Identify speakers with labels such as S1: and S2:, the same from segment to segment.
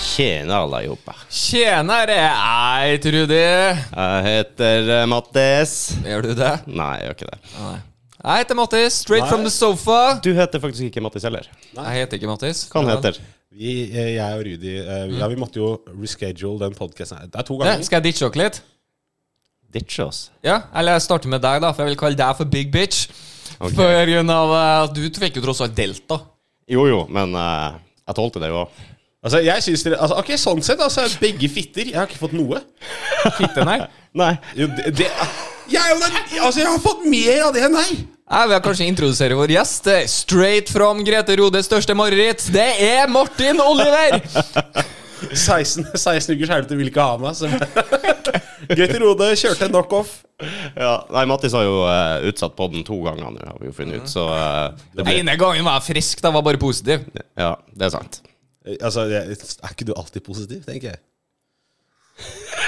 S1: Tjena, alle sammen.
S2: Tjenere, ei, Trudy.
S1: Jeg heter eh, Mattis.
S2: Gjør du det?
S1: Nei, jeg gjør ikke det.
S2: Nei. Jeg heter Mattis. Straight
S3: Nei.
S2: from the sofa.
S1: Du heter faktisk ikke Mattis heller.
S2: Jeg heter ikke Mattis.
S1: Hva han heter
S3: Vi, eh, jeg og Rudi eh, vi- Ja, vi måtte jo reschedule den podkasten. Det er to
S2: Det,
S3: ganger.
S2: Mm. skal jeg ditche dere litt?
S1: Ditch oss.
S2: Ja, Eller jeg starter med deg, da, for jeg vil kalle deg for Big Bitch. For grunn av eh, at Du fikk jo tross alt Delta.
S1: Jo jo, men eh, jeg tålte det jo òg.
S3: Altså, jeg synes dere altså, Ok, sånn sett, altså. Begge fitter. Jeg har ikke fått noe.
S2: Fitte, nei.
S1: Nei.
S3: Jo, det, det jeg, er jo den, altså, jeg har fått mer av det enn deg!
S2: Jeg vil kanskje introdusere vår gjest. Det er Straight from Grete Rodes største mareritt. Det er Martin Oliver!
S3: 16, 16 ukers helvete vil ikke ha meg. Så. Grete Rode kjørte en knockoff.
S1: Ja, nei, Mattis har jo eh, utsatt podden to ganger nå, har vi jo funnet ut, så eh, det blir
S2: Ene gangen var jeg frisk. Da var jeg bare positiv.
S1: Ja, det er sant.
S3: Eh, Altså, jeg, er ikke du alltid positiv, tenker jeg.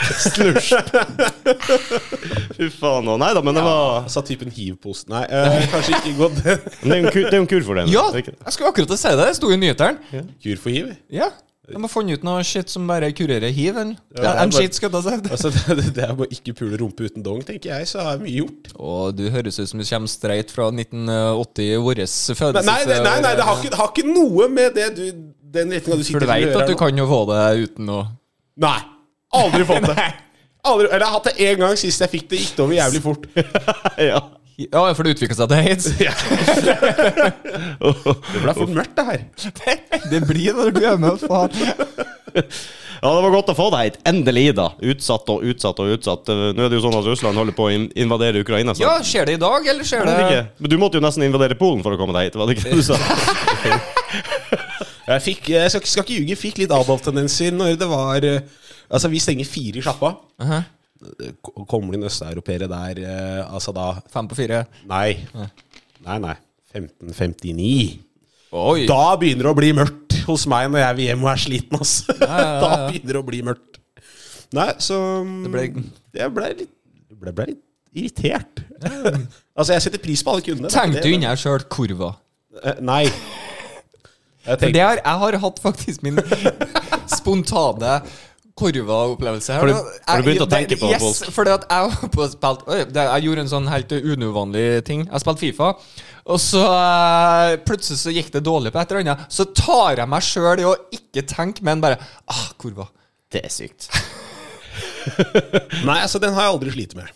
S1: Slursk. Fy faen nå. Nei da, men det var
S3: Altså typen hiv-post. Nei, eh, kanskje ikke gått den.
S1: Men Det er jo en kur, det er jo en kur for det.
S2: Ja,
S1: er det ikke det?
S2: jeg skulle akkurat til å si det. Det sto i nyhetene.
S3: Kur for hiv.
S2: Ja. De har funnet ut noe shit som bare kurerer hiv. En,
S3: Ja,
S2: en
S3: bare-
S2: shit, skal jeg si.
S3: Altså, det, det er bare ikke pule rumpe uten dong, tenker jeg, så er mye gjort.
S2: Og du høres ut som du kommer streit fra 1980 i vår
S3: Nei,
S2: fødelse.
S3: nei, det- nei, nei det, har ikke, det har ikke noe med det du, den retninga du sitter
S2: For du
S3: i som
S2: veit
S3: gjør
S2: at
S3: her
S2: du
S3: nå.
S2: kan jo få det uten å
S3: Nei. Aldri fått det. Aldri, eller jeg har hatt det én gang sist jeg fikk det, gikk det over jævlig fort.
S1: Ja.
S2: Ja, for det utvikler seg til aids.
S3: Det ble for mørkt, det her.
S2: Det blir når du er med, faen.
S1: Ja, det var godt å få deg hit. Endelig, da. Utsatt og utsatt og utsatt. Eh, Nå er det jo sånn at Russland holder på å in- invadere Ukraina. Så.
S2: Ja, skjer det i dag, eller skjer
S1: Jeg
S2: det
S1: vet ikke. Men du måtte jo nesten invadere Polen for å komme deg hit, var det ikke det du sa?
S3: Jeg fikk, jeg skal, skal ikke ljuge, fikk litt Adolf-tendenser når det var eh, Altså, vi stenger fire i sjappa. K- Kommer det inn østeuropeere der, eh, altså da
S2: Fem på fire.
S3: Nei. Nei, nei. 1559.
S2: Oi.
S3: Da begynner det å bli mørkt hos meg når jeg vil hjem og er sliten, ass. Da begynner det å bli mørkt. Nei, så mm,
S2: Det ble-
S3: Jeg ble litt, jeg ble, ble litt irritert. altså, jeg setter pris på alle kundene. det er ikke
S2: Tenkte
S3: det,
S2: du
S3: men-
S2: inni deg sjøl kurva?
S3: Eh, Nei. Jeg
S2: For
S3: tenkte-
S2: det har, jeg har hatt faktisk min spontane korva-opplevelse her.
S1: Har du- har du begynt å tenke på det,
S2: yes,
S1: folk?
S2: fordi at jeg var på og spilt, Oi, det- Jeg gjorde en sånn helt unødvanlig ting. Jeg spilte Fifa, og så eh, plutselig så gikk det dårlig på et eller annet. Så tar jeg meg sjøl i å ikke tenke, men bare ah, kurva.
S1: Det er sykt.
S3: Nei, altså den har jeg aldri slitt med.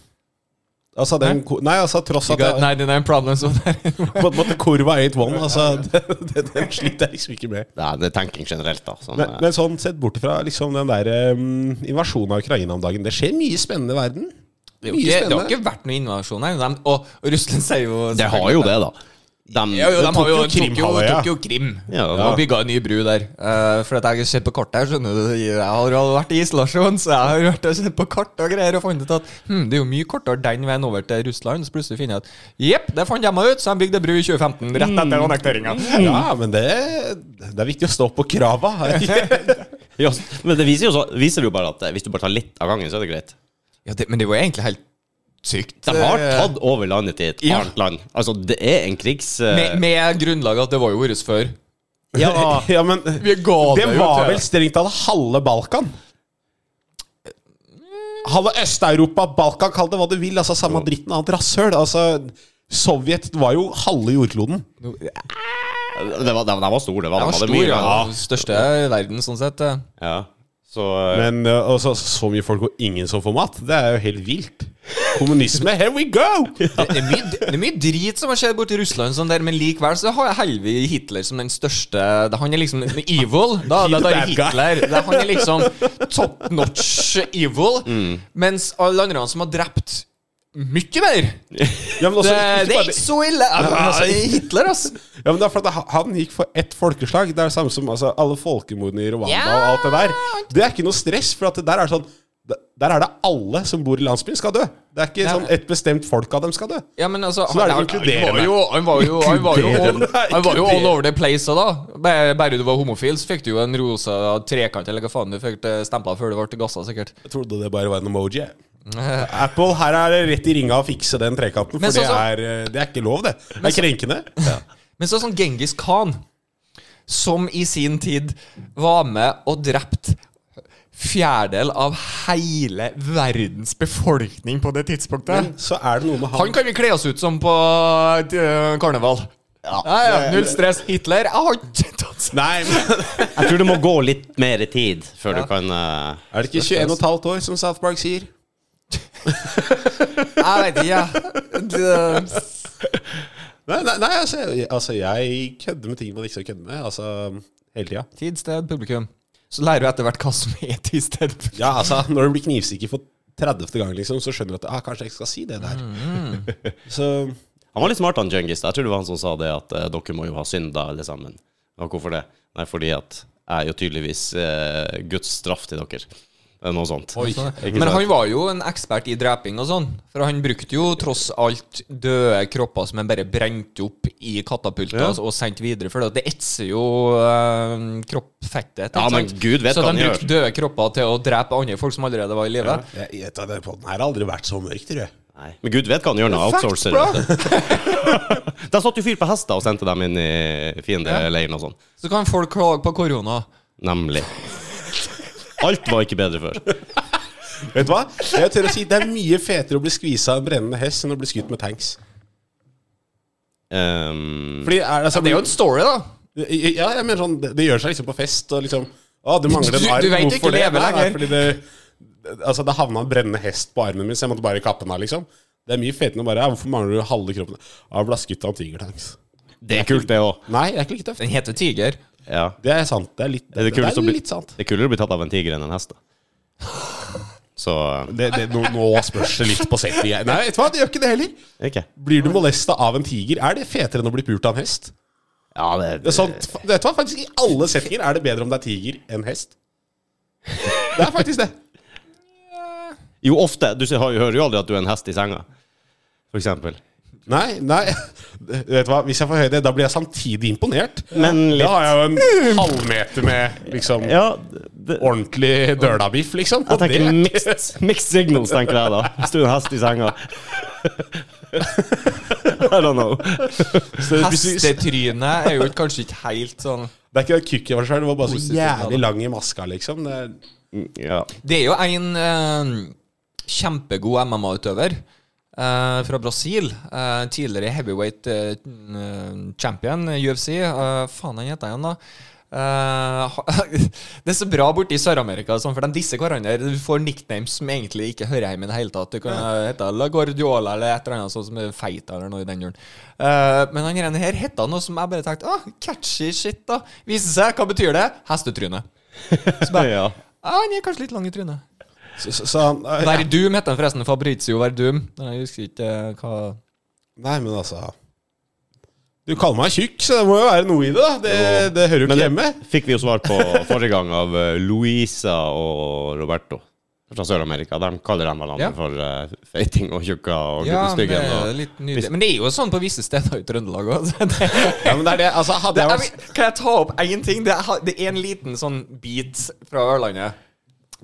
S3: Altså den ko- Nei, altså tross at jeg,
S2: 99 problems over der.
S3: på en måte kurva er 1-1, altså den, den, den sliter jeg liksom ikke med.
S1: Nei, det er tenking generelt, da. Sånn,
S3: Men,
S1: eh,
S3: men sånn sett bort fra liksom den der um, invasjonen av Ukraina om dagen, det skjer mye spennende i verden.
S2: Det, er jo
S3: Mye
S2: ikke, det har
S3: spennende.
S2: ikke vært noen invasjon her. De, og, og Russland sier jo
S1: det har jo det, da. Dem-
S2: Ja, jo, de
S3: tok
S2: har jo,
S3: jo
S2: tok jo,
S3: Krimhalvøya.
S2: tok jo Krim.
S1: Ja,
S2: og bygga en ny bru der. Eh, for at jeg har sett på kartet her, skjønner du. Jeg har jo vært i isolasjon, så jeg har vært og sett på kart og greier og funnet ut at hm, det er jo mye kortere den veien over til Russland. Så plutselig finner jeg at jepp, det fant jeg meg ut, så jeg bygde bru i 2015, rett
S1: Mm.
S2: etter annekteringa.
S3: Ja, men det, det er viktig å stå på krava.
S1: Ja, s- men det viser jo, så, viser jo bare at eh, hvis du bare tar litt av gangen, så er det greit.
S2: Ja, det, men det var egentlig helt sykt.
S1: De har
S2: eh,
S1: tatt over landet til et
S2: Ja.
S1: annet land. Altså, det er en krigs... eh,
S2: Med, med grunnlag at det var jo vårt før.
S1: ja,
S3: ja, men
S2: Vi ga
S3: det
S2: jo
S3: var
S2: til-
S3: vel strengt tatt halve Balkan. Halve Øst-Europa, Balkan, kall det hva du vil. Altså Samme dritten, annet rasshøl. Altså, Sovjet var jo halve jordkloden.
S1: det var, de, de var store, det var, de
S2: Den var
S1: hadde
S2: stor,
S1: mye-
S2: ja. Den største i verden, sånn sett. eh.
S1: Ja. Så eh,
S3: Men ø, altså, så mye folk og ingen som får mat, det er jo helt vilt. Kommunisme, here we go!
S2: Det det er, mye, det er mye drit som har skjedd borti Russland, sånn der, men likevel så har jeg Helvi Hitler som den største det- Han er liksom evil. Da, da, da er det
S3: Bad guy.
S2: Hitler. Det, han er
S3: Mm.
S2: liksom top notch evil. Mens alle andre som har drept mye mer!
S3: Ja, men også,
S2: Det, det er
S3: ikke bare-
S2: ikke så ille! Ja, men altså, Hitler, altså.
S3: Ja, men det er for at ha- Han gikk for ett folkeslag. Det er det samme som altså, alle folkemordene i Rwanda
S2: Ja.
S3: og alt det der. Det er ikke noe stress, for at det der er sånn der- Der er det alle som bor i landsbyen, skal dø. Det er ikke
S2: Ja.
S3: sånn ett bestemt folk av dem skal dø.
S2: Ja, men altså
S3: Så da er det
S2: han-
S3: inkluderende.
S2: Han var jo, han var jo, han var jo, all,
S3: Inkluderende.
S2: han var jo all over the place da. Bare, bare du var homofil, så fikk du jo en rosa trekant eller hva faen du fikk stempla før du ble gassa, sikkert.
S3: Jeg trodde det bare var en emoji. jeg. Apple, her er det rett i ringa å fikse den trekanten, for
S2: Men
S3: det,
S2: sånn
S3: er, eh, det er ikke lov, det. Det er krenkende.
S2: Men så sånn Genghis Khan, som i sin tid var med og drept fjerdedel av hele verdens befolkning på det tidspunktet.
S3: Men så er det noe med
S2: Han
S3: han
S2: kan vi kle oss ut som på eh, karneval. Ja, ja, null stress. Hitler Jeg har ikke tatt
S3: Nei, men
S1: Jeg tror det må gå litt mer tid før
S2: Ja.
S1: du kan eh,
S3: Er det ikke 21 15 år, som South Park sier?
S2: Jeg vet ikke, jeg. Det-
S3: Nei, nei, nei altså, jeg, altså, jeg kødder med ting man ikke skal kødde med. Altså, hele tida.
S2: Tid, sted, publikum. Så lærer du etter hvert hva som er tid, sted. publikum.
S3: Ja, altså, når du blir knivsikker for 30. gang, liksom, så skjønner du at ah, kanskje jeg ikke skal si det der.
S2: Mm.
S3: Så
S1: Han var litt smart, han Djengis. Jeg tror det var han som sa det, at eh, dere må jo ha synda alle sammen. Og hvorfor det? Nei, fordi at jeg er jo tydeligvis eh, Guds straff til dere. Eller Noe sånt.
S3: altså,
S1: Ikke
S2: Men
S1: sant?
S2: han var jo en ekspert i dreping og sånn. For han brukte jo tross alt døde kropper som han bare brente opp i katapulter
S1: Ja.
S2: og sendte videre. For det etser jo eh, kroppfettet.
S1: Ja,
S2: ikke
S1: men
S2: sant?
S1: Gud vet
S2: Så
S1: hva
S2: de
S1: han
S2: brukte døde kropper til å drepe andre folk som allerede var i live.
S3: jeg, jeg, denne podden her har aldri vært så mørk, tror jeg.
S1: Nei. Men gud vet hva han gjør når han outsourcer. det. Der satt jo fyr på hester og sendte dem inn i fiendeleiren og sånn.
S2: Så kan folk klage på korona.
S1: Nemlig. Alt var ikke bedre før.
S3: Vet du hva? Jeg tør å si Det er mye fetere å bli skvisa av en brennende hest enn å bli skutt med tanks.
S1: Ehm,
S3: Fordi er, altså,
S2: Det er jo en story, da.
S3: Ja, jeg mener sånn, det, det gjør seg liksom på fest og liksom Å, det mangler en
S2: Du-
S3: arm.
S2: du vet ikke
S3: Hvorfor det?
S2: leve
S3: Nei, nei,
S2: lenger.
S3: fordi det, altså, det havna en brennende hest på armen min, så jeg måtte bare kappe den av, liksom. Det er mye fetere enn å bare ja, Hvorfor mangler du halve kroppen? Ja, ble skutt av en tigertanks.
S1: det er kult, det òg.
S3: Nei, det er ikke like tøft.
S2: Den heter Tiger.
S1: Ja.
S3: Det er sant. Det er litt,
S1: Er det
S3: det
S1: kulest å
S3: er
S1: bli-
S3: litt sant.
S1: Det er kulere å bli tatt av en tiger enn en hest. da. Så
S3: Det, det, nå, nå spørs det litt på settet. jeg- Nei, vet du hva, det gjør ikke det heller.
S1: ikke.
S3: Blir du molesta av en tiger, er det fetere enn å bli pult av en hest?
S1: Ja, det,
S3: Det er sant, fa- vet du hva, faktisk I alle settinger er det bedre om det er tiger enn hest. Det er faktisk det.
S1: Jo, ofte. Du sier- har- hører jo aldri at du er en hest i senga, for eksempel.
S3: Nei, nei Vet du hva, Hvis jeg får høre det, da blir jeg samtidig imponert.
S1: Men litt-
S3: Da har jeg jo en halvmeter med liksom
S1: Ja, det,
S3: ordentlig dølabiff, liksom.
S1: jeg
S3: Og det,
S1: tenker mixed, mixed signals, tenker jeg da. Hvis du er en hest i senga. I don't know.
S3: så hvis du-
S2: Hestetrynet er jo ikke- kanskje ikke helt sånn
S3: det er ikke det kukket var sjøl, det var bare sånn- så
S2: Positivt, ja, da.
S3: jævlig lang i maska, liksom. Det er
S1: Ja.
S2: Det er jo en eh, kjempegod MMA-utøver eh, fra Brasil. eh, tidligere heavyweight eh, eh, champion i UFC. eh, faen, han heter han da. Eh, ha- det er så bra borte i Sør-Amerika, og sånn, for de disser hverandre. Du får nicknames som egentlig ikke hører hjemme i det hele tatt. Du kan eh, hete La Guardiola eller et eller annet sånt som er feit eller noe i den duren. Eh, men han her hette noe som jeg bare tenkte ah, catchy shit, da. Viser seg, hva betyr det? Hestetryne. Så bare,
S1: ja.
S2: ah, han er kanskje litt lang i trynet.
S3: Så, så, så han
S2: Verdum heter han forresten. Fabrizio Verdum. Nei, Jeg husker ikke eh, hva
S3: Nei, men altså Du kaller meg tjukk, så det må jo være noe i det, da. Det, det hører jo ikke hjemme.
S1: Fikk vi jo svar på forrige gang av eh, Luisa og Roberto fra Sør-Amerika. De kaller dem hverandre
S2: Ja.
S1: for eh, feiting og tjukka og
S2: Ja, men det
S1: styggen.
S2: er
S1: og-
S2: litt nydelig. Men det er jo sånn på visse steder i Trøndelag òg.
S3: Ja, men det er det. Altså, hadde jeg vært
S2: Kan jeg ta opp én ting? Det er, ha- det er en liten sånn bit fra Ørlandet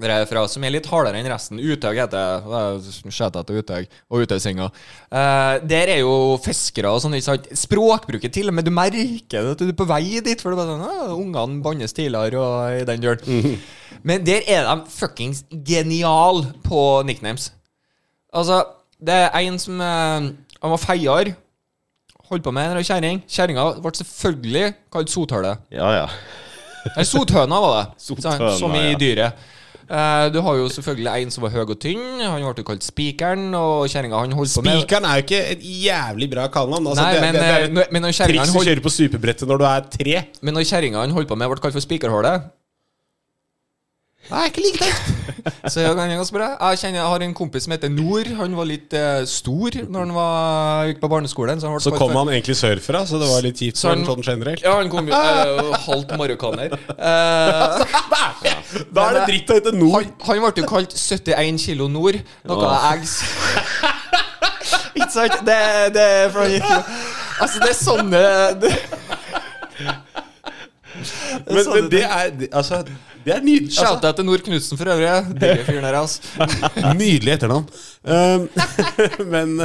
S2: der jeg er fra, som er litt hardere enn resten. Uthaug heter det. Skjøta til Uthaug og Uthaugsenga. Eh, der er jo fiskere og sånn. ikke sant? Språkbruket til og med. Du merker det at du er på vei dit. For det er bare sånn, «Å, Ungene bannes tidligere og i den
S3: Mhm.
S2: duren. Men der er de fuckings genial på nicknames. Altså, det er en som eh, Han var feier. Holdt på med en kjerring. Kjerringa ble selvfølgelig kalt sothøle.
S1: Ja, ja.
S2: Nei, sothøna var det. Sånn,
S1: Sothøna,
S2: som i
S1: ja.
S2: dyret. Eh, du har jo selvfølgelig en som var høy og tynn. Han ble jo kalt Spikeren, og kjerringa han holdt på med
S3: Spikeren er jo ikke et jævlig bra kallenavn. Altså,
S2: Nei,
S3: det,
S2: men,
S3: det, det er
S2: eh,
S3: et
S2: når- men når kjerringa
S3: triks
S2: han
S3: du
S2: holdt-
S3: kjører på stupebrettet når du er tre.
S2: men når kjerringa han holdt på med, ble kalt for Spikerhålet.
S3: Det er ikke like tøft.
S2: Så jeg kan ganske bra. Jeg kjenner jeg har en kompis som heter Nord. Han var litt eh, stor når han var, gikk på barneskolen. Så, han ble
S3: Så
S2: kalt
S3: kom
S2: for-
S3: han egentlig sørfra, så det var litt kjipt
S2: Så
S3: for han
S2: han-
S3: sånn generelt.
S2: Ja, han kom jo eh, halvt marokkaner. Eh,
S3: Da er det dritt å hete Nord.
S2: han, han ble jo kalt 71 kilo nord, noe jeg s- Ikke sant? Det, det, for han gikk jo Altså, det er sånne det, altså-
S3: Men, men det er det- altså, det er nydelig. Altså,
S2: Shout-out til Nord Knutsen for øvrig. Digge fyren der, altså.
S3: nydelig etternavn. Um, men,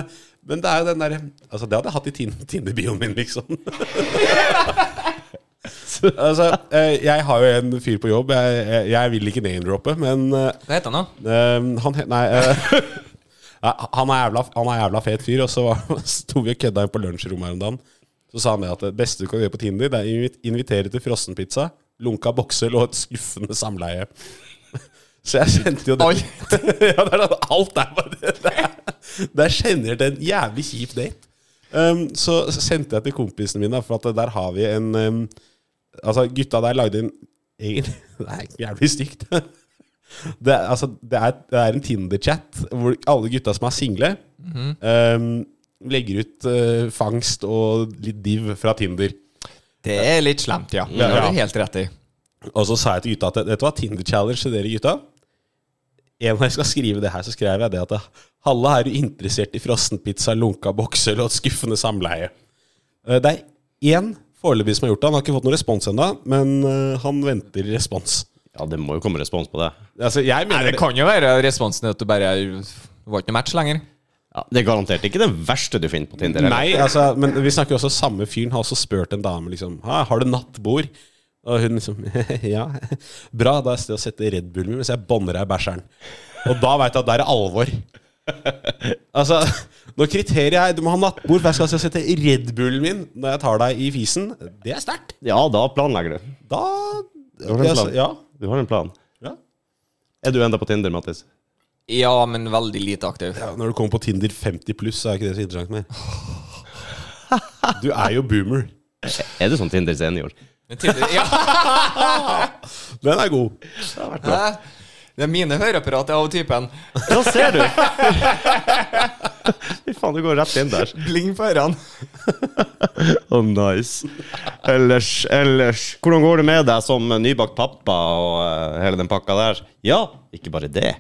S3: men det er jo den derre altså, Det hadde jeg hatt i Tin- Tinder-bioen min, liksom. Så, altså, eh, jeg har jo en fyr på jobb. Jeg, jeg, jeg vil ikke name-droppe, men eh,
S2: Hva heter han, da?
S3: Ehm, han het Nei. eh, nei, han, er jævla, han er jævla fet fyr, og så var- sto vi og kødda inn på lunsjrommet her om dagen. Så sa han det at det beste du kan gjøre på Tinder, det er å invi- invitere til frossenpizza, lunka boksel og et skuffende samleie. Så jeg kjente jo det.
S2: Alt.
S3: ja, det er, det. alt er bare det. Det er, det er generelt en jævlig kjip date. Ehm, så, så sendte jeg til kompisene mine, da, for at der har vi en ehm, Altså, gutta der lagde en egentlig- Det er jævlig stygt. Det, er- altså, det, er, det er en Tinder-chat hvor alle gutta som er single,
S2: Mhm.
S3: eh, legger ut eh, fangst og litt div fra Tinder.
S2: Det er litt slemt, ja. Det har du helt rett i.
S3: Og så sa jeg til gutta at dette var Tinder-challenge til dere gutta. En gang jeg skal skrive det her, så skrev jeg det at Halla, er du interessert i frossenpizza, lunka boksel og et skuffende samleie? Eh, Det er én foreløpig som har gjort det. Han har ikke fått noen respons ennå, men eh, han venter respons.
S1: Ja, det må jo komme respons på det.
S3: Altså, jeg
S2: Nei,
S3: mener
S2: det kan jo være responsen at du bare var ikke noe match lenger.
S1: Ja, det er garantert ikke det verste du finner på Tinder. eller?
S3: Nei, altså, men vi snakker jo også samme fyren har også spurt en dame liksom «Ah, Har du nattbord? Og hun liksom Ja. Bra, da er det sted å sette Red Bull min mens jeg bånner deg i bæsjeren. Og da veit jeg at det er alvor. Altså, når kriteriet er du må ha nattbord for jeg skal altså sette Red Bullen min når jeg tar deg i fisen, det er sterkt.
S1: Ja, da planlegger du.
S3: Da
S1: var en plan.
S3: Ja.
S1: Du har en plan.
S3: Ja.
S1: Er du enda på Tinder, Mattis?
S2: Ja, men veldig lite aktiv.
S3: ja. Når du kommer på Tinder 50 pluss, så er ikke det så interessant mer. Du er jo boomer.
S1: Er du sånn Tinder senior?
S2: Men tidligere- Ja,
S3: Den er god.
S2: hæ? det er mine høreapparater av typen.
S1: Da ser du! Fy faen, du går rett inn der.
S2: Bling på ørene.
S1: Oh, nice. Ellers, ellers Hvordan går det med deg som nybakt pappa og eh, hele den pakka der? Ja, ikke bare det.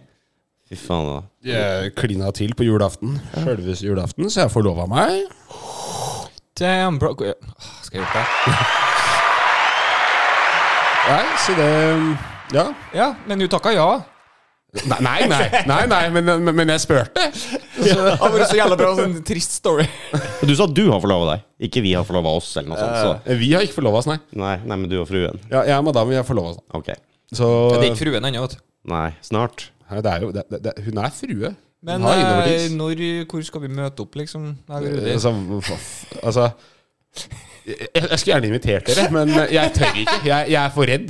S1: Fy faen, da.
S3: Jeg klina til på julaften. Sjølveste julaften, så jeg forlova meg.
S2: Damn, bro. Åh, Skal jeg gjort det?
S3: Nei, så det Ja.
S2: Ja, men du takka ja.
S3: Nei, nei, nei, nei, nei men, men, men jeg spurte.
S2: Det har vært så jævla bra. Sånn trist story.
S1: Du sa du har forlova deg, ikke vi har forlova oss, eller noe sånt.
S3: Vi har ikke forlova oss, nei.
S1: Så. Nei, nei, men du og fruen.
S3: Ja, jeg og madame vi har forlova oss.
S1: Ok.
S3: Så
S2: Det er ikke fruen ennå, vet du.
S1: Nei, snart.
S3: Nei, det er jo, det, det, det, Hun er frue.
S2: Men
S3: hun har
S2: eh,
S3: innovertids.
S2: når, hvor skal vi møte opp, liksom?
S4: Eh,
S2: Jeg og Rudi?
S3: Altså, hva f- altså jeg, jeg skulle gjerne invitert dere, men jeg tør ikke. Jeg, jeg er for redd.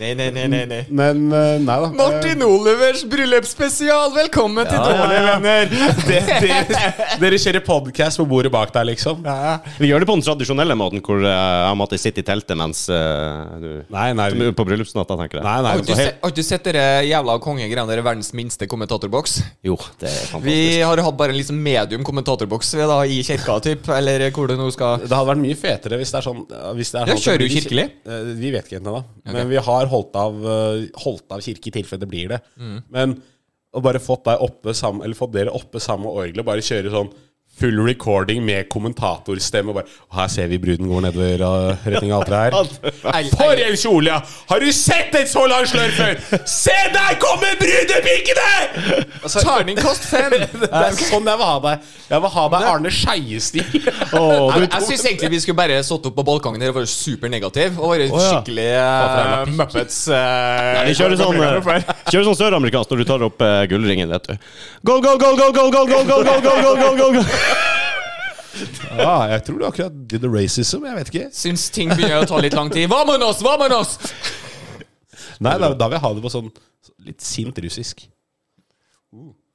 S2: Nei, nei, nei, nei. nei.
S3: Men eh, nei da.
S2: Martin Olivers bryllupsspesial! Velkommen til
S1: Ja,
S2: Dårlige venner!
S3: Eh, det- det- Dere kjører podkast på bordet bak der, liksom?
S2: Ja.
S1: Vi gjør det på den tradisjonelle måten, hvor eh, jeg måtte sitte i teltet mens eh, du
S3: Nei, nei.
S1: Som
S3: vi-
S1: På bryllupsnatta, tenker jeg.
S3: nei, nei
S2: Har
S3: så
S2: ikke du
S3: helt-
S2: sett- har ikke du sett dere jævla kongegreiene der i verdens minste kommentatorboks?
S1: Jo, det er fantastisk.
S2: Vi har hatt bare en liksom medium kommentatorboks vi, da, i kirka, typ, eller hvor du nå skal
S3: Det hadde vært mye fetere hvis det er sånn hvis det er
S2: Ja,
S3: sånn at det
S2: kjører
S3: blir-
S2: du kirkelig?
S3: Eh, Vi vet ikke ennå, da. Men vi har holdt av, eh, holdt av kirke i tilfelle det blir det. Men å bare fått, deg oppe sammen, eller fått dere oppe sammen med orgelet, bare kjøre sånn full recording med kommentatorstemme og bare Og her ser vi bruden går nedover uh, retning av alteret her. For en kjole, ja! Har du sett et så langt slør før? Se der kommer brudepikene! Altså,
S2: Terningkast fem!
S3: det er sånn jeg vil ha deg. Jeg vil ha deg Arne Skeie-stil.
S1: Åh,
S2: Jeg, jeg syns egentlig vi skulle bare satt opp på balkongen her og vært supernegativ og vært
S1: ja.
S2: skikkelig eh, Muppets eh,
S1: Vi kjører sånn, eh, kjører sånn søramerikansk når du tar opp eh, gullringen, vet du. Go, go, go, go, go, go, go, go, go, go, go, go, go, go.
S3: Ja, jeg tror du akkurat did the racism. Jeg vet ikke.
S2: Syns ting begynner å ta litt lang tid. Vamonos, vamonos!
S3: Nei, da, da vil jeg ha det på sånn litt sint russisk.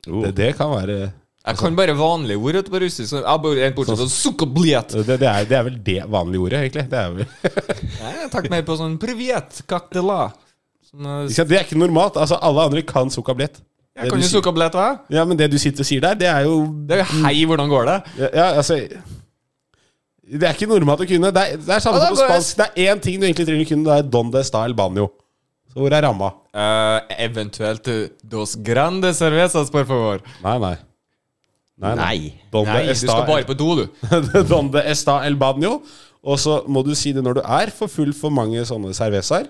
S3: Det, det kan være
S2: Jeg kan bare vanlige ord vet du, på russisk. så Jeg bare en
S3: Sånn.
S2: bortsett fra sukkerbliet.
S3: det, det, er, det er vel det vanlige ordet, egentlig. Det er vel
S2: Nei, Jeg tenkte mer på sånn privet, kaktela. Sånn, eh,
S3: Ikke sant? Det er ikke normalt. Altså, alle andre kan sukkablett.
S2: jeg kan jo sukke opp lett, hva?
S3: Ja, men det du sitter og sier der, det er jo
S2: Det er
S3: Mm.
S2: jo hei, hvordan går det?
S3: Ja, ja, altså Det er ikke normalt å kunne. Det er, det er samme
S2: Ja, det
S3: som
S2: er
S3: på
S2: bare-
S3: spansk. Det er én ting du egentlig trenger å kunne, det er don de style banjo. Så hvor er ramma?
S2: Eh, eventuelt eh, dos grande cervezas, por favor.
S3: Nei, nei. Nei.
S1: Nei.
S3: Don de
S2: Nei, du
S3: esta-
S2: skal bare på do, du.
S3: Don de esta el banjo. Og så må du si det når du er for full for mange sånne cervezaer.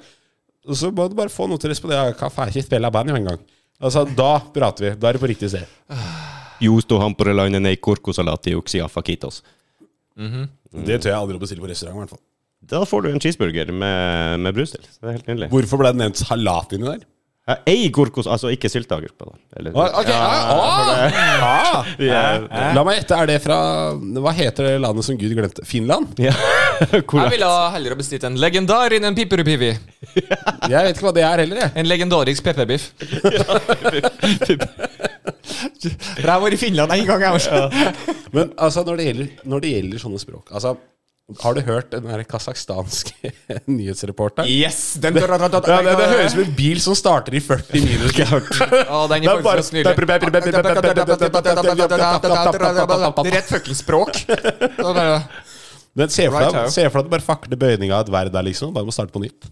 S3: Og så må du bare få noe til å respondere. Hva faen ikke spille banjo engang? Altså, da prater vi. Da er det på riktig sted.
S1: Justo hamporelaine nei korkosalati uxia fakitos.
S3: Mm. Det tør jeg aldri å bestille på restaurant, i hvert fall.
S1: Da får du en cheeseburger med, med brus til. Så Det er helt nydelig.
S3: Hvorfor ble det nevnt salat inni der?
S1: Eh, Ei korkos, altså ikke sylteagurk. da. Eller-
S3: Ok, ah, ah, ah.
S1: Ja.
S3: La meg gjette, er det fra Hva heter det landet som Gud glemte? Finland?
S1: Ja.
S2: Jeg
S1: Hvor
S2: ville ha heller ha bestilt en legendar enn en piperupivi.
S3: Jeg vet ikke hva det er heller, jeg.
S2: En legendarisk pepperbiff. For jeg har vært i Finland en gang, jeg også.
S3: Men altså, når det gjelder, når det gjelder sånne språk altså, Har du hørt den der kasakhstanske nyhetsreporteren?
S2: Yes! Den ja,
S3: Ja, det, det høres ut som en bil som starter i 40 minus.
S2: den
S3: Det
S2: er
S3: er bare-
S2: faktisk nydelig. Det er rett fuckings språk. Det er bare-
S3: Men se for
S2: Right
S3: deg
S2: here.
S3: se for deg at du bare fakler bøyninga av et verda, liksom. Bare må starte på nytt.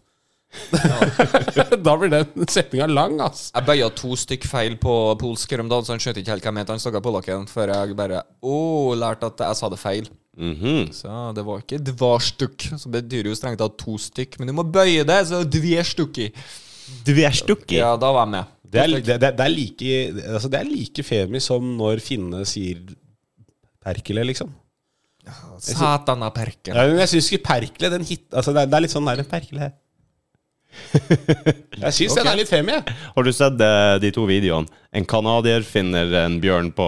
S3: da blir den setninga lang, ass.
S2: Jeg bøya to stykk feil på polsk her om dagen, så han skjønte ikke helt hva jeg mente. Han snakka polakken før jeg bare Å, lærte at jeg sa det feil. Så det var ikke dva stykk. Så betyr jo strengt tatt to stykk. Men du må bøye det, så dve stykki.
S1: Dverstukki.
S2: Ja, da var jeg med.
S3: Det er, det, det, det er like altså Det er like femi som når finnene sier Perkele, liksom.
S2: Satana perken.
S3: Ja, men jeg syns ikke Perkele den hit, altså det, er, det er litt sånn nær en Perkele. Jeg syns den er litt femi, jeg.
S1: Har du sett eh, de to videoene? En canadier finner en bjørn på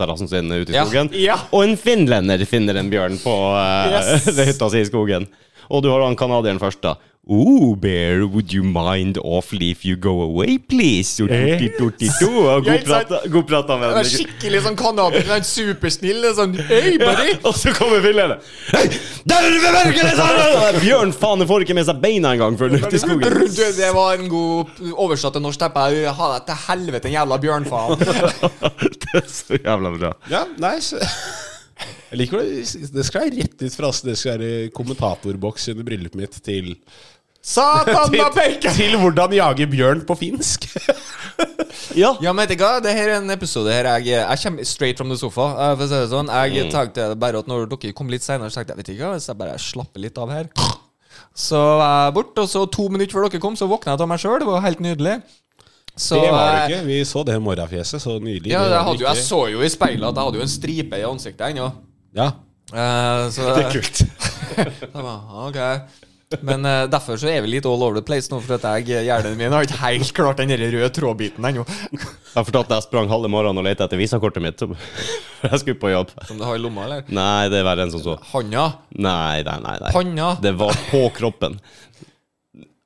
S1: terrassen sin ute i
S2: Ja.
S1: skogen.
S2: Ja.
S1: Og en finlender finner en bjørn på eh,
S2: Yes.
S1: ved hytta si i skogen. Og du har han canadieren først, da. Oh, bear, would you mind awfully if you go away, please? Og torti, torti, to. Og
S2: Eh? Ja,
S1: God
S2: ikke sant?
S1: prata- god prata med
S2: Det er
S1: den.
S2: skikkelig sånn canadier. Han er supersnill. det er Sånn, hey, buddy!
S1: Og så kommer finlenderen. Hei, der er det ved bjørken, jeg sa det! Bjørn, faen, den får ikke med seg beina engang før den er ute i skogen.
S2: Du, Det var en god oversatt til norsk teppe. Jeg har deg til helvete, en jævla bjørnfaen.
S1: Det er så jævla bra.
S3: Ja, nice. Jeg liker det. Det skal være rett ut fra oss. Det skal være kommentatorboks under bryllupet mitt til
S2: Satana perken!
S3: Til hvordan jage bjørn på finsk.
S1: Ja.
S2: Ja, men vet du hva? Det her er en episode her jeg, jeg kommer straight from the sofa. eh, For å si det sånn Jeg tenkte bare at når dere kom litt senere, så tenkte jeg vet du hva, hvis jeg bare slapper litt av her Så var jeg bort, og så to minutter før dere kom, så våkna jeg av meg sjøl. Det var helt nydelig. Så,
S3: Det var det
S2: eh,
S3: ikke. Vi så det morrafjeset så nylig.
S2: Ja,
S3: Det var
S2: jeg, hadde jo, jeg
S3: ikke-
S2: så jo i speilet at jeg hadde jo en stripe i ansiktet ennå.
S3: Ja.
S2: Eh, så det
S1: Kult.
S2: jeg bare, ok Men eh, derfor så er vi litt all over the place nå, for at jeg, eh, hjernen min har ikke helt klart den der røde trådbiten ennå.
S1: Jeg fortalte at jeg sprang halve morgenen og lette etter visakortet mitt. så- For jeg skulle på jobb.
S2: Som du har i lomma, eller?
S1: Nei, det er verre enn som så.
S2: Handa.
S1: Nei, nei, nei. nei.
S2: Panna.
S1: Det var på kroppen.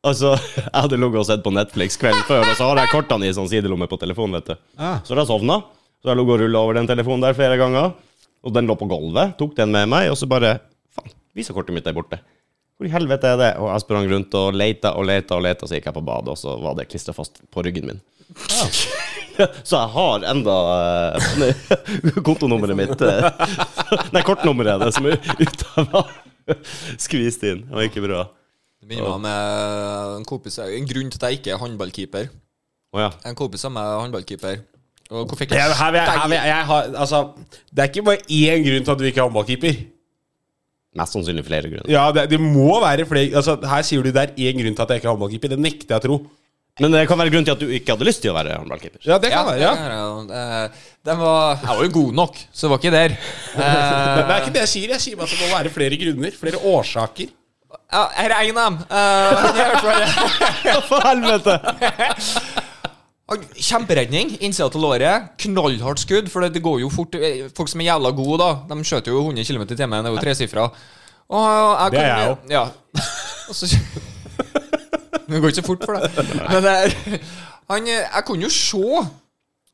S1: Altså, jeg hadde ligget og sett på Netflix kvelden før, og så har jeg kortene i sånn sidelomme på telefonen, vet du.
S3: Ah.
S1: Så da sovna. Så jeg lå og rulla over den telefonen der flere ganger, og den lå på gulvet. Tok den med meg, og så bare Faen, visakortet mitt er borte. Hvor i helvete er det? Og jeg sprang rundt og leita og leita og leita, så gikk jeg på badet, og så var det klistra fast på ryggen min. Så jeg har enda eh, kontonummeret mitt eh, Nei, kortnummeret er det som er ute av Skvist inn. Det var ikke bra.
S2: Det minner meg om eh, en kompis En grunn til at jeg ikke er håndballkeeper.
S1: Å ja.
S2: En kompis av meg er håndballkeeper. Og hvor fikk
S3: Jeg,
S2: jeg
S3: her, vil jeg, her, vil jeg, jeg har, altså, det er ikke bare én grunn til at du ikke er håndballkeeper.
S1: Mest sannsynlig flere grunner.
S3: Ja, det, det må være flere altså, Her sier du det er én grunn til at jeg ikke er håndballkeeper. Det nekter jeg å tro.
S1: Men det kan være grunn til at du ikke hadde lyst til å være håndballkeeper.
S3: Ja, det
S2: Ja,
S3: kan være, ja.
S2: det er- Den var Jeg var jo god nok, så det var ikke der.
S3: Men Det
S2: Eh,
S3: er ikke det jeg sier. Jeg sier bare at det må være flere grunner. Flere årsaker.
S2: ja, her er en av dem. Eh, han er i hvert fall-
S1: For helvete!
S2: han- Kjemperedning. Innsida til låret. Knallhardt skudd, for det går jo fort. eh, Folk som er jævla gode, da, de skjøter jo 100 km i timen. Det er jo tresifra. Og
S3: Det er jeg
S2: kan- Ja. Og så Det går ikke så fort for deg. Men det er- han, eh, jeg kunne jo se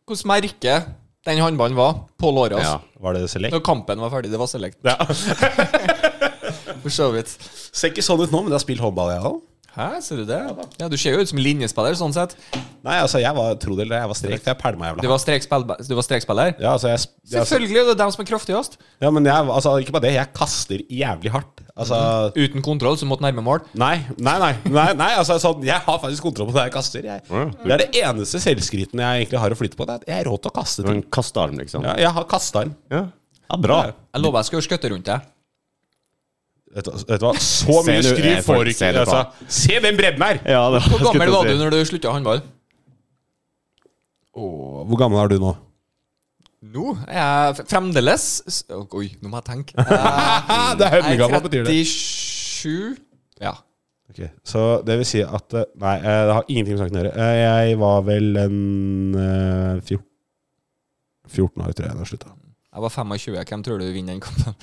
S2: hvordan merket den håndballen var på låret hans.
S1: Ja.
S3: Var det select?
S2: Når kampen var ferdig. Det var select,
S3: Ja.
S2: for så vidt.
S3: Ser ikke sånn ut nå, men jeg har spilt håndball, jeg òg.
S2: Hæ, ser du det? Ja, Du ser jo ut som linjespiller, sånn sett.
S3: Nei, altså, jeg var tro det eller ei, jeg var strek, for jeg pælma jævla
S2: Du
S3: hardt.
S2: var, strekspill- du var strekspiller?
S3: Ja, altså, jeg, sp- ja, altså,
S2: Selvfølgelig! Det er dem som er kraftigst.
S3: ja, men jeg, altså, ikke bare det, jeg kaster jævlig hardt. Altså
S2: Uten kontroll, så måtte nærme mål.
S3: Nei, nei, nei. nei, nei altså, sånn, jeg har faktisk kontroll på det jeg kaster. Jeg.
S1: Ja.
S3: Det er det eneste selvskryten jeg egentlig har å flytte på. Det er at jeg er rå til å kaste
S1: Du har
S3: ting.
S1: en kastearm, liksom.
S3: Ja, jeg har kasta den.
S1: Ja. ja, bra.
S2: Jeg lover jeg skal jo skøtte rundt deg.
S3: Vet du hva- vet du hva, så
S1: Se
S3: mye
S1: du-
S3: skryt
S1: jeg får-
S3: får du
S1: se
S3: ikke.
S1: det på.
S3: Altså. Se den bredden her!
S1: Ja, det
S2: Hvor gammel var du
S1: nå?
S2: når du slutta å håndball?
S3: Åh, hvor gammel er du nå?
S2: Nå er jeg f- fremdeles s- Oi, nå må jeg tenke. Jeg
S3: Ah, det er
S2: er
S3: høvdinggammel, betyr det.
S2: 37 Ja.
S3: Ok, så det vil si at eh, Nei, eh, det har ingenting med saken å gjøre. Eh, Jeg var vel en eh, fjor- 14 år, tror jeg, da jeg slutta.
S2: Jeg var 25. Hvem tror du vinner den kampen?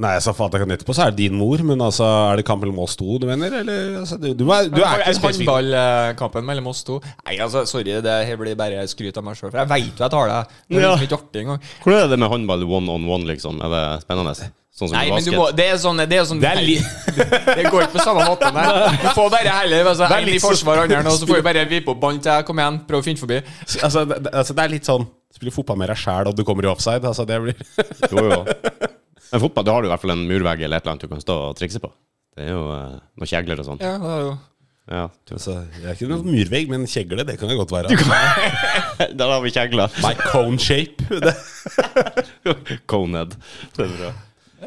S3: Nei, jeg sa faen, jeg kan etterpå, så er det din mor. Men altså, er det kamp eller mål sto du mener? Eller, altså, du, du, er, du er ikke spesifikk.
S2: Håndballkampen mellom oss to. Nei, altså, sorry, det her blir bare skryt av meg sjøl, for jeg veit jo jeg tar det. Det er
S1: Ja.
S2: liksom ikke artig engang.
S1: Hvordan er det med håndball one on one, liksom? Er det spennende? Sånn som
S2: Nei,
S1: i
S2: men du
S1: basket?
S2: må Det er sånn Det, er sånn,
S3: Det er li-
S2: det går ikke på samme måten der. Du får bare heller altså,
S3: Det er
S2: en
S3: litt
S2: i forsvar og andre, og så får vi bare vippe opp ballen til jeg kommer igjen. Prøv å finne forbi.
S3: Altså, det, det- altså, det er litt sånn Spiller fotball med deg sjæl, og du kommer i offside. Altså, det blir
S1: Jo, jo. Men fotball, da har du i hvert fall en murvegg eller et eller annet du kan stå og trikse på. Det er jo eh, noen kjegler og sånn.
S2: Ja, det er jo
S1: Ja.
S3: altså, Jeg er ikke noen murvegg, men kjegle, det kan jeg godt være.
S1: Der har vi kjegler.
S3: My cone shape. Det.
S1: Coned. Det er bra.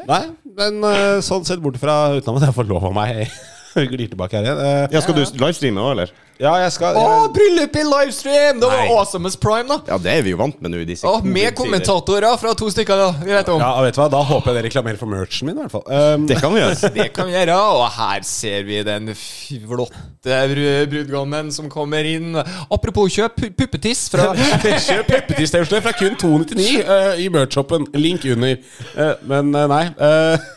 S3: Nei, men eh, sånn sett bort fra utenom at jeg får lov av meg glir tilbake her igjen. Eh,
S1: Ja, skal du livestreame òg, eller?
S3: ja, jeg skal
S2: Å,
S3: jeg,
S2: bryllup i livestream! Det var
S1: Nei.
S2: awesomest prime, da.
S1: Ja, det er vi jo vant med nå i disse
S2: Å, med
S1: covid-tider.
S2: kommentatorer fra to stykker, da. Vi vet om.
S3: Ja, vet du hva, Da håper jeg det reklamerer for merchen min, i hvert fall. Um,
S1: Det kan vi gjøre.
S2: Det kan vi gjøre, og her ser vi den flotte bru- brudgommen som kommer inn. Apropos kjøp pu- puppetiss fra
S3: Kjøp peppertistøvler fra kun 299 eh, i merch-shoppen. Link under. Eh, men eh, nei. eh,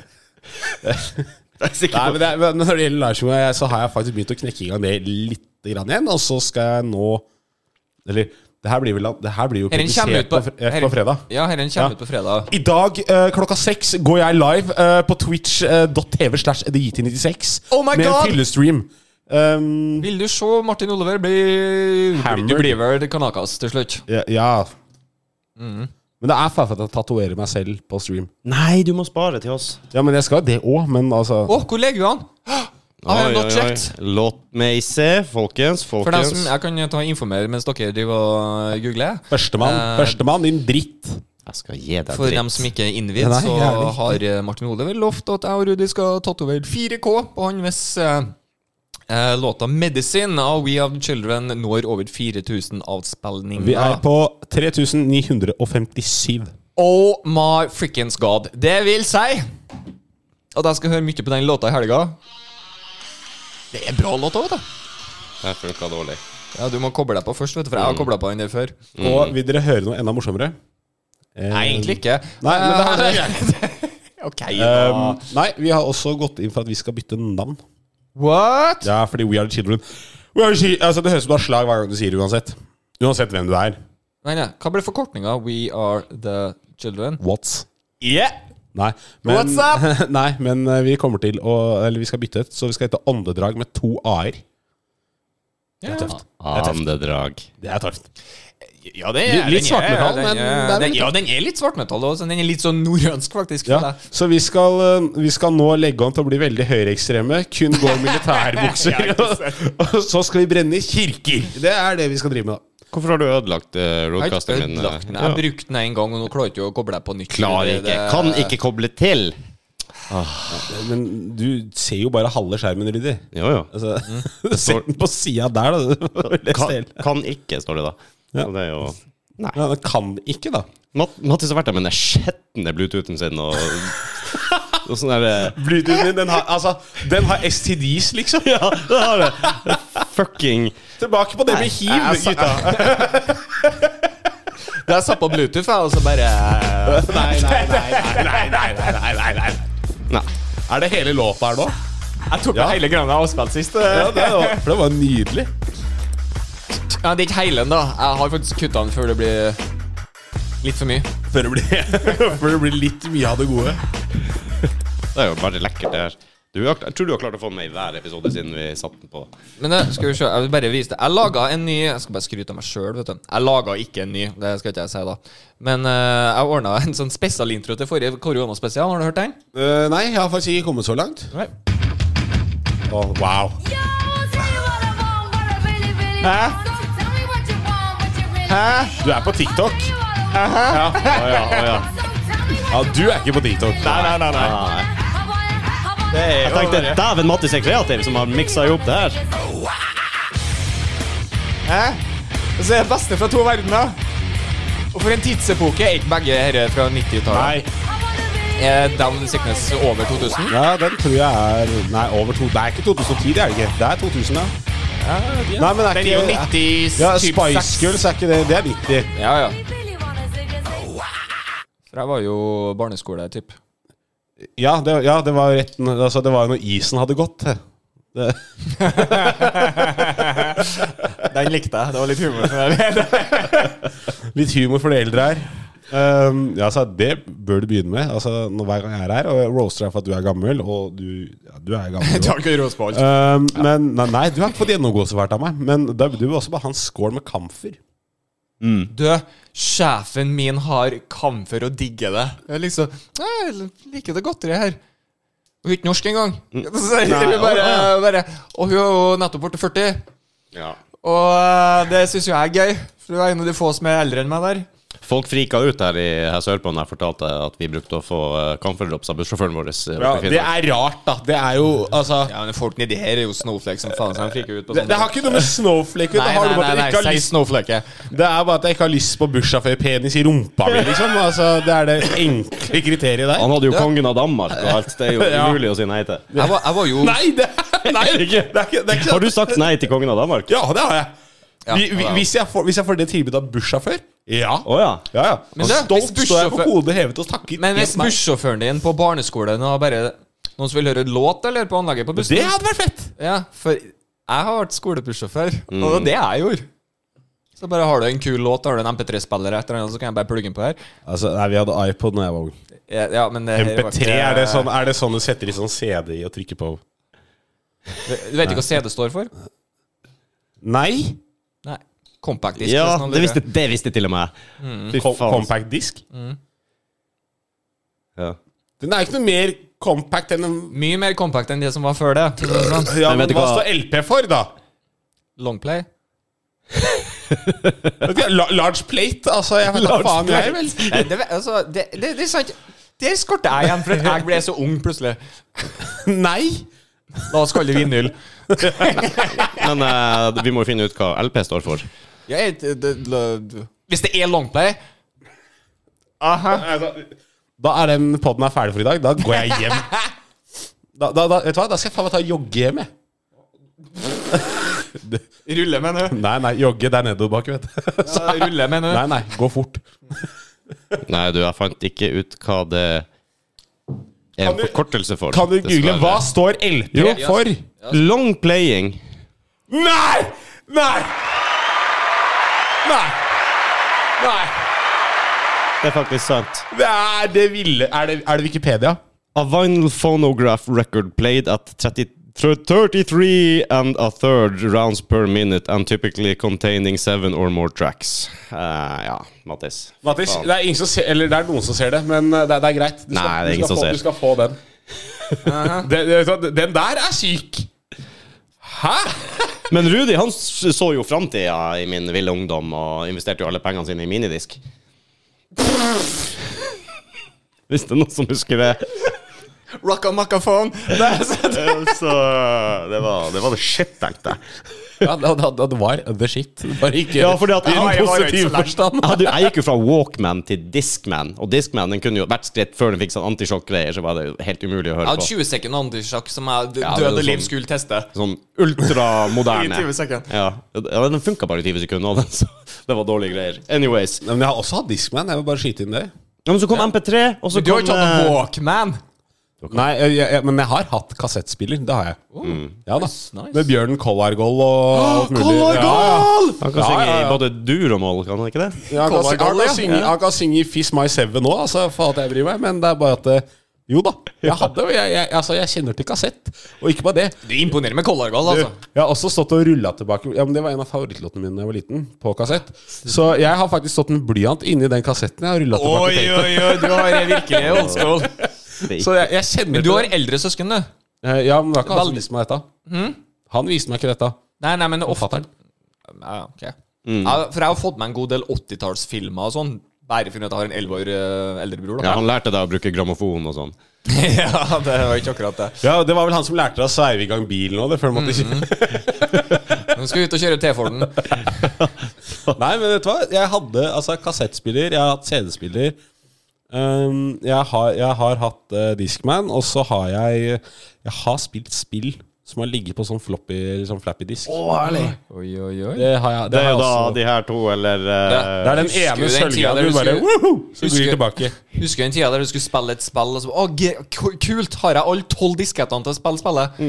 S1: Jeg er sikker
S3: Nei,
S1: på-
S3: men, det, er- men når det gjelder liveshowet, jeg- så har jeg faktisk begynt å knekke i gang det litt grann igjen. Og så skal jeg nå Eller det her blir, vel, det her blir jo
S2: Herren kommer
S3: publisert
S2: ut på,
S3: på, fre- eh, på fredag.
S2: Ja, herren
S3: Ja.
S2: kommer ut på fredag.
S3: I dag eh, klokka seks går jeg live eh, på twitch.tv slash edit96
S2: Oh my
S3: med
S2: God!
S3: en fyllestream. Um,
S2: Vil du se Martin Oliver bli
S3: Hammered.
S2: Du blir vel kanakas til slutt.
S3: ja, ja.
S2: Mm.
S3: Men det er faen at jeg tatoverer meg selv på stream.
S1: Nei, du må spare til oss.
S3: Ja, men jeg skal jo det òg, men altså
S2: Å, hvor legger vi an? I have not checked.
S1: Låt meg se, folkens.
S2: For dem som,
S1: Folkens.
S2: jeg kan ta og informere mens dere driver og googler.
S3: Førstemann,
S2: Eh,
S3: førstemann, din dritt.
S1: Jeg skal gi deg
S2: For
S1: dritt.
S2: dem som ikke er innvidd,
S3: Nei,
S2: så
S3: jævlig.
S2: har eh, Martin Ole vel lovt at jeg og Rudi skal tatovere 4K på han hvis eh, eh, låta 'Medicine' av We Are The Children når over 4000 avspillinger.
S3: Vi er på 3957.
S2: Oh my frickens god. Det vil si at jeg skal høre mye på den låta i helga. Det er bra låt òg, vet du.
S1: Det funka dårlig.
S2: Ja, du må koble deg på først, vet du, for
S3: Mm.
S2: jeg har kobla på den der før.
S3: Og vil dere høre noe enda morsommere?
S2: Nei, egentlig ikke. Eh,
S3: Nei, men det her er
S2: Ok,
S3: Eh,
S2: da.
S3: um, nei, vi har også gått inn for at vi skal bytte navn.
S2: What?
S3: Ja, fordi We Are The Children We are the Chi- altså, Det høres ut som du har slag hver gang du sier det, uansett. Uansett hvem du er.
S2: Nei, nei. Hva ble forkortninga? We Are The Children?
S3: What's?
S2: Yeah!
S3: Nei, men,
S2: What's up?
S3: nei, men eh, vi kommer til å Eller vi skal bytte et, så vi skal hete Åndedrag med to a-er. Det er tøft.
S1: Andedrag.
S3: Det er tøft.
S2: Ja, det
S3: Litt- litt
S2: den er-
S3: svartmetall,
S2: den er-
S3: men det er vel
S2: den-
S3: litt-
S2: Ja, den er litt svartmetall også, så Den er litt sånn nordønsk, faktisk.
S3: Ja, så vi skal, eh, vi skal nå legge om til å bli veldig høyreekstreme. Kun gå i militærbukser. og så skal vi brenne kirker! Det er det vi skal drive med, da.
S1: Hvorfor har du ødelagt uh,
S2: Jeg har
S1: roadcasteren min? eh?
S2: ødelagt den. Jeg
S1: Ja.
S2: brukte den en gang, og nå klarer jeg ikke å koble deg på nytt.
S1: Klarer
S2: Det-
S1: ikke.
S2: det-
S1: Kan ikke koble til.
S3: Men du ser jo bare halve skjermen, Ryddi.
S1: Jo, jo.
S3: Altså, Sett den på sida der, da. Les det
S1: Kan,
S3: helt.
S1: kan ikke, står det da. Så det er jo
S3: Ja, det kan ikke, da.
S1: Mat- Mattis har vært der med den skjetne bluetoothen sin og, og sånn derre
S3: Bluetoothen din, den har, altså, den har STDs, liksom.
S1: Ja, det har det! Fucking
S3: Tilbake på det med hiv,
S2: jeg sa-
S3: gutta.
S2: Jeg satt på Bluetooth, jeg, og så bare
S3: Nei, nei, nei, nei, nei, nei, nei, nei, nei.
S1: Nei.
S3: Er det hele låta her nå?
S2: Jeg tok
S3: Ja.
S2: med hele greia jeg avspilte sist.
S3: Ja, det var, for det var nydelig.
S2: Ja, det er ikke hele den, da. Jeg har faktisk kutta den før det blir litt for mye.
S3: Før det blir, før det blir litt mye av det gode.
S1: Det er jo bare lekkert, det her. Du, har- jeg tror du har klart å få den med i hver episode siden vi satte den på.
S2: Men eh, skal vi se, jeg vil bare vise det. Jeg laga en ny Jeg skal bare skryte av meg sjøl, vet du. Jeg laga ikke en ny, det skal ikke jeg si da. Men eh, jeg ordna en sånn spesialintro til forrige koronaspesial. Har du hørt den?
S3: Eh, nei, jeg har faktisk ikke kommet så langt.
S2: Nei.
S3: Å, wow.
S5: Yo, I'll tell you what I want, what I really, really
S2: Huh?
S5: want. So tell me what you want, what you really,
S2: Huh?
S5: really
S3: Du er på
S5: want. I'll
S3: TikTok.
S5: tell you what I want.
S3: Ja, å ja, å ja.
S5: So tell me what
S3: ja,
S5: you
S3: du er ikke på TikTok.
S5: Nei, nei,
S3: nei, nei.
S5: I want it, I want it.
S1: Jeg tenkte dæven Mattis er kreativ som har miksa i opp det her.
S2: Hæ? Så er det beste fra to verdener. Og for en tidsepoke er ikke begge dette fra 90-tallet.
S3: Nei,
S5: I wanna be
S2: Er Down in Sickness over 2000?
S3: ja, den tror jeg er Nei, over to Det er ikke 2010, det er det ikke. Det er 2000, ja. Nei, men det er
S2: Den er jo
S3: ikke
S2: 90
S3: ja,
S2: typ
S3: Spice
S2: seks.
S3: Girls er ikke det. Det er 90.
S2: Ja, ja.
S5: really wanna see this.
S2: For jeg var jo barneskole, typ.
S3: Ja, det, ja, det var rett altså, Det var jo når isen hadde gått. Det,
S2: Den likte jeg. Det var litt humor. For
S3: litt humor for de eldre her. Um, ja, altså, det bør du begynne med. Altså, når, hver gang jeg er her. Og jeg roaster deg for at du er gammel, og du, ja, du er gammel. også.
S2: Takk, Rosbold.
S3: Um, men nei, nei, du har ikke fått gjennomgå så fælt av meg. Men da, du vil også bare ha en skål med kamfer.
S2: Du, sjefen min har kamfer og digger det. Jeg liksom «Nei, Jeg liker det godt, det her. Og hun er ikke norsk engang. Så jeg bare, bare, og hun er jo nettopp borte 40.
S1: Ja.
S2: Og eh, det syns jo jeg er gøy. For du er en av de få som er eldre enn meg der.
S1: Folk frika ut her i her sørpå når jeg fortalte at vi brukte å få eh, camphordrops av bussjåføren vår. eh,
S3: Ja,
S1: oppe i
S3: det
S1: Finnmark.
S3: er rart, da. Det er jo altså
S2: Ja, men folk nedi her er jo snowflake som faen. Så de friker ut på sånn
S3: det, det har ikke noe med snowflake å gjøre.
S2: Nei,
S3: Det har
S2: nei,
S3: noe med
S2: nei,
S3: at jeg
S2: nei,
S3: ikke har
S2: si
S3: lyst-
S2: snowflake.
S3: det er bare at jeg ikke har lyst på bussjåførpenis i rumpa mi, liksom. Altså, det er det enkle kriteriet der.
S1: Han hadde jo kongen av Danmark og alt. Det er jo umulig å si nei til.
S2: Jeg var, jeg var jo
S3: Nei, det er, nei, det er ikke det. Er ikke, det er ikke sånn-
S1: Har du sagt nei til kongen av Danmark?
S3: Ja, det har jeg.
S2: Ja,
S3: Vi,
S2: det
S3: vi,
S2: har jeg.
S3: hvis, jeg får, hvis jeg får det tilbudet av bussjåfør Ja.
S1: Å ja.
S3: ja, ja.
S2: Men
S3: Og
S2: det- hvis
S3: Stolt står jeg på
S2: bussjåfør-
S3: hodet hevet og takker.
S2: Men hvis
S3: Helt meg.
S2: bussjåføren din på barneskolen har bare noen som vil høre låt eller på anlegget på bussen
S3: Det hadde vært fett!
S2: Ja, for jeg har vært skolebussjåfør,
S3: Mm.
S2: og det var det jeg gjorde. Så bare har du en kul låt, har du en MP3-spiller eller et eller annet, så kan jeg bare plugge den på her.
S3: Altså, nei, Vi hadde iPod da jeg var ung.
S2: Ja, ja, men eh, det her var
S3: MP3,
S2: ikke-
S3: er det, sånn, er det sånn du setter i sånn CD i og trykker på?
S2: Du vet ikke hva CD står for?
S3: Nei.
S2: Nei. Compact disk.
S1: Ja,
S2: hvis noen
S1: det
S2: lurer.
S1: visste, det visste til og med Fy
S3: Com
S1: faen.
S3: compact disk?
S1: Ja.
S3: Den er ikke noe mer compact enn en
S2: Mye mer compact enn det som var før det. for å si det sånn.
S3: Ja,
S1: Men
S3: men
S1: vet du
S3: hva
S1: hva?
S3: står LP for, da?
S2: Longplay.
S3: Vet ikke, la- Large plate? Altså, jeg vet da
S1: Large
S3: faen, jeg, vel.
S2: Eh, Det, vet- altså, det, det, det er sant. Der skorter jeg igjen, for at jeg ble så ung plutselig.
S3: Nei.
S2: La oss kalle det vinyl.
S1: Men eh, vi må jo finne ut hva LP står for.
S2: Ja, jeg- det- det- det- Hvis det er longplay Aha.
S3: Da er den poden er ferdig for i dag. Da går jeg hjem. Da, da, da, vet du hva? da skal jeg faen meg ta og jogge hjem, jeg.
S2: Rulle med nå.
S3: Nei, nei, jogge der nedover bak, vet du.
S2: Ja, Rulle med nå.
S3: Nei, nei, gå fort.
S1: Nei, du, jeg fant ikke ut hva det er en
S3: du-
S1: forkortelse for.
S3: Kan du google
S1: dessverre.
S3: hva står LP
S1: Jo.
S3: for?
S1: Long playing.
S3: Nei! Nei! Nei! Nei!
S1: Det er faktisk sant.
S3: Det er det ville Er det, er det Wikipedia?
S1: A vinyl phonograph record played at 30, thir- 33 and a third rounds per minute and typically containing seven or more tracks. Eh, ja, Mattis.
S3: Mattis,
S1: Faen.
S3: det er, ingen som ser, eller det er noen som ser det, men eh, det, er- det er greit. Du skal,
S1: Nei, det er ingen
S3: du
S1: som
S3: skal få,
S1: ser.
S3: Du skal få den. den, vet du hva, den der er syk! Hæ?
S1: Men Rudi han s- så jo framtida i min ville ungdom og investerte jo alle pengene sine i minidisk. Hvis det er noen som husker det.
S2: Rocka macaphone.
S1: Så det var det, var det shit, tenkte jeg.
S3: Ja, det, det, det var the shit. Bare ikke
S1: Ja, fordi at-
S3: i
S1: Ja,
S3: en
S1: jeg var jo ikke
S3: positiv
S1: så lei.
S3: forstand.
S1: Jeg, hadde, jo- jeg gikk jo fra Walkman til Discman, og Discman den kunne jo hvert skritt før den fikk sånn antisjokk-greier, så var det jo helt umulig å
S2: Jeg
S1: høre
S2: hadde
S1: på.
S2: 20 sekund antisjakk som jeg d-
S1: Ja, det er
S2: døde
S1: jo
S2: liv
S1: sånn-
S2: skulle teste.
S1: Sånn ultramoderne.
S2: I 20 sekunder.
S1: Ja. ja, den funka bare i 20 sekunder, og den, så det var dårlige greier. Anyways.
S3: Nei, men jeg har også hatt Discman. Jeg vil bare skyte inn det.
S1: Ja, men så kom MP3, og så
S2: Men du har
S1: kom
S2: ikke hatt
S1: eh,
S2: noen Walkman?
S3: Nei, jeg, jeg, men jeg har hatt kassettspiller. Det har jeg. Mm. Ja
S2: Oh,
S3: da.
S2: nice, Ah, nice.
S3: Med Bjørn Kollargoll og alt mulig.
S1: Han kan
S3: Ja,
S1: synge
S3: ja, ja.
S1: i både dur og moll, kan han ikke det?
S3: Ja, ja. Han kan, han
S2: Kollargoll,
S3: kan
S2: ja.
S3: synge, han kan synge i Fizz My Seven nå, altså, for alt jeg bryr meg, men det er bare at eh, Jo da. Jeg hadde jo jeg, jeg, altså, jeg kjenner til kassett. Og ikke bare det.
S2: Du imponerer med Color Gold, altså.
S3: Du, Jeg har også stått og rulla tilbake Ja, men Det var en av favorittlåtene mine da jeg var liten, på kassett. Så jeg har faktisk stått med blyant inni den kassetten. Jeg har rullet tilbake
S2: Oi, oi, oi, du har virkelig old school.
S1: Det er
S3: Så jeg, jeg kjenner
S2: Men du har eldre søsken, du.
S3: Eh, Ja, men det var ikke han
S2: Veldig.
S3: som viste meg dette.
S2: Hm?
S3: Han viste meg ikke dette.
S2: Nei, nei, men ofte
S3: Forfatteren.
S2: ja, ok. ja, For jeg har fått meg en god del 80-tallsfilmer og sånn. Bare for at jeg har en 11 år eh, eldre bror.
S1: Ja,
S2: Da.
S1: han lærte deg å bruke grammofon og sånn.
S2: Ja. det var ikke akkurat det.
S3: Ja, Det var vel han som lærte deg å sveive i gang bilen òg, det før du
S2: Mm.
S3: måtte kjøre.
S2: Nå skal vi ut og kjøre T-Forden.
S3: Nei, men vet du hva? Jeg hadde altså kassettspiller, jeg har hatt CD-spiller. ehm, jeg, har, jeg har hatt eh, Discman, og så har jeg Jeg har spilt spill som har ligget på sånn floppy eller sånn flappy disk.
S2: Oi, oi, oi.
S3: Det har jeg, det
S1: Det er jo
S3: har jeg
S1: da
S3: også.
S1: de her to, eller eh,
S3: Det er den
S2: Husker du
S3: ene
S2: den
S3: sølvgreia
S2: tida der
S3: du
S2: du
S3: bare
S2: skulle-
S3: «Woho!» Så
S2: Husker-
S3: glir tilbake.
S2: Husker du den tida der du skulle spille et spill, og så Å, ge- ku- kult! Har jeg alle tolv diskettene til å spille spillet?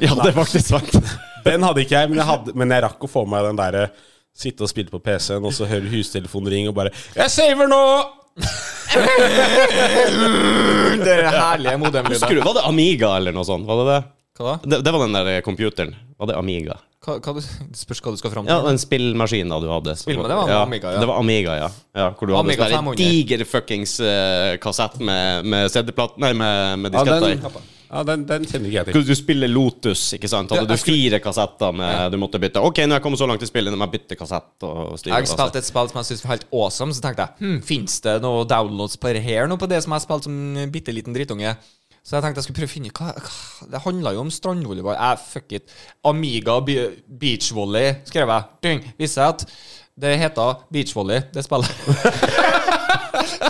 S1: Ja, det er faktisk sant.
S3: Den hadde ikke jeg, men jeg, hadde, men jeg rakk å få meg den derre sitte og spille på PC-en, og så høre hustelefonen ringe og bare 'Jeg saver nå!'
S2: Det er herlige modemlyder.
S1: Husker du, var det Amiga eller noe sånt? Var det det?
S2: Hva da?
S1: Det, det var den der eh, computeren. Var det Amiga?
S2: Hva, hva du, det spørs hva du skal fram
S1: Ja,
S2: til.
S1: den spillmaskinen du hadde. som-
S2: Spillmaskinen, det var
S1: ja,
S2: Amiga, ja.
S1: Det var Amiga, ja. ja hvor du
S2: Amiga
S1: hadde sånn der
S2: 500.
S1: diger fuckings eh, kassett med, med CD-plat... Nei, med, med
S3: Ja,
S1: disketter.
S3: den, ja, den, den kjenner ikke jeg til.
S1: Skulle du spille Lotus, ikke sant? Hadde
S2: Ja,
S1: du
S2: jeg
S1: fire kassetter med du måtte bytte? OK, nå er jeg kommet så langt i spillet, nå må jeg bytte kassett og styre.
S2: Jeg spilte et spill som jeg syntes var helt awesome, så tenkte jeg hm, Fins det noe downloads på det her nå på det som jeg spilte som en bitte liten drittunge? Så jeg tenkte jeg skulle prøve å finne hva, hva Det handla jo om strandvolleyball. Eh, fuck it. Amiga be beachvolley, skrev jeg. Ding. Visste jeg at det heter beachvolley, det spillet.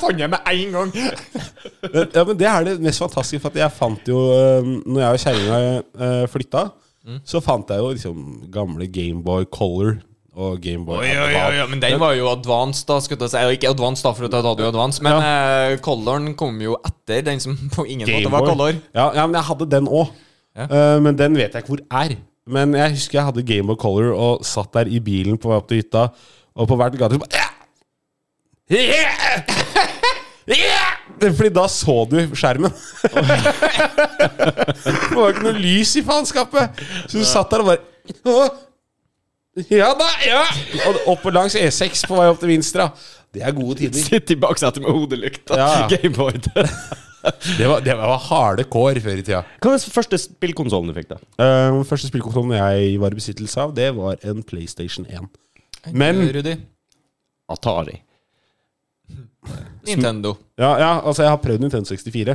S2: Fant jeg med en gang.
S3: Men, ja, men det er det mest fantastiske, for at jeg fant jo eh, Når jeg og kjerringa eh, flytta,
S2: Mm.
S3: så fant jeg jo liksom gamle Gameboy Color og Gameboy
S2: Men den var jo advanced, da. Skulle jeg si. Eller Ikke advanced, da, for at jeg hadde jo advanced, men eh, coloren kom jo etter den som på ingen måte var color.
S3: Ja, ja, men jeg hadde den òg.
S2: Ja.
S3: men den vet jeg ikke hvor er. Men jeg husker jeg hadde Game of Color og satt der i bilen på vei opp til hytta, og på hvert gate så bare yeah! Yeah! Yeah! Fordi da så du skjermen. det var ikke noe lys i faenskapet. Så du satt der og bare «Åh, Ja da, ja! Og opp langs E6 på vei opp til Vinstra. Det er gode tider.
S1: Sitt i baksetet med hodelykta.
S3: Ja.
S1: Gameboy.
S3: Det var, det var harde kår før i tida.
S1: Hva var den første spillkonsollen du fikk, da?
S3: Uh, første spillkonsollen jeg var i besittelse av, det var en PlayStation 1. Men
S2: Rudi.
S1: Atari.
S2: Nintendo.
S3: ja, ja, altså jeg har prøvd Nintendo 64,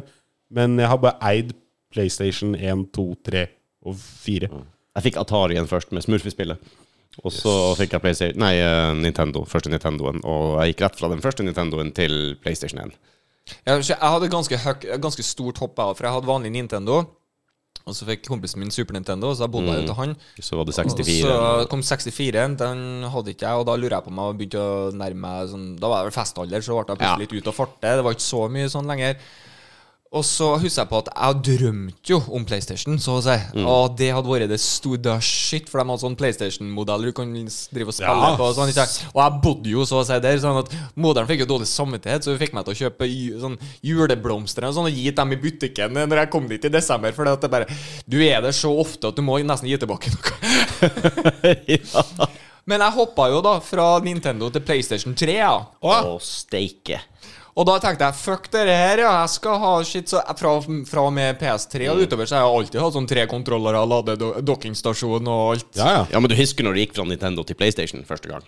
S3: men jeg har bare eid PlayStation 1, 2, 3 og 4.
S1: Jeg fikk Atarien først, med Smurfespillet. Og så fikk jeg PlayStation Nei, eh, Nintendo. Første Nintendoen. Og jeg gikk rett fra den første Nintendoen til PlayStation 1.
S2: Jeg, jeg hadde ganske, høy, ganske stort hopp, jeg også, for jeg hadde vanlig Nintendo. Og så fikk kompisen min Super Nintendo, så da bodde jeg jo til han.
S1: Så var det
S2: Og
S1: 64.
S2: så kom 64-en, den hadde ikke jeg, og da lurer jeg på om jeg begynte å nærme meg sånn, Da var jeg vel festalder, så ble jeg
S1: Ja.
S2: plutselig litt ute og farte. Det var ikke så mye sånn lenger. Og så husker jeg på at jeg drømte jo om PlayStation, så å si. Og det hadde vært det store det er shit, for de hadde sånn PlayStation-modell du kan drive og spille
S3: Ja.
S2: på. Og, sånn, ikke? sant? og jeg bodde jo så å si der, sånn at moderen fikk jo dårlig samvittighet, så hun fikk meg til å kjøpe ju- sånn juleblomster og sånn, og gi dem i butikken når jeg kom dit i desember. For det at det bare Du er der så ofte at du må nesten gi tilbake noe. Men jeg hoppa jo da fra Nintendo til PlayStation 3, ja.
S1: Å, steike.
S2: Og da tenkte jeg fuck det her, ja. Jeg skal ha shit. Så fra, fra og med PS3 og utover så har jeg alltid hatt sånn tre kontrollere, lade dokkingstasjon og alt.
S3: Ja, ja.
S1: Ja, men du husker når du gikk fra Nintendo til PlayStation første gang?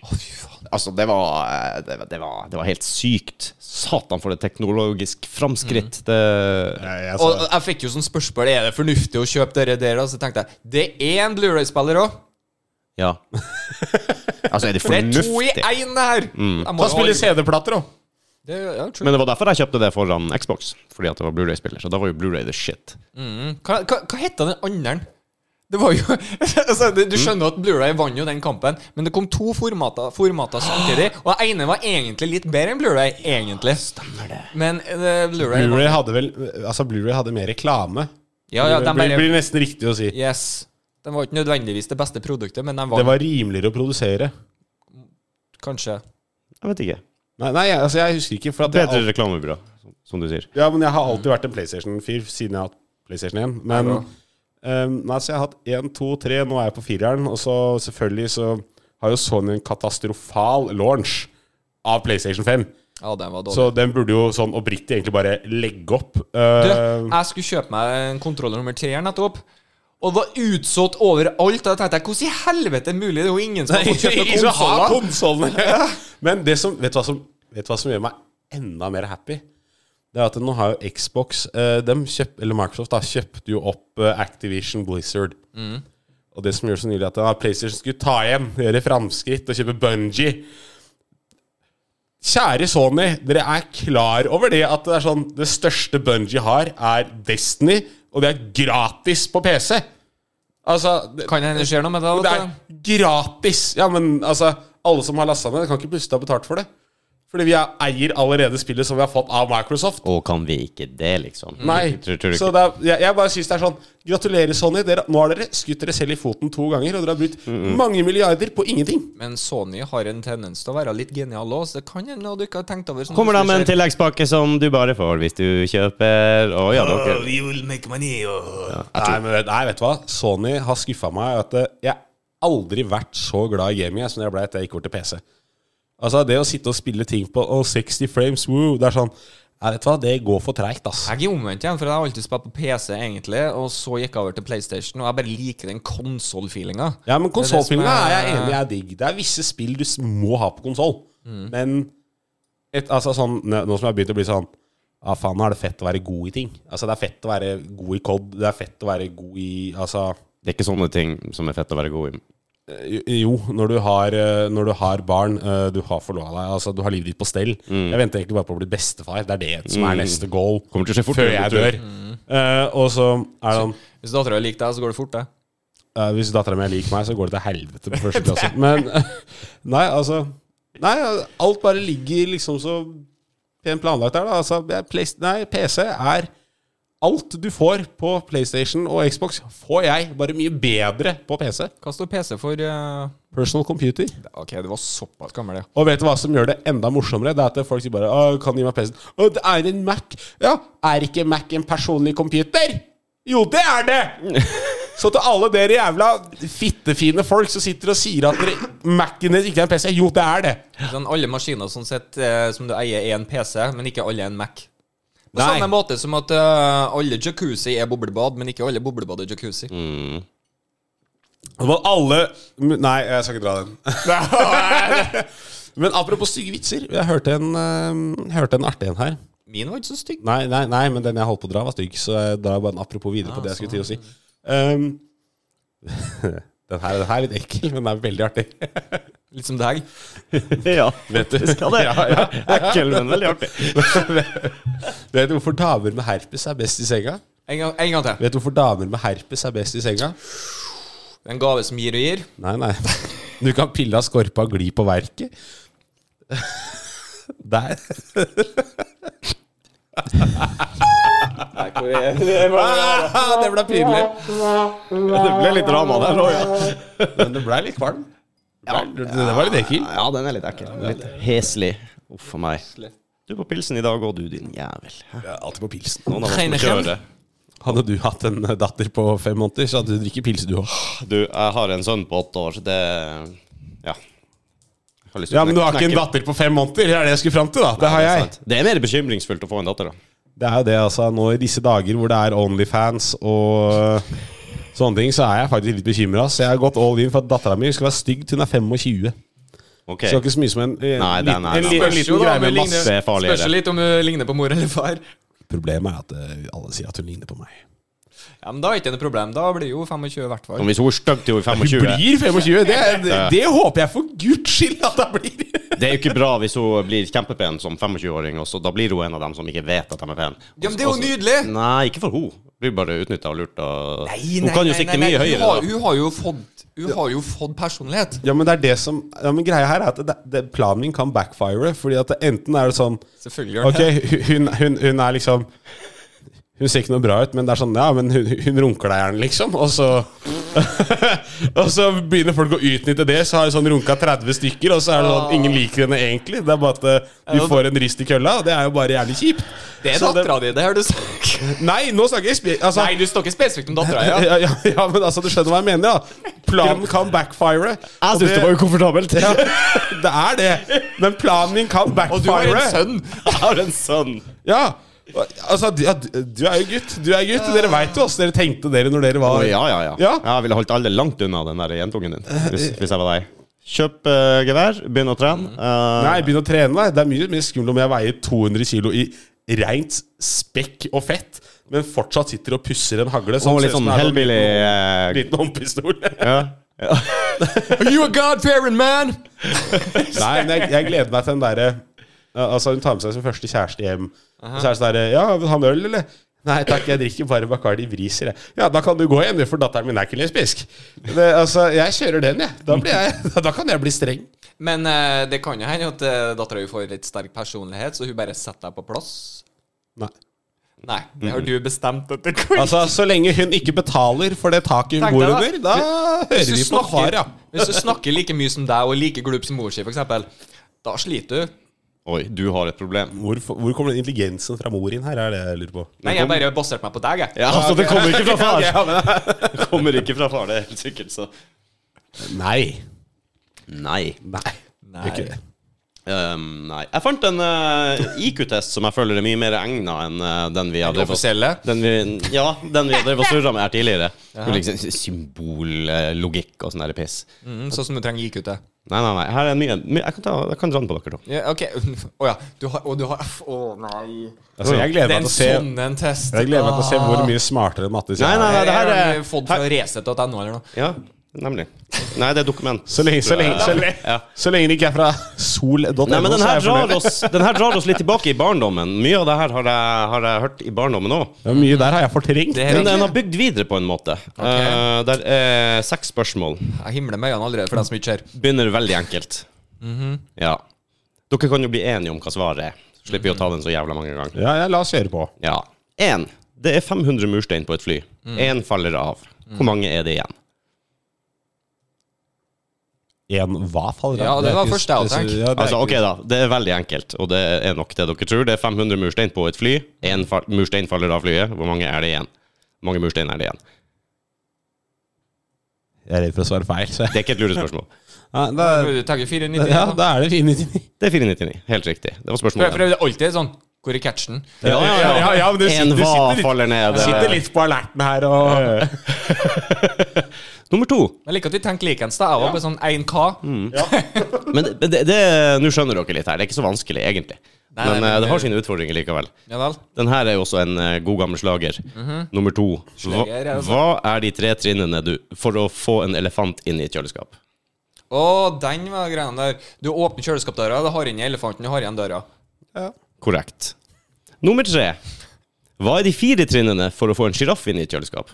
S1: Altså, det var, eh, det, var- det, var, det var helt sykt. Satan, for et teknologisk framskritt. Det
S3: Jeg, jeg,
S2: Og
S3: sa,
S2: jeg fikk jo sånn spørsmål Er det fornuftig å kjøpe dere der, og så tenkte jeg det er en Blu-ray-spiller òg.
S1: Ja. Altså, er det
S2: For det er to i
S1: fornuftig?
S2: én her. Jeg må
S3: ta
S2: jo
S3: spille
S2: aldri-
S3: CD-plater, da.
S2: Det, ja, true.
S1: Men det var derfor jeg kjøpte det foran Xbox, fordi at det var Blu-ray-spiller. Så da var jo Blu-ray the shit.
S2: Hva, hva, hva heter den andre? Det var jo altså, Du du
S3: Mm.
S2: skjønner at Blu-ray vant jo den kampen, men det kom to formater, formater samtidig. Og den ene var egentlig litt bedre enn Blu-ray, egentlig. Men eh, Blu-ray
S3: Blu-ray hadde vel Altså Blu-ray hadde mer reklame.
S2: Ja, ja,
S3: det
S2: den
S3: blir,
S2: bare
S3: blir nesten riktig å si.
S2: Yes. Den var ikke nødvendigvis det beste produktet, men den var,
S3: Det var rimeligere å produsere.
S2: kanskje
S1: Jeg vet ikke.
S3: Nei, nei jeg- altså jeg husker ikke. For at jeg,
S1: Bedre
S3: al-
S1: reklamebyrå. som- som du sier.
S3: Ja, men jeg har alltid vært en PlayStation-fyr siden jeg har hatt PlayStation 1. Men
S2: Ja,
S3: ehm, nei, så jeg har hatt én, to, tre. Nå er jeg på fireren. Og så selvfølgelig så har jo Sony en katastrofal launch av PlayStation 5.
S2: Ja, den var dårlig.
S3: Så den burde jo sånn oppriktig egentlig bare legge opp.
S2: Du,
S3: Ehm,
S2: jeg skulle kjøpe meg en kontroller nummer tre her nettopp. Og det var utsolgt overalt. Og da tenkte jeg, hvordan i helvete er det mulig? Det er jo ingen som har fått kjøpt
S3: Ingen som har
S2: konsoller.
S3: konsollene. Men det som, vet, du hva som, vet du hva som gjør meg enda mer happy? Det er at nå har jo Xbox eh, dem kjøp, Eller Microsoft da, kjøpte jo opp eh, Activision Blizzard. Og det som gjør det så nydelig, er at ah, PlayStation skulle ta igjen, gjøre framskritt og kjøpe Bungie. Kjære Sony, dere er klar over det at det er sånn Det største Bungie har, er Destiny, og det er gratis på PC. Altså, det,
S2: Kan hende det skjer noe med det. Vet
S3: det er
S2: du.
S3: gratis! Ja, men altså Alle som har lasta ned, kan ikke plutselig ha betalt for det. Fordi vi er, eier allerede spillet som vi har fått av Microsoft.
S1: Og kan vi ikke det, liksom?
S3: Nei.
S1: Tror, tror du
S3: Så
S1: ikke?
S3: det er, jeg, jeg bare syns det er sånn Gratulerer, Sony. Dere, nå har dere skutt dere selv i foten to ganger, og dere har brukt mange milliarder på ingenting.
S2: Men Sony har en tendens til å være litt genial òg, så det kan hende noe du ikke har tenkt over. som
S1: Kommer da
S2: plutselig
S1: med en
S2: skjer.
S1: tilleggspakke som du bare får hvis du kjøper Å ja, dere
S3: Nei, men, vet- nei, vet du hva? Sony har skuffa meg. At eh, jeg har aldri vært så glad i gaming jeg, som jeg ble etter jeg gikk over til PC. Altså, det å sitte og spille ting på å, 60 frames, woo, det er sånn Nei, vet du hva, det går for treigt, ass.
S2: Jeg er omvendt igjen, for jeg har alltid spilt på PC, egentlig, og så gikk jeg over til PlayStation, og jeg bare liker den konsollfeelinga.
S3: Ja, men
S2: Det
S3: konsollfilmer er
S2: er det som er-
S3: jeg enig i er digg. Det er visse spill du s- må ha på konsoll.
S2: Mm.
S3: Men et, altså sånn, nå nå som jeg har begynt å bli sånn Ja, faen, nå er det fett å være god i ting. Altså, det er fett å være god i COD. Det er fett å være god i Altså
S1: Det er ikke sånne ting som er fett å være god i.
S3: eh, jo, når du har, eh, når du har barn, eh, du har forlova deg, altså, du har livet ditt på stell. Jeg venter egentlig bare på å bli bestefar. Det er det som er neste goal
S1: Kommer til å skje fort.
S3: før jeg dør.
S2: Mm.
S3: Eh, og så er det sånn
S2: Hvis dattera liker deg, så går det fort, det.
S3: Eh, hvis dattera mi liker meg, så går det til helvete på første klasse. Men nei, altså Nei, alt bare ligger liksom så pent planlagt der, da. Altså, jeg, Play, nei, PC er Alt du får på PlayStation og Xbox, får jeg, bare mye bedre på PC.
S2: Hva står PC for? eh?
S3: Personal computer.
S2: OK, det var såpass gammel, ja.
S3: Og vet du hva som gjør det enda morsommere? Det er at folk sier bare Å, kan du gi meg PC-en? Å, det er en Mac. Ja, er ikke Mac en personlig computer? Jo, det er det! Så til alle dere jævla fittefine folk som sitter og sier at dere- Mac-en deres ikke er en PC Jo, det er det!
S2: Sånn, alle maskiner som, sett, eh, som du eier, er en PC, men ikke alle er en Mac. På
S3: Nei.
S2: samme måte som at eh, alle jacuzzi er boblebad, men ikke alle boblebad er jacuzzi.
S1: Mm.
S3: Men alle Nei, jeg skal ikke dra den. Men apropos stygge vitser. Jeg hørte en, eh, hørte en artig en her.
S2: Min var ikke så stygg.
S3: Nei, nei, nei, men den jeg holdt på å dra, var stygg. Så jeg drar bare en apropos videre på det jeg skulle til å si. Um, den, her, den her er litt ekkel, men den er veldig artig.
S2: Litt som deg.
S1: Ja,
S3: Vet du,
S1: skal det.
S3: Ja, ja.
S1: Ekkel, men veldig artig.
S3: Vet du hvorfor damer med herpes er best i senga?
S2: En gang, en gang til.
S3: Vet du hvorfor damer med herpes er best i senga?
S2: Det er En gave som gir og gir.
S3: Nei, nei. Du kan pille av skorpa og gli på verket. Der. Ah, det ble pinlig.
S1: Det ble litt drama der òg, ja.
S3: Men det ble litt kvalm. Det ble- Det var litt ekkel.
S1: Ja, den er litt ekkel. Litt heslig. Uff a meg. Du er på pilsen i dag òg, du, din jævel.
S3: Jeg er Alltid på pilsen.
S1: Noen av oss må
S2: Heineken.
S1: kjøre.
S3: Hadde du hatt en datter på fem måneder, så hadde du drikket pils, du òg.
S1: Du, jeg har en sønn på åtte år, så det Ja. Jeg har lyst til
S3: Ja,
S1: å
S3: men du har
S1: knekke-
S3: ikke en
S1: knekke-
S3: datter på fem måneder, det er det jeg skulle fram til, da. Det har jeg.
S1: Sant. Det er mer bekymringsfullt å få en datter, da.
S3: Det er jo det, altså. Nå i disse dager hvor det er Onlyfans og sånne ting, så er jeg faktisk litt bekymra. Så jeg har gått all in for at dattera mi skal være stygg til hun er 25.
S1: Ok.
S3: Skal ikke så mye som en, en,
S1: Nei, nei,
S3: liten-
S1: nei,
S3: en,
S1: nei.
S2: Spørs
S3: li- en
S2: jo
S3: liten
S2: da
S3: greie
S2: om
S3: med
S2: hun ligner-
S3: masse
S1: masse farligere.
S2: Spørs jo litt om hun ligner på mor eller far.
S3: Problemet er at eh, alle sier at hun ligner på meg.
S2: Ja, men Da er ikke det noe problem. Da blir det jo 25 i hvert
S1: Men
S2: fall.
S1: Hvis hun er stygg til hun er
S3: Hun
S1: 25
S3: blir 25! Det, det, det håper jeg for guds skyld at hun blir!
S1: Det er jo ikke bra hvis hun blir kjempepen som 25-åring, og så da blir hun en av dem som ikke vet at de er pen.
S2: Ja, men det er jo nydelig!
S1: Nei, ikke for hun. Blir bare utnytta og lurt og
S2: Nei,
S1: Hun
S2: nei,
S1: kan jo
S2: nei,
S1: sikte
S2: nei,
S1: mye
S2: nei.
S1: høyere,
S2: Hun har,
S1: da.
S2: hun har jo fått, hun har jo fått personlighet.
S3: Ja, men det er det som ja, men Greia her er at det, det, planen min kan backfire. Fordi at det, enten er det sånn
S2: Selvfølgelig gjør
S3: Ok,
S2: det.
S3: hun, hun, hun er liksom Hun ser ikke noe bra ut, men det er sånn Ja, men hun, hun runker deg gjerne, liksom. Og så og så begynner folk å utnytte det, så har jeg sånn runka 30 stykker, og så er det
S2: Ah.
S3: sånn ingen liker henne egentlig. Det er bare at eh, du får en rist i kølla, og det er jo bare jævlig kjipt.
S2: Det er
S3: Så det-
S2: dattera di, det har du sagt.
S3: Nei, nå snakker jeg spe- altså,
S2: Nei, du snakker spesifikt om dattera, ja.
S3: ja. Ja, ja, men altså, du skjønner hva jeg mener, ja. Planen kan backfire. og
S1: Jeg syns det var ukomfortabelt.
S3: ja, Det er det. Men planen min kan
S2: Og du har en
S3: backfire.
S2: sønn.
S1: Jeg har en sønn.
S3: Ja. Altså, ja, du er jo gutt. Du er gutt. Dere veit jo åssen dere tenkte dere når dere
S1: Å,
S3: var
S1: ja, ja, ja.
S3: Ja.
S1: Jeg ville holdt alle langt unna den der jentungen din, hvis, hvis jeg var deg. Kjøp eh, gevær, begynn å trene. Eh,
S3: Nei, begynn å trene deg. Det er mye mer skummelt om jeg veier 200 kilo i rent spekk og fett, men fortsatt sitter og pusser en hagle.
S1: og
S3: ser
S1: litt
S3: ut
S1: sånn
S3: det er en
S1: hellbilly
S3: liten-
S1: eh,
S3: Liten håndpistol.
S1: ja. ja.
S2: Are you a god-fearing man?
S3: Nei, men jeg, jeg gleder meg til den derre ja, Altså, hun tar med seg sin første kjæreste hjem. Og så er det sånn derre Ja, vil du ha en øl, eller? Nei takk, jeg drikker bare Bacardi Vriser, jeg. Ja, da kan du gå igjen, du, for datteren min er ikke lesbisk. Det, altså, jeg kjører den, jeg. Da, blir jeg. da kan jeg bli streng.
S2: Men eh, det kan jo hende at uh, dattera di får litt sterk personlighet, så hun bare setter deg på plass.
S3: Nei.
S2: Nei, det har du bestemt at det kan
S3: Altså, så lenge hun ikke betaler for det taket hun
S2: Tenk
S3: bor
S2: deg
S3: under,
S2: det.
S3: da hører
S2: Hvis du
S3: vi på
S2: snakker-
S3: Hara.
S2: Hvis du snakker like mye som deg og like glup som mor si, for eksempel, da sliter du.
S1: Oi, du har et problem.
S3: Hvor, hvor kommer den intelligensen fra mor inn her, er det jeg lurer på.
S2: Nei, jeg bare baserte meg på deg, jeg.
S1: Ja, altså, det kommer ikke fra
S3: Ja,
S1: far.
S3: men,
S1: Det kommer ikke fra far, det er helt sikkert, så
S3: nei.
S1: Nei.
S3: Nei.
S2: Nei.
S3: Ikke det.
S1: Ehm, nei. Jeg fant en eh, IQ-test som jeg føler er mye mer egna enn eh, den vi har
S2: Det
S1: drevet oss-
S2: offisielle.
S1: den vi, Ja, den vi har drevet og surra med her tidligere. Hvor Liksom, Symbollogikk og sånn der piss.
S2: Mm, sånn som du trenger IQ til.
S1: Nei, nei, nei. Her er en mye, mye Jeg kan, ta, jeg kan dra den på dere to.
S2: Ja, ok. Å ja. Du har, og du har F. Å nei.
S3: Altså, jeg
S2: Det er
S3: gleder meg
S2: en
S3: til å se
S2: sånn en test. Ah.
S3: Jeg gleder meg til å se hvor mye smartere Mattis
S1: Nei,
S3: er.
S1: nei, nei, det her
S2: Jeg
S1: er
S2: har fått fra Resett.no eller noe.
S1: Ja, nemlig. Nei, det er dokument.
S3: Så lenge, så, lenge, så, lenge,
S1: Ja.
S3: så lenge det ikke er fra sol.no,
S1: Nei, men den
S3: så er
S1: her,
S3: jeg
S1: drar
S3: fornøyd.
S1: oss, den her drar oss litt tilbake i barndommen. Mye av det her har jeg, har jeg hørt i barndommen òg.
S3: Ja, mye der har jeg fortrengt.
S2: Det er
S1: Men den
S2: egentlig
S1: har bygd videre på en måte. Eh, der er seks spørsmål.
S2: Jeg himler med øynene allerede for dem som ikke ser.
S1: Begynner veldig enkelt.
S3: Mhm.
S1: Ja. Dere kan jo bli enige om hva svaret er. Så Slipper vi å ta den så jævla mange ganger.
S3: Ja, ja, la oss kjøre på.
S1: Ja. Én. Det er 500 murstein på et fly.
S3: Mm.
S1: Én faller av. Hvor mange er det igjen?
S3: En hva faller
S2: Ja, det var
S3: ikke-
S2: første jeg hadde tenkt.
S3: Ja, det er
S1: Altså,
S3: ikke-
S1: ok da, Det er veldig enkelt, og det er nok det dere tror. Det er 500 murstein på et fly. Én fa murstein faller av flyet. Hvor mange er det igjen? Hvor mange murstein er det igjen?
S3: Jeg er redd for å svare feil, så jeg
S1: Det er ikke et lurespørsmål.
S3: ja, da,
S2: Du tagger 499.
S3: ja,
S2: da.
S3: da er det fine ting.
S1: Det er 499. Helt riktig. Det var
S2: For, for
S1: spørsmålet.
S2: det er alltid sånn Hvor er catchen?
S1: Ja, ja, ja.
S3: Ja, ja, men du
S1: en
S3: sitter- du
S1: hva
S3: sitter litt-
S1: faller ned. eh,
S3: Sitter litt på alerten her og
S1: Nummer to.
S2: Jeg liker at vi tenker likens. da. Jeg var bare sånn 1K.
S1: Men det- men det, det, nå skjønner dere litt her. Det er ikke så vanskelig, egentlig.
S2: Nei,
S1: men
S2: nei,
S1: eh,
S2: men
S1: det har
S2: det-
S1: sine utfordringer likevel.
S2: Ja vel.
S1: Den her er jo også en eh, god gammel slager. Nummer to. Hva,
S2: Slager, ja, altså.
S1: hva er de tre trinnene du for å få en elefant inn i et kjøleskap?
S2: Å, den var greia der. Du åpner kjøleskapdøra, du har inn elefanten, du har igjen døra.
S1: Korrekt. Nummer tre. Hva er de fire trinnene for å få en sjiraff inn i et kjøleskap?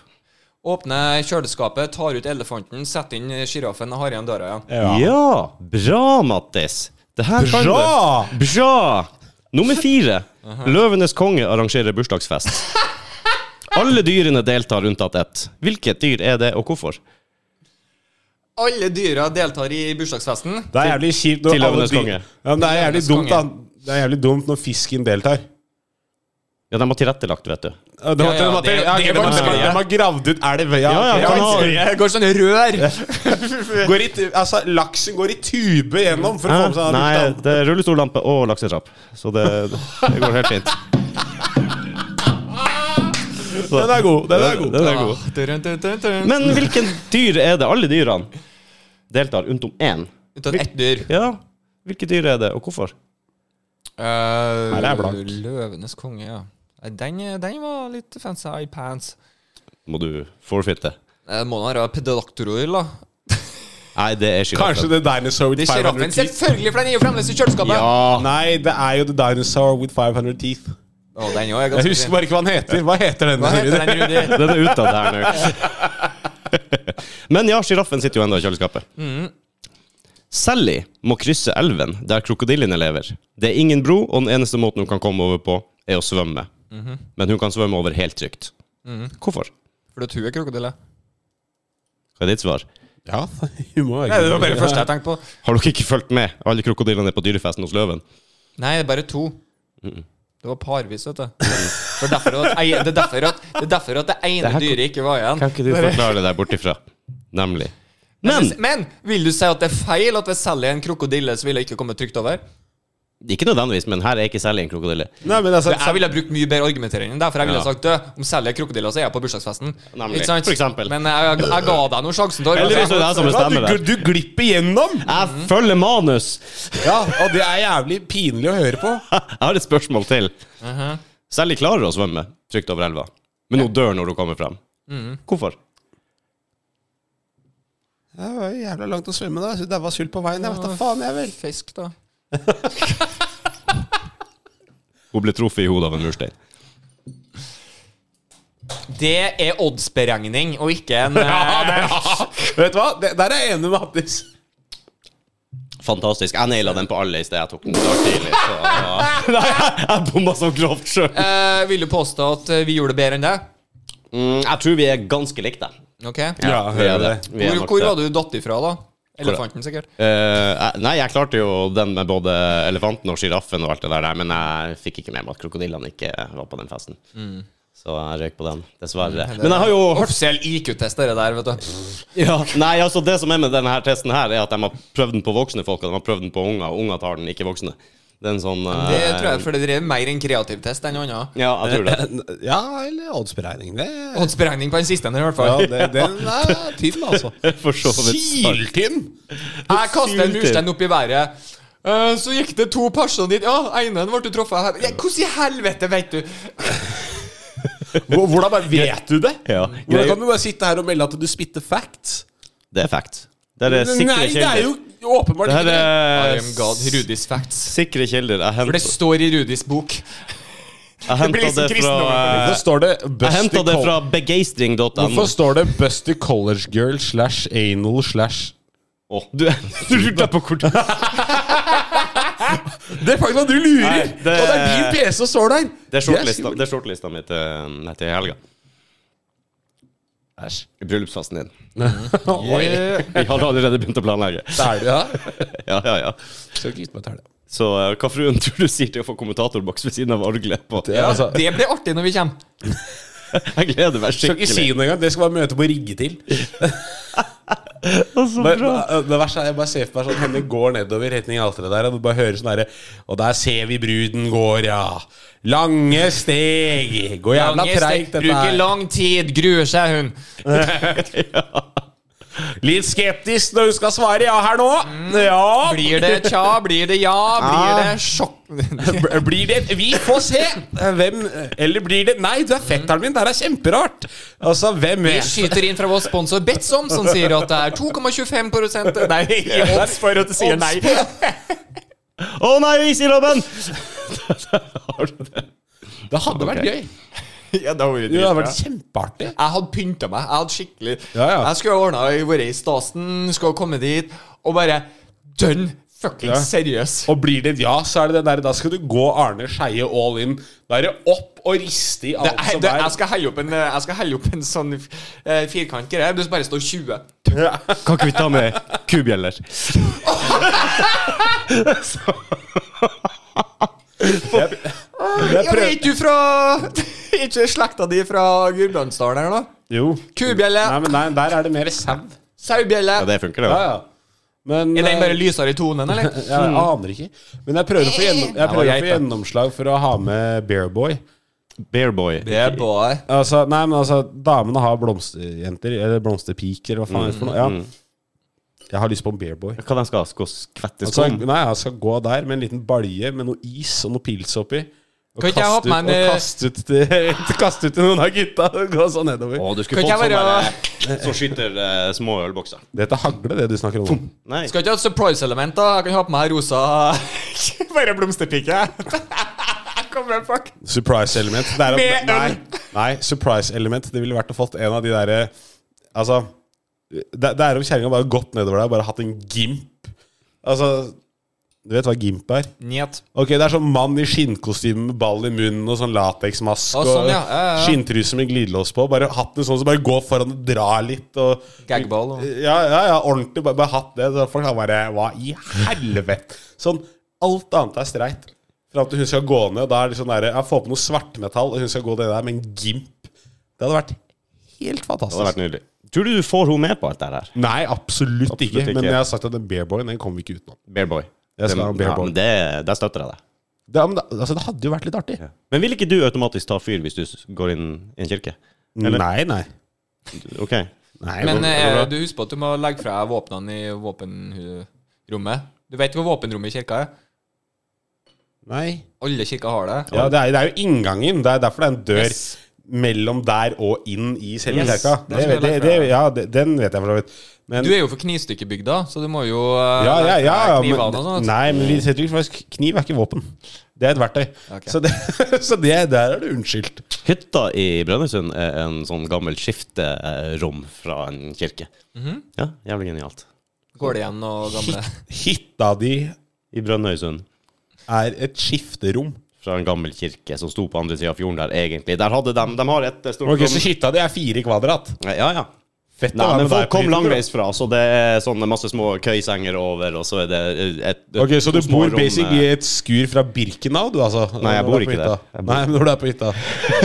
S2: Åpner kjøleskapet, tar ut elefanten, setter inn sjiraffen og har igjen døra igjen.
S1: Ja, bra, Mattis! Det her kan
S3: Bra!
S1: du. Bra! Nummer fire. Løvenes konge arrangerer bursdagsfest. Alle dyrene deltar unntatt ett. Hvilket dyr er det, og hvorfor?
S2: Alle dyra deltar i bursdagsfesten.
S3: Det er jævlig kjipt når
S1: til
S3: alle
S1: Løvenes
S3: de-
S1: konge.
S3: Ja, men det er jævlig
S2: Løvenes
S3: dumt, da.
S2: konge.
S3: Det er jævlig dumt når fisken deltar.
S1: Ja, de har tilrettelagt, vet du.
S3: Ja, det,
S2: Ja,
S3: var-
S2: ja,
S3: var-
S2: det- det er
S3: ok, var-
S2: vanskelig,
S3: var-
S2: ja.
S3: De har gravd ut elv. Ja,
S1: Ja, ja,
S3: ok.
S1: kan ha-
S2: Det går sånn rør.
S3: går i, tu- altså, laksen går i tube gjennom for å få sånn med seg den
S1: Nei,
S3: bursdagen.
S1: det er rullestollampe og laksetrapp. Så det, det går helt fint.
S3: Den er god. Den er god.
S1: Den er god.
S2: Men
S1: Men hvilken dyr er det? Alle dyrene deltar, unntom én.
S2: Uten ett dyr.
S1: Ja, hvilke dyr er det, og hvorfor?
S2: Uh,
S3: Her er jeg blank.
S2: Løvenes konge, ja. Nei, Den, den var litt fancy i pants.
S1: Må du forfitte?
S2: Nei, Det må da være pedalaktorol, da.
S1: Nei, det er sjiraffen.
S3: Kanskje The Dinosaur
S2: Det
S3: with
S2: er sjiraffen.
S3: 500 teeth.
S2: Selvfølgelig, for den er jo fremdeles i kjøleskapet.
S1: Ja.
S3: Nei, det er jo The Dinosaur with 500 teeth.
S2: Å, den også er
S3: Jeg
S2: ganske
S3: husker bare ikke hva den heter. Hva heter den?
S2: Hva heter den, Rudi?
S1: Den er ute av det her nå. Men ja, sjiraffen sitter jo ennå i kjøleskapet. Mm. Sally må krysse elven der krokodillene lever. Det er ingen bro, og den eneste måten hun kan komme over på, er å svømme. Mm. Men hun kan svømme over helt trygt. Hvorfor?
S2: For at hun er krokodille.
S1: Hva Hva er ditt svar?
S3: Ja, hun må
S2: Nei, det var bare det første jeg tenkte på.
S1: Har dere ikke fulgt med? Alle krokodillene er på dyrefesten hos løven.
S2: Nei, det er bare to. Det var parvis, vet du. For derfor at, ei- det, er derfor at, det er derfor at det ene
S1: her-
S2: dyret ikke var igjen.
S1: Kan ikke du forklare det der bortifra? Nemlig. Men
S2: Men vil du si at det er feil at hvis Sally er en krokodille, så ville jeg ikke kommet trygt over?
S1: Ikke nødvendigvis, men her er ikke Sally en krokodille.
S3: Nei, men altså,
S2: Jeg ville ha brukt mye bedre argumentering enn det, for jeg ville
S1: Ja.
S2: ha sagt «Dø, om Sally er krokodille, så er jeg på bursdagsfesten.
S1: Nemlig.
S2: Ikke sant?
S1: For eksempel.
S2: Men jeg, jeg ga deg noe sjansen, Torg.
S1: Eller hvis det er jeg som bestemmer
S3: altså, du,
S1: det.
S3: du glipper gjennom!
S1: Jeg følger manus!
S3: Ja, og det er jævlig pinlig å høre på.
S1: Jeg har et spørsmål til. Sally klarer å svømme trygt over elva, men hun dør når hun kommer frem. Hvorfor?
S3: Det var jo jævla langt å svømme, da. Daua sult på veien. Jeg vet da faen, jeg vel.
S2: Fisk, da.
S1: Hun ble truffet i hodet av en murstein.
S2: Det er oddsberegning, og ikke en eh,
S3: Vet du hva? Det, der er jeg enig med Mattis.
S1: Fantastisk. Jeg naila den på alle i sted. Jeg tok den i dag tidlig. Så... Nei, jeg- jeg bomma så grovt sjøl.
S2: eh, Vil du påstå at eh, vi gjorde det bedre enn det?
S1: Mm, jeg tror vi er ganske like, da.
S2: Ok.
S3: Ja,
S1: vi er
S3: hører
S1: det.
S3: det.
S1: Vi er
S2: Hvor,
S1: nok
S2: hvor
S1: det.
S2: var du datt ifra, da? Elefanten, sikkert.
S1: Eh, jeg- nei, jeg klarte jo den med både elefanten og sjiraffen og alt det der, der, men jeg fikk ikke med meg at krokodillene ikke var på den festen. Så jeg røyk på den, dessverre. Men jeg har jo hørt
S2: Eh, Offisiell IQ-test, det der, vet du.
S1: Nei, altså det som er med denne her testen her, er at de har prøvd den på voksne folk, og de har prøvd den på unger, og unger tar den, ikke voksne. Det er en sånn eh,
S2: Det tror jeg, for det er mer en kreativ test enn noe annet.
S1: Ja, jeg tror det.
S3: Ja, eller oddsberegning. Det,
S2: Oddsberegning på den siste i hvert
S3: ja,
S2: fall.
S3: det, den er tynn, altså.
S1: For så vidt. sant.
S3: Syltynn!
S2: Jeg kaster en murstein opp i været. Eh, så gikk det to personer dit. Ja, ene ble truffet her. Ja, hvordan i helvete vet du?
S3: Eh, Hvor- Hvordan bare vet du det?
S1: Ja.
S3: Hvordan kan du bare sitte her og melde at du spytter facts?
S1: Det er fact. Det er eh, sikre
S3: Nei, det er
S1: kilder.
S3: jo åpenbart
S1: Det
S3: ikke
S1: her
S3: det.
S2: I
S1: er
S2: am God, Rudis facts.
S1: sikre kilder. Jeg
S2: For det
S1: hent-
S2: står i Rudis bok.
S1: jeg henta det fra eh,
S3: Hvorfor står det
S1: Jeg henta
S3: Buster
S1: det
S3: Col-
S1: fra begeistring.no.
S3: Hvorfor står det Busty College Girl slash anal slash
S1: Å, du du lurte på hvor
S3: Det er faktisk hva du lurer!
S1: Nei, det-
S3: Og det er din PC som står der!
S1: Det er shortlista,
S3: skummelt.
S1: det er shortlista mi til, eh, nei, til helga. Æsj. Bryllupsfesten din.
S3: Oi,
S1: Vi har allerede begynt å planlegge.
S3: det er det, ja.
S1: Ja, ja, ja.
S3: Skal ikke gifte meg til helga.
S1: Så eh, hva fruen tror du sier til å få kommentatorboks ved siden av orgelet på?
S3: Ja, altså,
S2: Det blir artig når vi kommer.
S1: Jeg gleder meg
S3: skal ikke si
S1: skikkelig.
S3: noe engang. Det skal bare møte på rigge til. Men, men, det verste er jeg bare ser for meg sånn henne går nedover i retning alteret der, og du bare hører sånn derre Og der ser vi bruden går, ja. Lange steg. Går jævla
S2: Lange strekk,
S3: treigt, dette
S2: Bruker
S3: her.
S2: lang tid, gruer seg hun.
S3: Litt skeptisk når hun skal svare ja her nå.
S1: Mm.
S3: Ja.
S2: Blir det tja, blir det ja, blir
S3: Ah.
S2: det sjokk...
S3: B- eh, Blir det Vi får se! Hvem Eller blir det Nei, du er
S1: Mm.
S3: fetteren min, det her er kjemperart! Altså, hvem
S2: Vi
S3: vet?
S2: skyter inn fra vår sponsor Betson, som sier at det er 2,25 prosent- Nei, ikke odds for at du sier nei.
S1: Å nei, is i labben! Har du det?
S3: Det hadde
S1: Ok.
S3: vært gøy.
S1: Ja, det har vi
S3: Det hadde vært kjempeartig.
S2: Jeg hadde pynta meg. Jeg hadde skikkelig
S3: Ja, ja.
S2: Jeg skulle ha ordna vært i stasen, skulle ha kommet dit, og bare dønn fuckings
S3: Ja.
S2: seriøs.
S3: Og blir det et ja, så er det det der Da skal du gå Arne Skeie all in. Da er det opp og riste i
S2: Det,
S3: alt
S2: jeg,
S3: som
S2: det,
S3: er.
S2: jeg, skal helle opp en, eh, jeg skal helle opp en sånn eh, firkant greie der det bare står 20.
S1: Kan ikke vi ta med kubjeller?
S2: Ja, men er ikke du fra Er ikke slekta di fra Gudbrandsdalen her, da?
S3: Jo.
S2: Kubjelle,
S3: Nei, men nei, der er det mer sau.
S2: saubjelle.
S1: Ja, det funker, det.
S3: Ja,
S1: jo.
S3: ja. Men
S2: Er den bare
S3: eh,
S2: lysere i tonen, eller?
S3: ja, jeg
S1: sånn-
S3: aner ikke. Men jeg prøver å få, gjennom, jeg prøver å
S2: geit,
S3: få
S2: da.
S3: gjennomslag for å ha med Bearboy.
S1: Bearboy.
S2: er bare
S3: Altså, nei, men altså, damene har blomsterjenter, eller blomsterpiker, eller hva faen er det for noe. Ja. Jeg har lyst på en bearboy.
S1: Hva de skal skal skvette
S3: Altså,
S1: skum?
S3: nei, jeg skal gå der med en liten balje med noe is og noe pils oppi. Og
S2: Kan ikke jeg
S3: kaste
S2: hoppe
S3: ut-
S2: meg med-
S3: og kaste ut til- kaste ut til noen av gutta og gå sånn nedover.
S1: Å, du
S2: Kan
S1: skulle
S2: ikke
S1: fått
S2: jeg
S1: sånn
S2: være-
S1: der, eh, som skyter eh, små ølbokser.
S3: Dette hagler, det du snakker om.
S1: Nei.
S2: Skal ikke ha et surprise-element, da? Jeg kan ha på meg rosa Bare blomsterpike. Jeg kommer fuck.
S3: Surprise-element. Det er om-
S2: Med øl.
S3: Nei, nei surprise-element. Det ville vært å fått en av de derre Altså Det, det er om kjerringa bare gått nedover der og bare hatt en gimp. Altså Du vet hva gimp er?
S2: Njet.
S3: Ok, Det er sånn mann i skinnkostyme med ball i munnen og sånn lateksmaske
S2: Å, sånn, ja. Ja, ja, ja.
S3: skinntruser med glidelås på. Bare hatten sånn, så bare gå foran og dra litt. Og,
S2: Gagball og-
S3: Ja, ja, ja, ordentlig. Bare, bare hatt det. Så folk har bare Hva i helvete? Sånn, alt annet er streit. Fram til hun skal gå ned, og da er det sånn derre Jeg får på noe svartmetall, og hun skal gå ned der med en gimp. Det hadde vært helt
S1: Det
S3: fantastisk.
S1: hadde vært nydelig. Tror du du får henne med på alt det her?
S3: Nei, absolutt, ikke.
S1: ikke.
S3: Men jeg har sagt at den bearboyen, den kommer vi ikke utenom.
S1: Bearboy.
S3: Jeg skal ha en bear boy.
S1: men det, der støtter jeg deg.
S3: Det, men det- altså, det hadde jo vært litt artig.
S1: Men vil ikke du automatisk ta fyr hvis du s- går inn i en kirke? Eller-
S3: Nei, nei.
S1: Ok.
S3: nei
S2: Men
S3: men,
S2: eh, du husker på at du må legge fra deg våpnene i våpenrommet. Du vet hvor våpenrommet i kirka er?
S3: nei.
S2: Alle kirker har det.
S3: Ja, det er, det er jo inngangen. Det er derfor det er en dør
S2: Yes.
S3: mellom der og inn i selve
S2: Yes.
S3: kirka.
S2: Det
S3: Det,
S2: skal jeg
S3: det,
S2: lære
S3: det,
S2: fra.
S3: ja, det, den vet jeg for så vidt. Men
S2: Du er jo for knivstykkebygda, så du må jo eh,
S3: ja, ja,
S2: legge
S3: ja,
S2: fra
S3: ja,
S2: deg knivene og sånn,
S1: sånn
S3: men,
S2: sånt.
S3: Nei, men vi setter ikke faktisk Kniv er ikke våpen. Det er et verktøy.
S2: Ok.
S3: Så, det, så det, der er du unnskyldt.
S1: Hytta i Brønnøysund er en sånn gammel skifterom fra en kirke.
S3: Mhm.
S1: Ja, jævlig genialt.
S2: Går det igjen noe gamle
S3: Hytta di
S1: I Brønnøysund.
S3: er et skifterom.
S1: Fra en gammel kirke som sto på andre sida av fjorden der, egentlig. Der hadde de De har et eh, stort
S3: Ok, Så hytta di er fire kvadrat.
S1: Ja, ja.
S3: Fett
S1: Nei,
S3: å ha
S1: men
S3: med
S1: folk
S3: der på
S1: kom
S3: hytta, tror jeg.
S1: langveisfra, så det er sånne masse små køysenger over, og så er det et, et
S3: Ok, Så du
S1: to små
S3: bor
S1: rom,
S3: basically
S1: eh,
S3: i et skur fra Birkenau, du, altså?
S1: Nei, jeg
S3: Når
S1: bor
S3: du er på
S1: ikke
S3: hytta.
S1: der. Jeg bor-
S3: Nei, men når du er på hytta.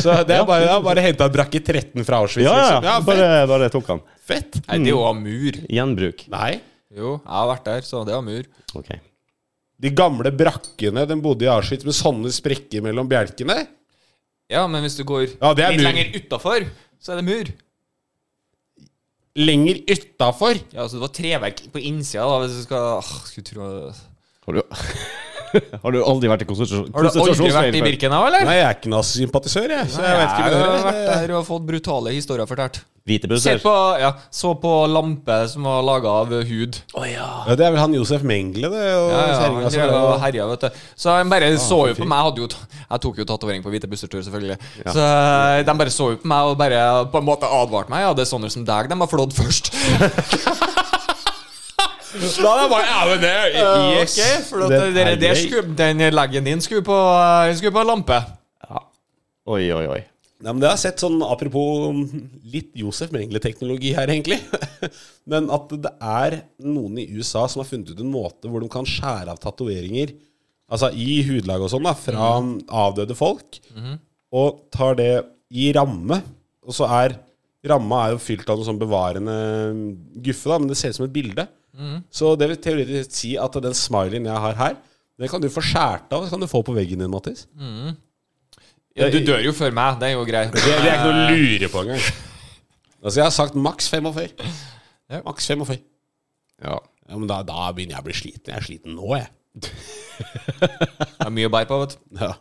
S3: Så det er bare, det er bare henta brakke 13 fra Auschwitz.
S1: Ja, ja.
S3: liksom.
S1: ja
S3: fett.
S1: bare, bare tok han.
S3: Fett.
S2: Nei, det er jo av mur.
S1: Gjenbruk.
S3: Nei.
S2: Jo, jeg har vært der, så det er av mur.
S1: Ok.
S3: De gamle brakkene den bodde i Auschwitz med sånne sprekker mellom bjelkene.
S2: Ja, men hvis du går
S3: Ja, det er
S2: litt
S3: mur.
S2: lenger utafor, så er det mur.
S3: Lenger utafor.
S2: Ja, så det var treverk på innsida, da, hvis du skal Åh, skulle tro
S1: Har du, har du aldri vært i konsentrasjon-
S2: Har du aldri
S1: konsentrasjonsleir
S2: vært i
S1: før?
S2: Birkenau, eller?
S3: Nei, jeg er ikke nazisympatisør, jeg. Så jeg vet ikke
S2: Jeg har
S3: hva
S2: vært
S3: det er.
S2: der og fått brutale historier fortalt.
S1: Hvite
S2: Se
S1: busser?
S2: på, ja, så på lampe som var laga av hud.
S3: Ja, det er vel han Josef Mengele, det. Og
S2: Ja, ja,
S3: kjerringa
S2: han
S3: som
S2: drev og
S3: er-
S2: herja, vet du. Så de bare så jo på meg. Hadde jo, ta- jeg tok jo tatovering på Hvite busser-tur, selvfølgelig. Så eh, de bare så jo på meg og bare på en måte advarte meg. Ja, det er sånne som deg de har flådd først. Da er jeg bare ja, men det Yes.
S3: ok,
S2: for at
S3: den
S2: det, det,
S3: er
S2: det
S3: grei.
S2: skulle, den leggen din skulle på, skulle på lampe.
S1: Oi, oi, oi.
S3: Ja, men det har jeg sett sånn apropos litt Josef Mengele-teknologi her, egentlig. Men at det er noen i USA som har funnet ut en måte hvor de kan skjære av tatoveringer altså i hudlag og sånn, da, fra avdøde folk, og tar det i ramme. Og så er ramma er jo fylt av noe sånn bevarende guffe, da, men det ser ut som et bilde. Så det vil teoretisk si at den smileyen jeg har her, den kan du få skjært av, og så kan du få på veggen din, Mattis.
S2: Ja, du dør jo før meg, det er jo greit.
S3: Det, det er ikke noe å lure på engang. Altså, jeg har sagt maks 45.
S2: Ja.
S3: Maks 45.
S1: Ja.
S3: Ja, men da, da begynner jeg å bli sliten. Jeg er sliten nå, jeg.
S2: Det er mye å bære på, vet du.
S3: Ja.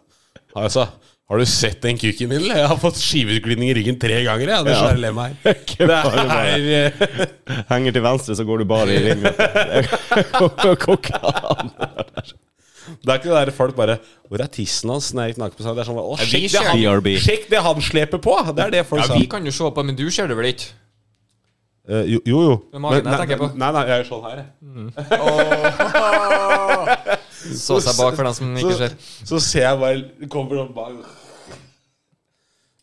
S3: Altså, har du sett den kuken min, eller? Jeg har fått skiveutglidning i ryggen tre ganger, jeg. Det
S1: Ja.
S3: skjærer lemmet her.
S1: bare, bare.
S3: Det er, eh,
S1: Henger til venstre, så går du bare i ring.
S3: det er ikke det der folk bare Hvor er tissen hans? Når jeg gikk naken på seg? Det er sånn Å,
S2: Ja, vi
S3: sjekk det, han,
S1: BRB.
S3: sjekk det han sleper på! Det er det folk
S2: Ja,
S3: sa.
S2: vi kan jo se på, men du ser det vel ikke?
S3: Eh, jo, jo. jo.
S2: Det er magen jeg
S3: nei,
S2: tenker på.
S3: nei, nei, jeg er sånn her, jeg.
S2: Så seg bak for den som ikke ser.
S3: Så, så ser jeg bare Kommer opp bak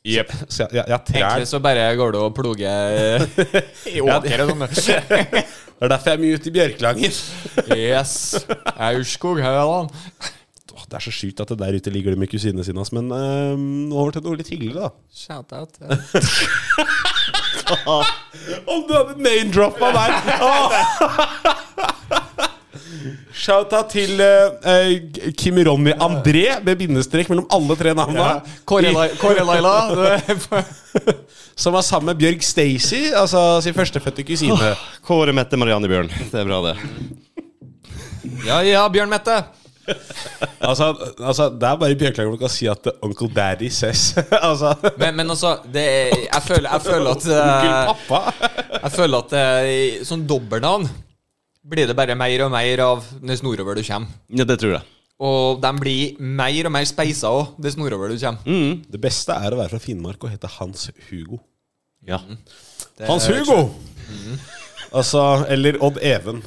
S3: Jepp. Så jeg, jeg, jeg trær
S2: Egentlig så bare går du og ploger i åker og sånn.
S3: Det er derfor jeg er mye ute i Bjørklangen.
S2: Yes. Aurskog, Høland.
S3: Åh, det er så sjukt at det der ute ligger det med kusinene sine. ass, Men øhm, over til noe litt hyggeligere, da.
S2: Shout-out.
S3: Om du hadde name-droppa der! Åh! Shouta til eh, eh, Kim Ronny André, med bindestrek mellom alle tre navna.
S2: Kåre Lai- Kåre Laila. du er på-
S3: Som var sammen med Bjørg Stacy, altså sin førstefødte kusine.
S1: Kåre Mette Marianne Bjørn. Det er bra, det.
S2: Ja, ja, Bjørn Mette.
S3: Altså, altså, det er bare i Bjørklangen hvor du kan si at Uncle Daddy says. altså,
S2: Men, men altså, det er, jeg, føler, jeg føler at eh,
S3: Onkel pappa.
S2: Jeg føler at eh, sånn dobbeltnavn blir det bare mer og mer av dess nordover du kommer.
S1: Ja, det tror jeg.
S2: Og de blir mer og mer speisa òg, dess nordover du kommer.
S3: Det beste er å være fra Finnmark og hete Hans Hugo.
S1: Ja.
S2: Det-
S3: Eh, Mm-hmm. Hans Hugo! Altså, eller Odd Even.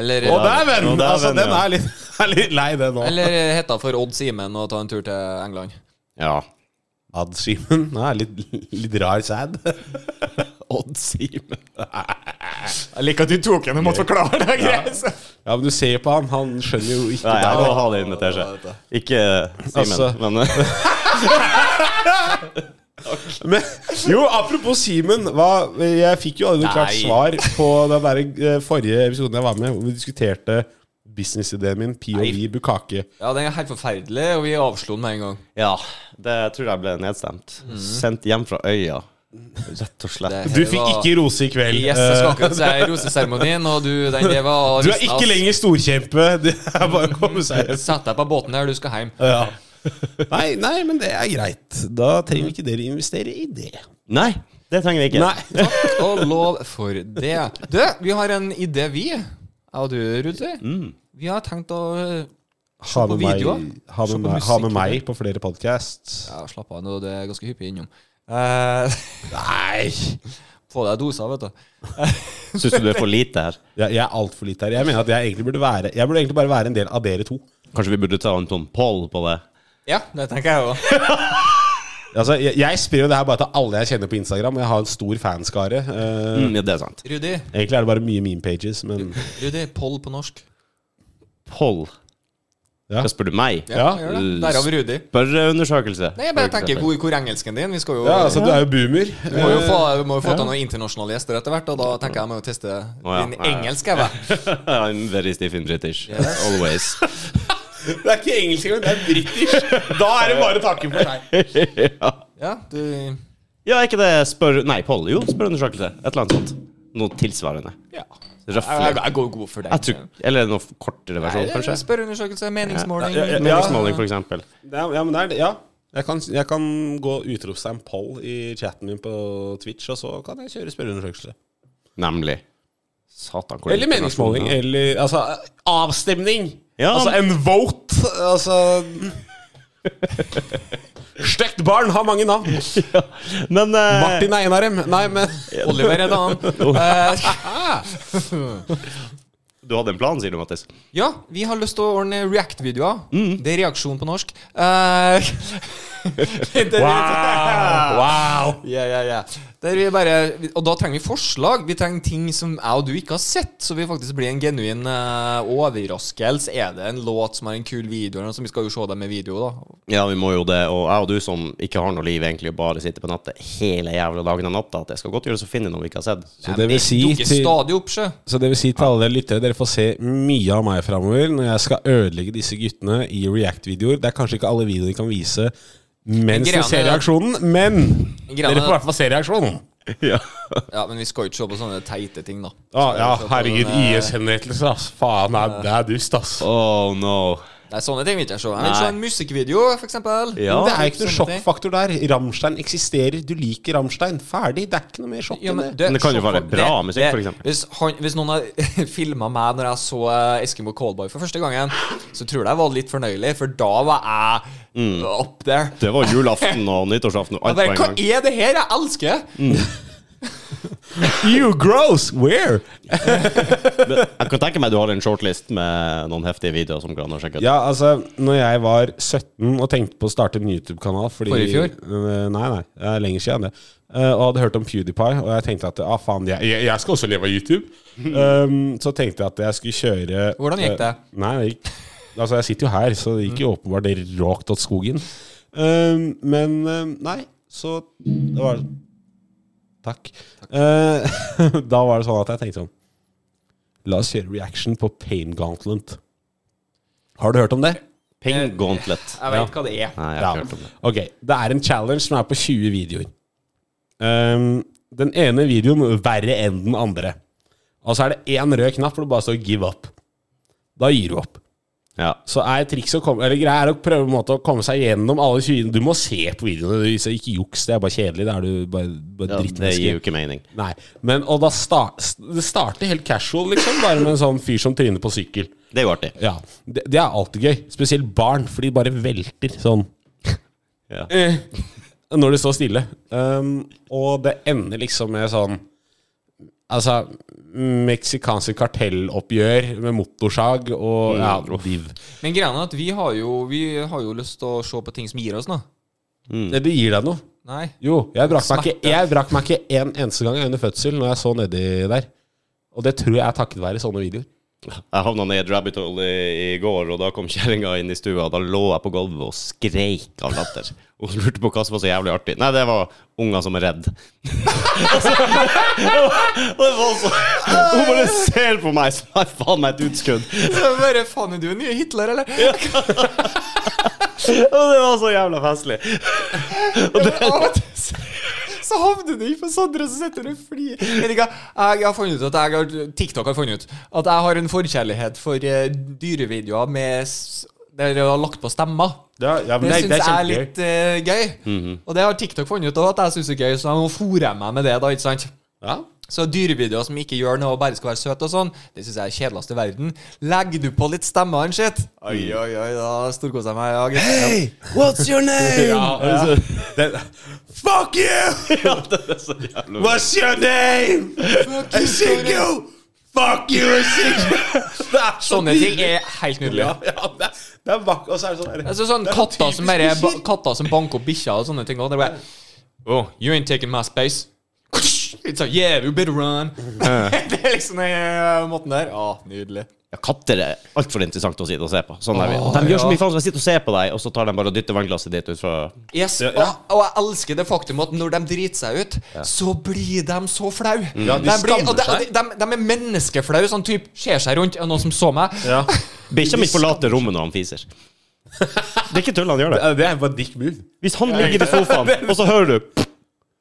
S2: Eller, eh,
S3: Å, dæven!
S1: Å, dæven,
S3: Altså, den
S1: ja.
S3: er litt, er litt lei, den nå.
S2: eller hetta for Odd Simen å ta en tur til England.
S1: Ja.
S3: Ad Simen. Nei, litt, litt rar sad.
S1: Odd Simen.
S2: Jeg liker at du tok henne og måtte forklare det. Ja.
S3: Ja, men du ser på han, han skjønner jo ikke
S1: Nei,
S3: det.
S1: jeg må ha det inn til seg. Ikke Simen,
S3: Altså.
S1: men
S3: Men, jo, apropos Simen. hva- Jeg fikk jo aldri noe klart
S2: Nei.
S3: svar på den der, eh, forrige episoden jeg var med, hvor vi diskuterte businessideen min, POV Bukake.
S2: ja, den er helt forferdelig, og vi avslo den med en gang.
S1: Ja. Det tror jeg ble nedstemt. Sendt hjem fra øya, rett og slett.
S2: Det-
S3: Du fikk ikke rose i kveld.
S2: Yes, jeg skal akkurat si roseseremonien, og du, den det var
S3: Du er ikke lenger storkjempe. Det er bare å komme seg hjem.
S2: Sett deg på båten her, du skal hjem.
S3: Ja. Nei, nei, men det er greit. Da trenger ikke dere investere i det.
S1: Nei, det trenger vi ikke.
S3: Nei.
S2: Takk og lov for det. Du, vi har en idé, vi. Jeg og du, Rudi.
S3: Mm.
S2: Vi har tenkt å
S3: Ha
S2: på
S3: med, meg,
S2: videoer.
S3: ha,
S2: Se
S3: med
S2: på
S3: meg, ha
S2: musikk.
S3: med meg på flere podcasts
S2: ja, Slapp av nå, det er ganske hyppig innom. Eh,
S3: Nei!
S2: få deg doser, vet du.
S1: Syns du du er for lite her?
S3: Jeg, jeg er altfor lite her. Jeg mener at jeg egentlig burde være Jeg burde egentlig bare være en del av dere to.
S1: Kanskje vi burde ta en sånn poll på det?
S2: Ja, det tenker jeg òg.
S3: Altså, jeg, jeg spiller jo det her bare til alle jeg kjenner på Instagram, og jeg har en stor fanskare. Eh,
S1: Mm, ja, det er sant.
S2: Rudi,
S3: Egentlig er det bare mye meme pages, men
S2: Rudi, poll på norsk.
S1: Poll.
S3: Ja.
S1: Ja. Spør du meg?
S3: Ja.
S2: gjør det. Der har vi Rudi.
S1: Spørreundersøkelse.
S2: Nei, jeg bare tenker, hvor, hvor er engelsken din? Vi skal jo
S3: Ja, altså, du er jo boomer.
S2: Vi må jo få, vi må jo få til noen internasjonale gjester etter hvert, og da tenker jeg jeg må jo teste
S1: ja.
S2: din
S1: Ja, ja.
S2: engelsk. Jeg, vet.
S1: I'm very stiff in British. Always.
S3: Det er ikke engelsk engang, det er britisk. Da er det bare å takke for seg.
S2: ja, du...
S1: Ja, er ikke det spør... Nei, poll. Jo, spørreundersøkelse. Et eller annet sånt. Noe tilsvarende.
S2: Ja. Jeg,
S1: Røffelig.
S2: jeg går god for den.
S1: Jeg tror, eller en noe kortere
S2: Nei,
S1: versjon,
S2: det er
S1: kanskje.
S2: Eh, Spørreundersøkelse, meningsmåling.
S3: Ja, ja, ja.
S1: Meningsmåling, for eksempel.
S3: Ja, ja, men det er det. Ja. Jeg kan, jeg kan gå utropstegn poll i chatten min på Twitch, og så kan jeg kjøre spørreundersøkelse.
S1: Nemlig. Satan. hvor
S3: Eller meningsmåling.
S1: internasjonalt.
S3: Eller altså avstemning!
S1: Ja.
S3: Altså en vote! Altså Stekt barn har mange navn.
S1: Men eh,
S3: Martin er en av dem. Nei, men
S2: Oliver er en annen. Eh,
S1: Du hadde en plan, sier du, Mattis.
S2: ja, vi har lyst til å ordne React-videoer.
S3: Mm.
S2: Det er reaksjon på norsk. Eh, det er-
S3: Wow!
S2: Ja, ja, ja. Der vi bare, og da trenger vi forslag. Vi trenger ting som jeg og du ikke har sett, så vi faktisk blir en genuin eh, overraskelse. Er det en låt som har en kul video, eller noe sånt? Vi skal jo se det med video, da.
S1: Ja, vi må jo det. Og jeg og du som ikke har noe liv, egentlig, og bare sitter på nettet hele jævla dagen og natta, at det skal godt gjøres å finne noe vi ikke har sett.
S3: Så det vil si
S2: Dukker
S3: til
S2: stadig opp, sjø.
S3: Så det vil si til alle dere lyttere, dere får se mye av meg framover når jeg skal ødelegge disse guttene i React-videoer. Det er kanskje ikke alle videoer de kan vise mens de
S2: Greiene-
S3: ser reaksjonen, men
S2: Greiene-
S3: dere får i hvert fall se reaksjonen.
S1: Ja.
S2: Ja, men vi skal jo ikke se på sånne teite ting, da.
S3: Å, Ah, ja,
S2: Så-
S3: herregud.
S2: men, eh,
S3: IS-henrettelser, ass. Faen, det er- det er dust, ass.
S1: Oh no.
S2: Det er sånne ting vi ikke ser. Jeg vil se en musikkvideo, for eksempel.
S1: Ja.
S3: det er ikke noe
S2: sånne ting.
S3: sjokkfaktor der. Ramstein eksisterer. Du liker Ramstein. Ferdig. Det er ikke noe mer sjokk
S2: Ja,
S3: enn
S2: men
S3: det.
S1: Men det kan jo
S2: sjokk-
S1: være bra musikk, for eksempel.
S2: Hvis, han, hvis noen har filma meg når jeg så eh, Eskimo Callboy for første gangen, så tror jeg jeg var litt fornøyelig, for da var jeg
S1: Mm.
S2: up there.
S1: Det var julaften og nyttårsaften og
S2: Jeg
S1: alt på
S2: bare, Hva
S1: en gang.
S2: er det her jeg elsker?
S3: Mm. You gross! Where?
S1: Jeg kan tenke meg du har en shortlist med noen heftige videoer som kan sjekke ut.
S3: Ja, altså, når jeg var 17 og tenkte på å starte en YouTube-kanal fordi,
S2: Forrige fjor?
S3: Eh, Nei, nei, det er lenger siden det. Eh, og hadde hørt om PewDiePie, og jeg tenkte at ah, faen, jeg, jeg, jeg skal også leve av YouTube. Um, så tenkte jeg at jeg skulle kjøre
S2: Hvordan gikk det?
S3: Eh, nei, det gikk Altså, jeg sitter jo her, så det gikk jo åpenbart råkt åt skogen. Um, men um, nei, så Det var Takk. Eh, da var det sånn at jeg tenkte sånn La oss kjøre reaction på Pain Gauntlet. Har du hørt om det?
S1: Ping Gauntlet.
S2: Jeg vet hva det er.
S1: Nei, jeg har ikke hørt om det.
S3: Ok, det er en challenge som er på 20 videoer. Ehm, den ene videoen verre enn den andre. Og så er det én rød knapp hvor det bare står 'give up'. Da gir du opp.
S1: Ja.
S3: Så er triks å komme, eller greia er å prøve på en måte å komme seg gjennom alle 20 Du må se på videoene, du- så ikke juks. Det er bare kjedelig. Da er du bare, bare
S1: ja. Det
S3: drittmenneske.
S1: gir jo ikke mening.
S3: Nei, men og da start, Det starter helt casual, liksom, bare med en sånn fyr som tryner på sykkel.
S1: Det er jo artig.
S3: Ja, Det, det er alltid gøy. Spesielt barn, for de bare velter sånn
S1: Ja.
S2: Eh,
S3: når det står stille. Um, og det ender liksom med sånn Altså meksikanske kartelloppgjør med motorsag og ja, div.
S2: Men greia er at vi har, jo, vi har jo lyst til å se på ting som gir oss noe.
S3: Det, det gir deg noe.
S2: Nei.
S3: Jo, jeg brakk meg
S2: Smerte.
S3: ikke Jeg brakk meg ikke en eneste gang under fødsel når jeg så nedi der. Og det tror jeg er takket være sånne videoer.
S1: Jeg havna ned i et rabbit hole i, i går, og da kom kjerringa inn i stua. og Da lå jeg på gulvet og skreik av latter. Og hun lurte på hva som var så jævlig artig. Nei, det var unger som er redd. og det var så Hun bare ser på meg som er faen meg et utskudd.
S2: Bare faen, er du en ny Hitler, eller?
S1: Og det var så jævla festlig. Og det,
S2: Av og til så- så havner du på Sondre, så sitter du og flirer. Vet ikke hva, Jeg har funnet ut at jeg har, TikTok har funnet ut at jeg har en forkjærlighet for eh, dyrevideoer med, s- der jeg har lagt på stemmer.
S3: Ja, ja, men
S2: Det
S3: det,
S2: syns
S3: det er
S2: jeg er
S3: kjempegøy. Mhm.
S2: litt eh, gøy. Og det har TikTok funnet ut av at jeg syns er gøy, så nå fôrer jeg meg med det, da, ikke sant?
S3: Ja.
S2: Så dyrevideoer som ikke gjør noe og bare skal være søte og sånn, det syns jeg er kjedeligst i verden. Legger du på litt stemmer og shit Oi, oi, oi, da storkoser jeg meg. Ja, gutt.
S1: What's your name?
S3: Ja, altså, det- Fuck you!
S1: Ja, det er så jævlig
S3: What's your name?
S2: Fuck you,
S3: Ezekiel! Fuck you, Ezekiel! Det er så
S2: Sånne ting
S3: nydelig.
S2: er helt nydelig.
S3: Ja, ja, det er, det er vakkert. Og så er det sånn der-
S2: Altså sånn
S3: det er så
S2: katter som,
S3: typisk
S2: bare, ba,
S3: bikkjer.
S2: katter som banker opp bikkjer og sånne ting. Og det er bare Oh, you ain't taking my space. It's like, yeah, you better run. det er liksom den eh, måten der. Å, nydelig.
S1: Ja, katter er altfor interessant å sitte og se på. Sånn er vi.
S2: Åh,
S1: De gjør så
S2: ja.
S1: mye faen som jeg sitter og ser på deg, og så tar de bare og dytter vannglasset ditt ut fra
S2: Yes,
S3: Ja, ja.
S2: Og, og jeg elsker det faktum at når de driter seg ut, så blir de så flau
S3: Ja, de skammer
S2: og de, og
S3: seg.
S2: De, de, de er menneskeflau, sånn type ser seg rundt, er det noen som så meg?
S3: Ja.
S1: Bikkja mi forlater rommet når han fiser. Det er ikke tull, han gjør det.
S3: Ja, Det er bare dick move.
S1: Hvis han ligger i sofaen, og så hører du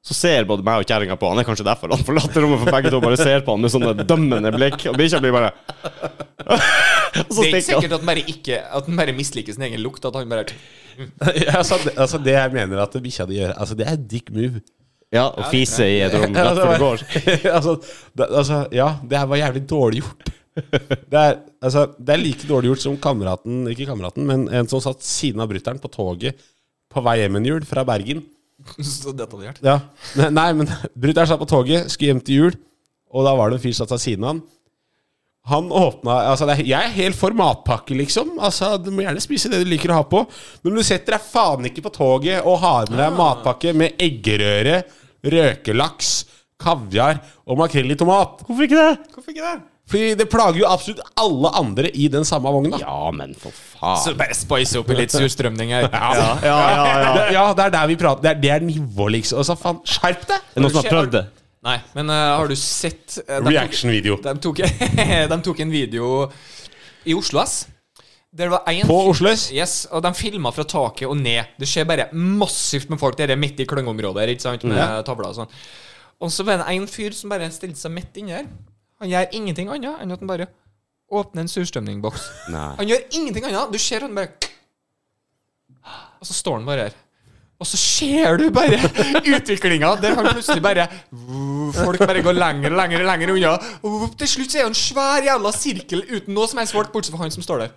S1: så ser både meg og kjerringa på han. Det er kanskje derfor han forlater rommet, for begge to bare ser på han med sånne dømmende blikk. Og bikkja blir bare Og så
S2: Det er ikke
S1: stikker han.
S2: sikkert at han bare, ikke, at den bare misliker sin egen lukt. At han bare
S3: altså, det, altså, det jeg mener at bikkja di gjør, altså, det er dick move.
S1: Ja, og fise i et rom rett før du går.
S3: altså, det, altså, ja, det her var jævlig dårlig gjort. Det er, altså, det er like dårlig gjort som kameraten Ikke kameraten, men en som satt siden av brutter'n på toget på vei hjem en jul fra Bergen.
S2: Så detaljert.
S3: Ja. Nei, nei men brutter'n satt på toget, skulle hjem til jul, og da var det en fyr som satt ved siden av han. Han åpna Altså, det er, jeg er helt for matpakke, liksom. Altså, Du må gjerne spise det du liker å ha på, men du setter deg faen ikke på toget og har med deg matpakke med eggerøre, røkelaks, kaviar og makrell i tomat.
S1: Hvorfor ikke det?
S2: Hvorfor ikke det?
S3: Fordi det plager jo absolutt alle andre i den samme vogna.
S1: Ja, men for faen.
S2: Så bare spice opp i litt surstrømning her.
S3: Ja,
S1: Ja, ja, ja.
S3: Det, ja, det er der vi prater. Det er, det er nivå, liksom. Altså, faen, skjerp deg!
S1: Er det noen som har prøvd det?
S2: Nei, men eh, har du sett eh, de
S3: Reaction-video.
S2: Tok, de, tok, de tok en video i Oslo S. Der var en
S3: På Oslo S.
S2: Yes, og de filma fra taket og ned. Det skjer bare massivt med folk. Det er midt i klyngeområdet her, ikke sant, med
S3: Ja.
S2: tavler og sånn. Og så var det en fyr som bare stilte seg midt inni her. Han gjør ingenting annet enn at han bare åpner en surstrømningboks.
S1: Nei.
S2: Han gjør ingenting annet. Du ser han bare Og så står han bare her. Og så ser du bare utviklinga, der han plutselig bare Folk bare går lenger og lenger og lenger unna. Og til slutt så er han en svær jævla sirkel uten noe som helst folk, bortsett fra han som står der.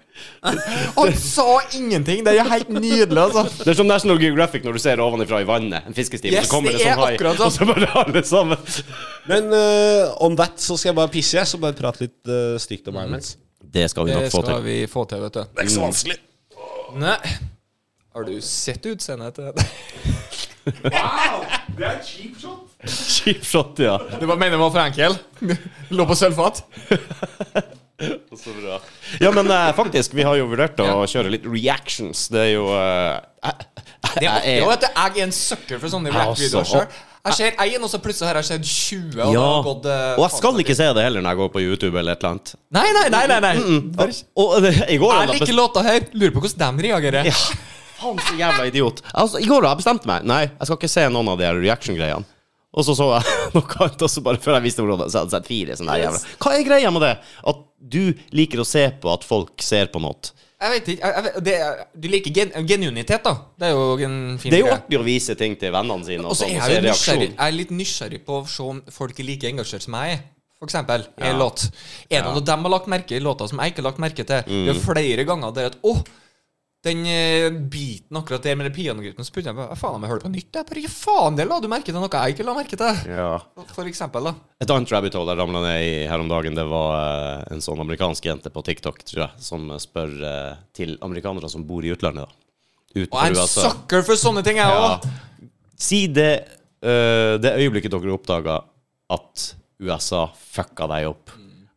S2: Han sa ingenting. Det er jo helt nydelig, altså.
S1: Det er som National Geographic når du ser ovenifra i vannet, en fiskestime,
S2: Yes,
S1: så kommer det
S2: det er
S1: sånn hai,
S2: akkurat sånn.
S1: og så bare alle sammen.
S3: Men eh, on that så skal jeg bare pisse, jeg. Så bare prate litt eh, stygt om meg mens.
S1: Det skal vi
S2: Det
S1: nok få
S2: skal
S1: til.
S2: vi få til, vet du.
S3: Det er ikke så vanskelig.
S2: Nei. Har du sett utseendet til det?
S3: Det er en cheap shot.
S1: Cheap shot, ja.
S2: Du bare mener den var for enkel? Lå på sølvfat?
S1: Så bra. Ja, men eh, faktisk, vi har jo vurdert å kjøre litt reactions. Det er jo eh, jeg-
S2: Det er
S1: jeg
S2: artig også, vet du. Jeg er en sucker for sånne
S1: altså,
S2: rap-videoer
S1: og-
S2: selv. Jeg ser én, og så plutselig har jeg sett 20. Og,
S1: Ja.
S2: da har gått, eh,
S1: Og jeg
S2: faen,
S1: skal
S2: så
S1: ikke se det heller når jeg går på YouTube eller et eller annet.
S2: mye. Nei, nei, nei. nei, nei.
S1: Mm,
S2: Bare-
S1: Og det, i går
S2: Jeg
S1: hadde
S2: liker
S1: best-
S2: låta her. Lurer på hvordan de reagerer.
S1: Ja, faen så jævla idiot. Altså, I går hadde jeg bestemt meg. Nei, jeg skal ikke se noen av de her reaction-greiene. Og så så jeg noe annet, og så bare før jeg visste ordet av det, så hadde jeg sett fire sånne her jævla Hva er greia med det? At du liker å se på at folk ser på noe.
S2: Jeg vet ikke. Jeg, jeg, vet- det, er- du liker gen, genuinitet, da. Det er jo en fin
S1: Det er jo
S2: greie.
S1: artig å vise ting til vennene sine og
S2: Og så
S1: sånn,
S2: er
S1: og se
S2: jeg, jo nysgjerrig,
S1: reaksjonen.
S2: jeg er litt nysgjerrig på å se om folk er like engasjert som jeg er. For eksempel, i en
S1: Mm.
S2: låt. Er det noe de har lagt merke i låta som jeg ikke har lagt merke til? Det er flere ganger der at Å, Den eh, biten akkurat der med det pianogryten, så begynte jeg bare Faen, om jeg hører på nytt, jeg. Bare gi faen, det la du merke til noe jeg ikke la merke til.
S1: Ja.
S2: For eksempel, da.
S1: Et annet rabbit hole jeg ramla ned i her om dagen, det var eh, en sånn amerikansk jente på TikTok, tror jeg, som spør eh, til amerikanere som bor i utlandet, da.
S2: Og jeg er en
S1: USA.
S2: sucker for sånne ting, jeg
S1: altså- Ja.
S2: òg.
S1: Si det eh, det øyeblikket dere oppdaga at USA fucka deg opp.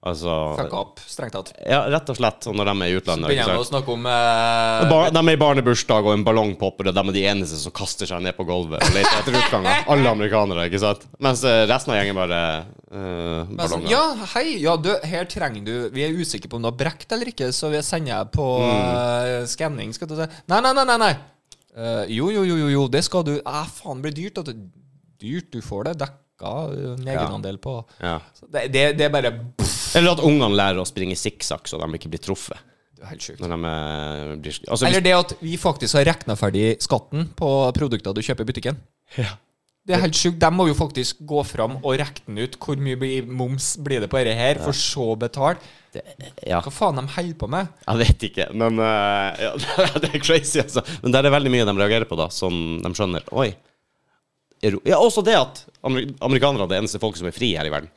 S1: Altså
S2: Fuck opp, strengt tatt.
S1: Ja, rett og slett. Og når de er i
S2: Så
S1: utlandet ikke
S2: begynner jeg å
S1: sant?
S2: snakke om eh,
S1: Bar de er i barnebursdag, og en ballong popper, og de er de eneste som kaster seg ned på gulvet og leter etter utganger. Alle amerikanere, ikke sant? Mens eh, resten av gjengen bare eh,
S2: Men sånn,
S1: ballonger.
S2: ja, hei, ja, du, her trenger du Vi er usikre på om du har brekt eller ikke, så vi sender deg på
S1: Mm.
S2: eh, skanning. Skal du si Nei, nei, nei, nei. nei. Eh, jo, jo, jo, jo, jo, det skal du. Ah, faen, det blir dyrt. At du, dyrt, du får det dekka eh, en egenandel på
S1: Ja.
S2: så det, det, det er bare pff,
S1: Eller at ungene lærer å springe sikksakk så de ikke blir truffet.
S2: Det er helt sjukt.
S1: Når de eh, blir altså,
S2: Eller
S1: hvis,
S2: det at vi faktisk har regna ferdig skatten på produkter du kjøper i butikken. Det er helt sjukt. De må jo faktisk gå fram og regne ut hvor mye blir- moms blir det på dette her, for så å betale.
S1: ja,
S2: Hva faen de holder på med?
S1: jeg vet ikke, men eh, ja, Det er crazy, altså. Men der er veldig mye de reagerer på, da, som de skjønner. Oi. er- Ja, også det at amer amerikanere er det eneste folket som er fri her i verden.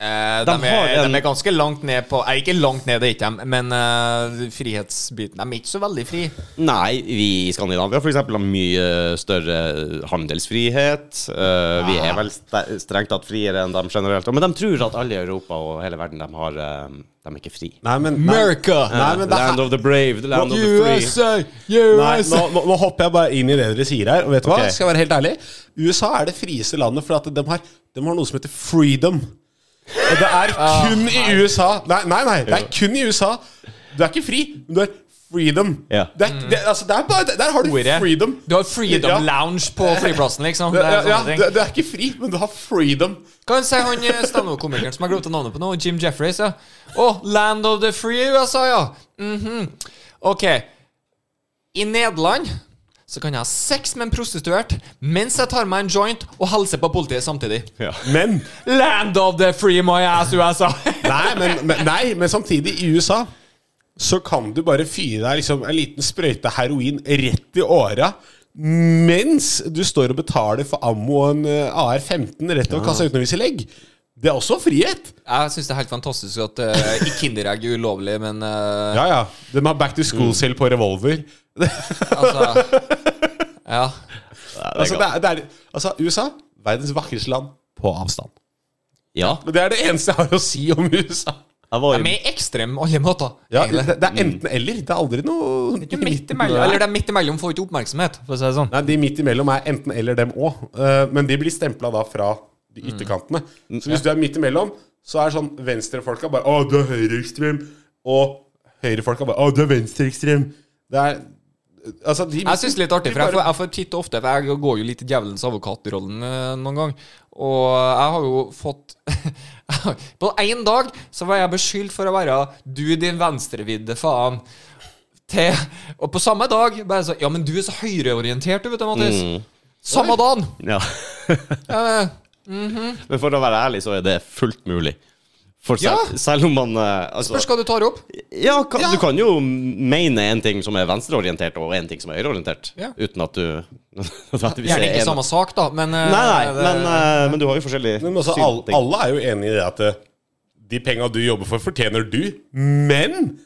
S2: Eh,
S1: De
S2: de, er,
S1: har en-
S2: de er ganske langt ned på Nei, ikke langt ned, det er ikke de, men eh, frihetsbiten De er ikke så veldig fri.
S1: Nei, vi i Skandinavia for eksempel har mye større handelsfrihet. Eh, vi er vel ste- strengt tatt friere enn dem generelt. Men de tror at alle i Europa og hele verden, de, har, eh, de er ikke fri. Eh,
S3: Nei, men, nei,
S2: America!
S3: Nei, men det er-
S1: land of the brave, the land of the free.
S2: USA!
S3: Nei,
S2: USA!
S3: nå, nå, nå hopper jeg bare inn i det dere sier her. Og vet du
S1: Ok.
S3: hva? Skal jeg være helt ærlig? USA er det frieste landet, for at de, har, de har noe som heter freedom. Og det er kun i USA Nei, nei, nei det er kun i USA. Du er ikke fri, men du er freedom.
S1: Ja.
S3: Det er, det, altså, det er bare, der har du
S2: Ordet.
S3: freedom.
S2: Du har Freedom
S3: Ja.
S2: Lounge på flyplassen, liksom.
S3: Ja,
S2: Det er
S3: ja,
S2: sånne
S3: du,
S2: ting.
S3: du er ikke fri, men du har freedom.
S2: Kan si han eh, standup-komikeren som jeg glemte navnet på nå, Jim Jeffreys, ja. Å, Land of the Free USA, ja. Mhm. Ok. I Nederland så kan jeg ha sex med en prostituert mens jeg tar meg en joint og hilser på politiet samtidig.
S1: Ja.
S3: Men
S2: Land of the free my ass USA.
S3: Nei, men, men, nei, men samtidig, i USA så kan du bare fyre deg liksom en liten sprøyte heroin rett i åra mens du står og betaler for ammo og en eh, AR-15 rett over kassa uten å vise legg. Det er også frihet.
S2: Jeg syns det er helt fantastisk at eh, i Kinderegg er ulovlig, men eh,
S3: Ja, Mm. ja. De har back to school-selv på revolver.
S2: altså Ja.
S3: Altså, det er, det er, altså, USA verdens vakreste land på avstand.
S1: ja.
S3: Men Det er det eneste jeg har å si om USA. Mm.
S1: Jeg var
S2: De
S1: i
S2: er ekstreme på alle måter.
S3: Ja,
S2: egentlig.
S3: det, det er enten-eller. Det er aldri noe
S2: De er midt imellom, eller de er midt imellom får ikke oppmerksomhet, for å si det sånn.
S3: Nei, de midt imellom er enten eller dem òg. Men de blir stempla da fra de ytterkantene. Så hvis du er midt imellom, så er sånn venstrefolka bare Å, du er høyreekstrem. Og høyrefolka bare Å, du er venstreekstrem. Det er Altså, de
S2: Jeg syns det er litt artig,
S3: de
S2: for jeg får,
S3: bare-
S2: jeg får titte ofte, for jeg går jo litt i djevelens advokatrollen eh, noen gang. Og jeg har jo fått På én dag så var jeg beskyldt for å være du, din venstrevidde faen. Til, og på samme dag bare så Ja, men du er så høyreorientert, du, vet du, Mattis.
S3: Mm.
S2: Samme dagen!
S1: ja.
S2: Eh,
S1: Men for å være ærlig, så er det fullt mulig. For selv,
S2: Ja.
S1: selv om man eh, altså,
S2: Spørs hva du tar opp.
S1: ja, kan,
S2: Ja.
S1: Du kan jo mene en ting som er venstreorientert, og en ting som er høyreorientert,
S2: Ja.
S1: uten at du nødvendigvis
S2: Gjerne ikke
S1: en-
S2: samme sak, da, men eh,
S1: Nei, nei,
S2: det-
S1: men, eh, men du har jo forskjellig
S3: Men
S1: syn
S3: også,
S1: på
S3: altså, alle,
S1: ting.
S3: alle er jo enig i det at eh, de penga du jobber for, fortjener du. Men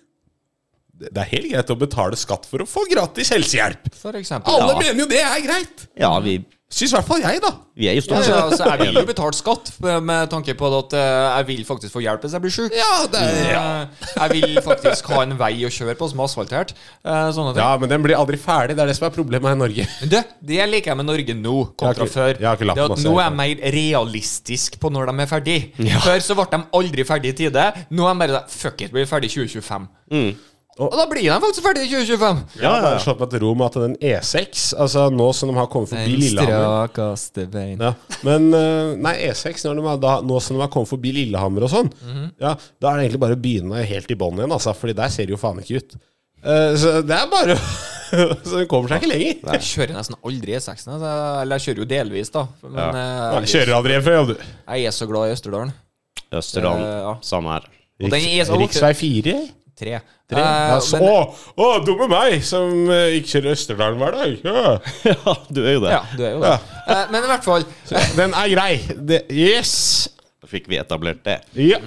S3: det det er helt greit å betale skatt for å få gratis helsehjelp.
S2: For eksempel.
S3: Alle
S1: Ja.
S3: mener jo det er greit.
S1: Ja, vi,
S3: Syns i hvert fall jeg, da.
S1: vi er jo
S2: Ja,
S1: stort
S2: ja,
S1: sett
S2: altså, jeg vil jo betale skatt med, med tanke på at eh, jeg vil faktisk få hjelp hvis jeg blir sjuk.
S3: Ja, det er,
S2: Eh, Jeg vil faktisk ha en vei å kjøre på som er asfaltert. eh, Sånne ting.
S3: Ja, men den blir aldri ferdig. Det er det som er problemet her i Norge.
S2: Men du, det liker jeg med Norge nå, kontra
S3: Jeg har ikke-
S2: før.
S3: jeg har ikke lagt
S2: det at
S3: masse
S2: Nå er
S3: her.
S2: jeg mer realistisk på når de er ferdig. Før så ble de aldri ferdig i tide. Nå er de bare sånn, Fuck it, blir ferdig i 2025.
S3: Mm.
S2: Og, da blir de faktisk ferdig i 2025.
S3: Ja,
S1: ja,
S3: ja,
S1: ja.
S3: ja. Slått meg til ro med at den E6, altså nå som de har kommet forbi Lillehammer
S2: strakeste veien.
S3: ja. Men eh, nei, E6, når de har, da, nå som de har kommet forbi Lillehammer og sånn,
S2: Mhm.
S3: ja, da er det egentlig bare å begynne helt i bånn igjen, altså. Fordi der ser det jo faen ikke ut. Eh, så det er bare Så det kommer seg ikke lenger.
S2: Jeg kjører nesten aldri E6, altså, eller jeg kjører jo delvis, da. Men eh,
S3: Nei, Kjører aldri hjem før, jobb, du.
S2: jeg er så glad i Østerdalen.
S1: Østerdalen.
S2: Eh, ja.
S1: Samme her.
S2: Og den er så-
S3: Riks- Riksvei 4?
S2: Tre.
S3: Tre.
S2: Eh,
S3: ja, så,
S2: men-
S3: å, å, dumme meg, som eh, ikke kjører Østerdalen hver dag. Ja.
S1: Ja, du er jo det.
S2: ja, du er jo det. Eh, men i hvert fall
S3: Så, den er grei. Det, yes!
S1: Da fikk vi etablert det.
S3: Ja.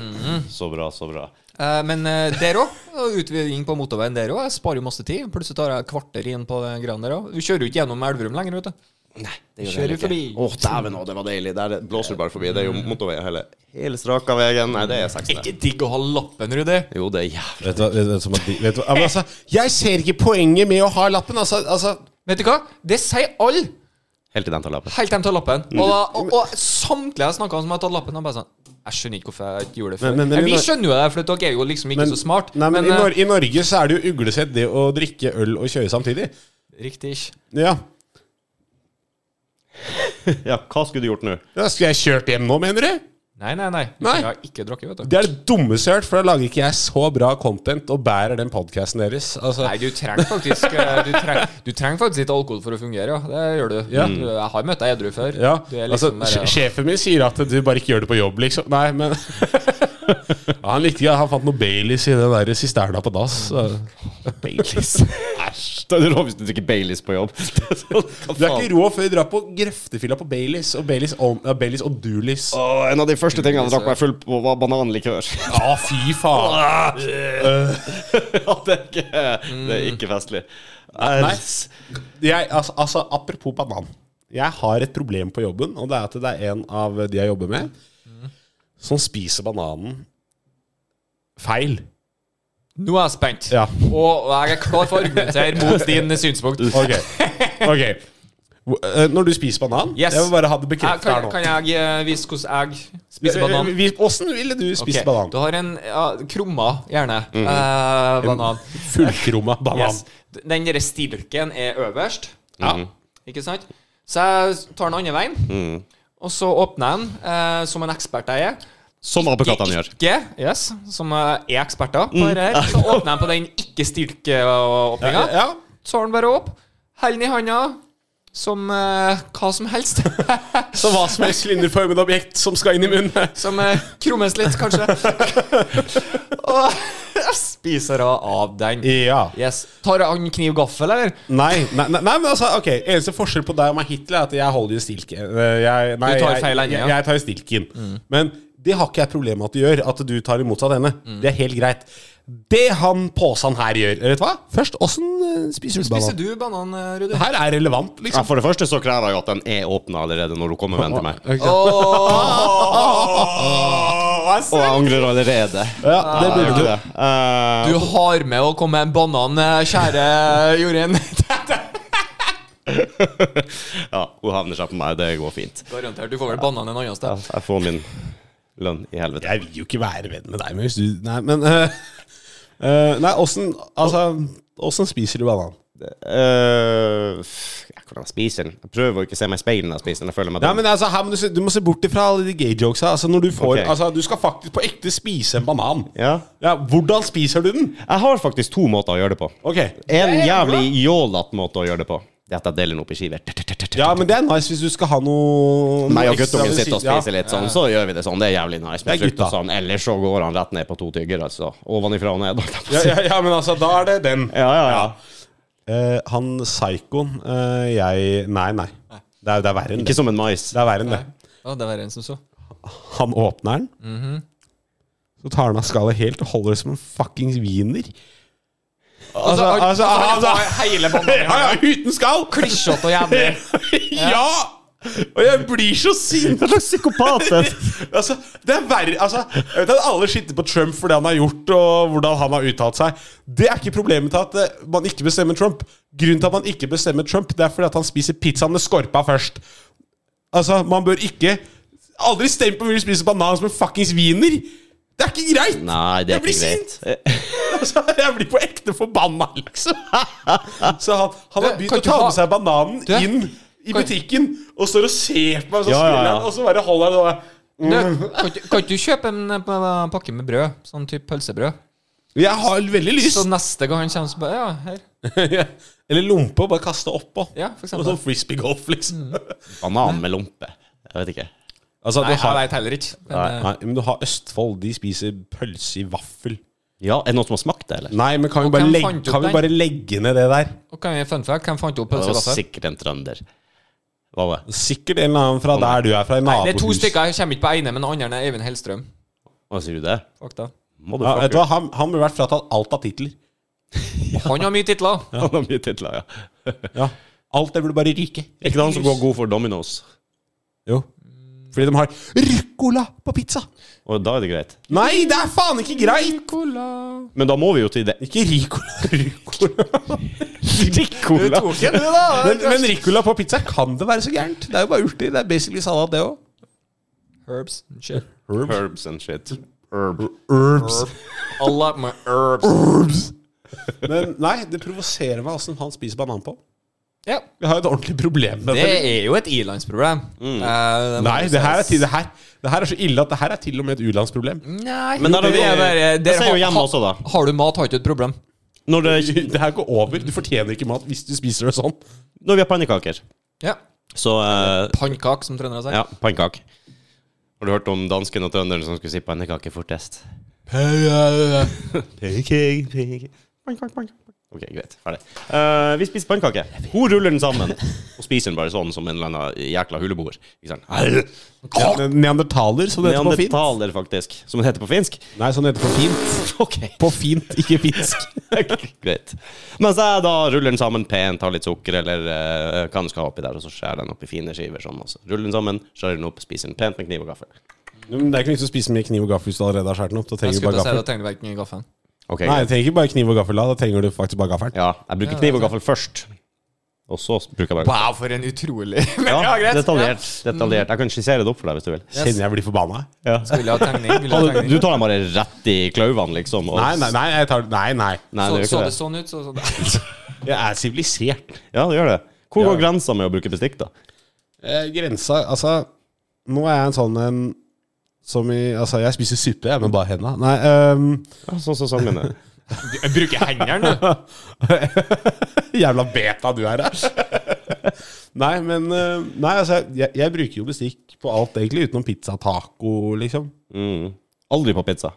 S1: Så bra, så bra.
S2: Eh, Men eh, der òg, utviding på motorveien der òg, jeg sparer jo masse tid. Plutselig tar jeg kvarter inn på den greia der òg. Du kjører jo ikke gjennom Elverum lenger, vet du.
S1: Nei, det
S2: Kjører forbi.
S1: Å, dæven òg, det var deilig. Der blåser det bare forbi. Det er jo motorvei hele, hele straka veien. Nei, det er 60.
S2: digg å ha lappen, Rudi.
S1: Jo, det er jævlig
S3: Vet du hva, vet du hva som er digg? Vet du hva- ja, men altså, jeg ser ikke poenget med å ha lappen. Altså, altså
S2: Vet du hva? Det sier alle
S1: Helt til den tar lappen.
S2: helt til de tar lappen.
S3: Mm.
S2: Og, da- og, og samtlige jeg snakka med som har tatt lappen, har bare sånn Jeg skjønner ikke hvorfor jeg ikke gjorde det før.
S3: Men- men- men
S2: Eh,
S3: i
S2: vi
S3: Nor-
S2: skjønner jo det, for dere er jo liksom ikke
S3: men-
S2: så smart.
S3: Nei, men,
S2: men,
S3: i,
S2: eh,
S3: Nor I Norge så er det jo uglesett det å drikke øl og kjøre samtidig.
S2: Riktig ikke.
S3: Ja.
S1: Ja, hva skulle du gjort nå?
S3: ja Skulle jeg kjørt hjem nå, mener du?
S2: Nei, nei, nei.
S3: Nei.
S2: Jeg har ikke drukket, vet du.
S3: Det er det dummeste jeg har hørt, for da lager ikke jeg så bra content og bærer den podkasten deres. Altså,
S2: Nei, du trenger faktisk eh, du trenger, du trenger faktisk litt alkohol for å fungere, ja. Det gjør du.
S3: Ja.
S2: du jeg har møtt deg edru før.
S3: ja,
S2: Du er
S3: altså
S2: liksom bare-
S3: sj- Sjefen min sier at du bare ikke gjør det på jobb, liksom. Nei, men ja, Han likte ikke Han fant noe Baileys i den der sisterna på dass. så-
S1: Baileys. Æsj. Da er det rå hvis du drikker Baileys på jobb. Det er sånn, hva
S3: Du er ikke
S1: faen?
S3: rå før du drar på grøftefylla på Baileys og Baileys, on, ja, Baileys og Doolies. Å,
S1: Å, en av de første tingene jeg drakk meg full på, var bananlikør.
S3: fy
S1: Ah,
S3: faen!
S1: Ja, det er ikke, det er ikke festlig. Nei.
S3: Jeg, altså, altså, apropos banan. Jeg har et problem på jobben, og det er at det er en av de jeg jobber med, som spiser bananen feil.
S2: Nå er jeg spent.
S3: Ja.
S2: Og jeg er klar for å argumentere mot din synspunkt.
S3: Ok. Ok. Hvor- eh, Når du spiser banan
S2: Yes.
S3: Jeg vil bare ha det
S2: Jeg,
S3: bekreftet her
S2: kan,
S3: nå.
S2: kan jeg eh, vise hvordan jeg spiser
S3: Eh,
S2: banan?
S3: vi- Hvordan ville du spist
S2: Ok,
S3: banan?
S2: Du har en ja, krumma, gjerne. eh, banan.
S3: Fullkromma banan.
S2: Yes. Den derre stilken er øverst, Mm.
S3: Ja.
S2: ikke sant? Så jeg tar den andre veien,
S3: Mm.
S2: og så åpner jeg den, eh, som en ekspert jeg er.
S1: Som apekattene gjør.
S2: Ikke, yes, som eh, er
S3: Mm.
S2: eksperter på det her. Så åpner jeg på den ikke-stilkeåpninga.
S3: Ja. ja.
S2: tar den bare opp, holder den i handa, som eh, hva som helst.
S3: Så hva som helst linjeformet objekt som skal inn i munnen.
S2: som eh, krummes litt, kanskje. Og jeg spiser av av den.
S3: Ja.
S2: Yes. Tar jeg annen kniv gaffel, eller?
S3: Nei, nei, nei, nei, men altså, ok Eneste forskjell på deg og meg hittil er at jeg holder i stilken. Eh, Jeg, nei,
S2: Du tar
S3: jeg-
S2: feil Mm. ende, ja.
S3: Jeg, jeg tar i stilken. Men det har ikke jeg problem med at du gjør, at du tar imot av denne. Det er helt greit. Det han påsan her gjør Vet du hva? Først, åssen eh, spiser du
S2: Spiser
S3: banan?
S2: du banan, eh, Rudi?
S3: Her er relevant, liksom.
S1: Ja, for det første så krever jeg jo at den er åpna allerede når hun kommer med den til meg. Og jeg angrer allerede.
S3: Ah, Ja, det
S1: Jeg gjør
S3: burde du.
S1: ikke det. Eh,
S2: Du har med å komme med en banan, eh, kjære Jorunn.
S1: ja, hun havner seg på meg. Det går fint.
S2: Garantert. Du får vel banan en annen sted.
S1: Jeg får min lønn i helvete.
S3: Jeg vil jo ikke være venn med deg, men hvis du Nei, men øh, øh, Nei, åssen Altså, åssen spiser du banan?
S1: Eh, f- ja, hvordan jeg spiser den? Jeg prøver å ikke se meg i speilet når jeg spiser den. Jeg føler meg
S3: Ja,
S1: dum.
S3: men altså, her må du, se- du må se bort ifra alle de gay-jokesa. Altså, når du får
S1: Ok.
S3: Altså, du skal faktisk på ekte spise en banan.
S1: ja.
S3: Ja, hvordan spiser du den?
S1: Jeg har faktisk to måter å gjøre det på.
S3: Ok.
S1: En jævlig jålete måte å gjøre det på. Det er at jeg deler den opp i skiver.
S3: Ja, men det er nice hvis du skal ha noe
S1: Meg og
S3: ekstra
S1: guttungen
S3: ved
S1: sitter og
S3: siden- ja.
S1: spiser litt sånn, så gjør vi det sånn. Det er jævlig nice. Med
S3: Det er
S1: frukt og
S3: gutta.
S1: sånn. Ellers så går han rett ned på to tygger, altså. Ovenifra og ned.
S3: Ja, ja, ja, men altså, da er det den.
S1: ja, ja, ja.
S3: Eh, han psykoen eh, jeg Nei, nei. Det er, det er verre enn
S1: Ikke
S3: det.
S1: som en mais.
S3: Det er verre enn det.
S2: Ja, det var en som så.
S3: Han åpner den. Mhm. Så tar han av skallet helt og holder det som en fuckings wiener. Altså,
S2: han-
S3: altså,
S2: altså,
S3: altså,
S2: hele bananen.
S3: Ja, ja, uten skall!
S2: Klissete og jævlig.
S3: ja! Og jeg blir så sint!
S1: Hva slags psykopat er det?
S3: altså, det er verre altså, Jeg vet at alle skitter på Trump for det han har gjort, og hvordan han har uttalt seg. Det er ikke problemet til at eh, man ikke bestemmer Trump. Grunnen til at man ikke bestemmer Trump, Det er fordi at han spiser pizzaen med skorpa først. Altså, man bør ikke Aldri stem på om vi spiser banan som en fuckings wiener! Det er ikke greit!
S1: Nei, det er
S3: jeg blir
S1: ikke greit.
S3: sint! Altså, jeg blir på ekte forbanna, liksom. Så han, han har
S2: Du,
S3: begynt
S2: kan
S3: å
S2: du
S3: ta
S2: ha-
S3: med seg bananen
S2: Du,
S3: inn i butikken, og står og ser på meg, og så
S1: Ja, ja,
S3: smiler
S1: ja.
S3: han, og så bare holder han det der.
S2: Du, kan, ikke- kan ikke du kjøpe en eh, pa- pakke med brød? Sånn type pølsebrød?
S3: Jeg har veldig lyst.
S2: Så neste gang han kommer, så bare Ja, her.
S3: Eller lompe og bare kaste oppå.
S2: Ja, for
S3: Og
S2: eksempel.
S3: sånn frisbee-golf, liksom.
S1: Banan med lompe. Jeg vet ikke.
S3: Altså,
S2: Nei,
S3: du
S2: jeg
S3: har,
S2: veit heller ikke. Men,
S3: nei, men du har Østfold. De spiser pølse i vaffel.
S1: Ja, er det noen som har smakt det, eller?
S3: Nei, men kan vi,
S2: Og
S3: bare
S2: hvem
S3: legge,
S2: fant opp
S3: kan vi
S2: den?
S3: bare legge ned det der?
S2: Og kan vi fun fact, hvem fant opp
S1: Det var
S2: pølselasset?
S1: sikkert en trønder. Hva var det?
S3: Sikkert en eller annen fra der du er fra. i
S2: Nei, det er to
S3: nabohus.
S2: stykker. Jeg kommer ikke på ene, men den andre er Eivind Hellstrøm.
S1: Hva sier du det?
S2: Fakta.
S3: Ja, vet du
S1: Motherfucker.
S3: hva? Han, han burde vært fratatt alt av titler.
S2: Han har mye titler.
S1: Han har mye titler, ja.
S3: Ja. Alt det burde bare ryke.
S1: Er ikke det han som går god for Domino's?
S3: Jo. Fordi de har ruccola på pizza.
S1: Og da er det greit.
S3: Nei, det er faen ikke greit!
S1: Men da må vi jo til det.
S3: Ikke ricola. ricola.
S1: Ricola!
S2: du, da?
S3: Men, men ricola på pizza, kan det være så gærent? Det er jo bare urter. Det er basically salat, det òg.
S2: Herbs. and Shit.
S1: Herbs and shit. Herb.
S3: Herbs.
S2: Alle med herbs.
S3: Men nei, det provoserer meg åssen han spiser banan på.
S2: Ja.
S3: Vi har jo et ordentlig problem med
S2: Det
S3: det.
S2: er jo et i-landsproblem.
S1: Mm.
S2: Eh, må
S3: Nei,
S2: jo
S3: det her, er,
S2: sies.
S3: til- det, her, det her er så ille at det her er til og med et u-landsproblem.
S2: Nei,
S1: Men der eh, har
S2: det er
S1: vi-
S2: bare-
S1: Det ser jo
S2: har-
S1: hjemme
S2: har-
S1: også, da.
S2: Har du mat, har du ikke et problem.
S1: Når, det,
S3: Det her går over. Du fortjener ikke mat hvis du spiser det sånn.
S1: når vi har pannekaker,
S2: Ja.
S1: så eh,
S2: Pannkak, som trøndere sier.
S1: Ja, pannekake. Har du hørt om dansken og trønderen som skulle si pannekake fortest? Pannekake, pannekake. Pannekake, pannekake. Ok, greit. Ferdig. Eh, vi spiser pannekake. Hun ruller den sammen og spiser den bare sånn som en eller annen jækla huleboer. Ikke sant?
S3: Ja, men neandertaler, som det heter på fint.
S1: Neandertaler, faktisk. Som det heter på finsk.
S3: Nei, sånn heter det på fint.
S1: Ok,
S3: På fint, ikke finsk.
S1: greit. Mens jeg da ruller den sammen pent, har litt sukker eller eh, hva du skal ha oppi der, og så skjærer den opp i fine skiver sånn. og så Ruller den sammen, skjærer den opp, spiser den pent med kniv og gaffel.
S3: Men det er ikke noe vits å spise med kniv og gaffel hvis du allerede har skåret den opp. Da
S2: Jeg
S3: trenger du
S2: skulle til å
S3: bare
S2: si
S3: gaffel.
S2: da trenger du verken gaffelen.
S1: Ok,
S3: Nei,
S1: greit.
S3: du trenger ikke bare kniv og gaffel da. Da trenger du faktisk bare gaffelen.
S1: Ja, jeg bruker kniv og gaffel først. Og så bruker jeg bare
S2: Wow, for en utrolig
S1: ja,
S2: greit.
S1: detaljert, detaljert. Jeg kan skissere det opp for deg hvis du vil.
S3: Kjenner jeg blir forbanna.
S2: Skulle ha tegning. Ville
S1: Du,
S2: ha tegning.
S1: du tar den bare rett i klauvene, liksom. Og,
S3: Nei, nei, nei. Jeg tar, nei, nei.
S1: Nei,
S2: så,
S1: det gjør
S2: så det
S1: ikke det.
S2: sånn ut? Så, så.
S3: Jeg er sivilisert.
S1: Ja, det gjør det. Hvor går grensa med å bruke bestikk, da?
S3: Eh, grensa Altså, nå er jeg en sånn en som i Altså, jeg spiser suppe, jeg, med bare henda. Nei, ehm,
S1: Ja, Sånn som sånn mine.
S2: Jeg bruker hendene, du.
S3: Jævla beta du er, da. nei, men eh, Nei, altså, jeg, jeg bruker jo bestikk på alt, egentlig, utenom pizza taco, liksom.
S1: Mm. Aldri på pizza.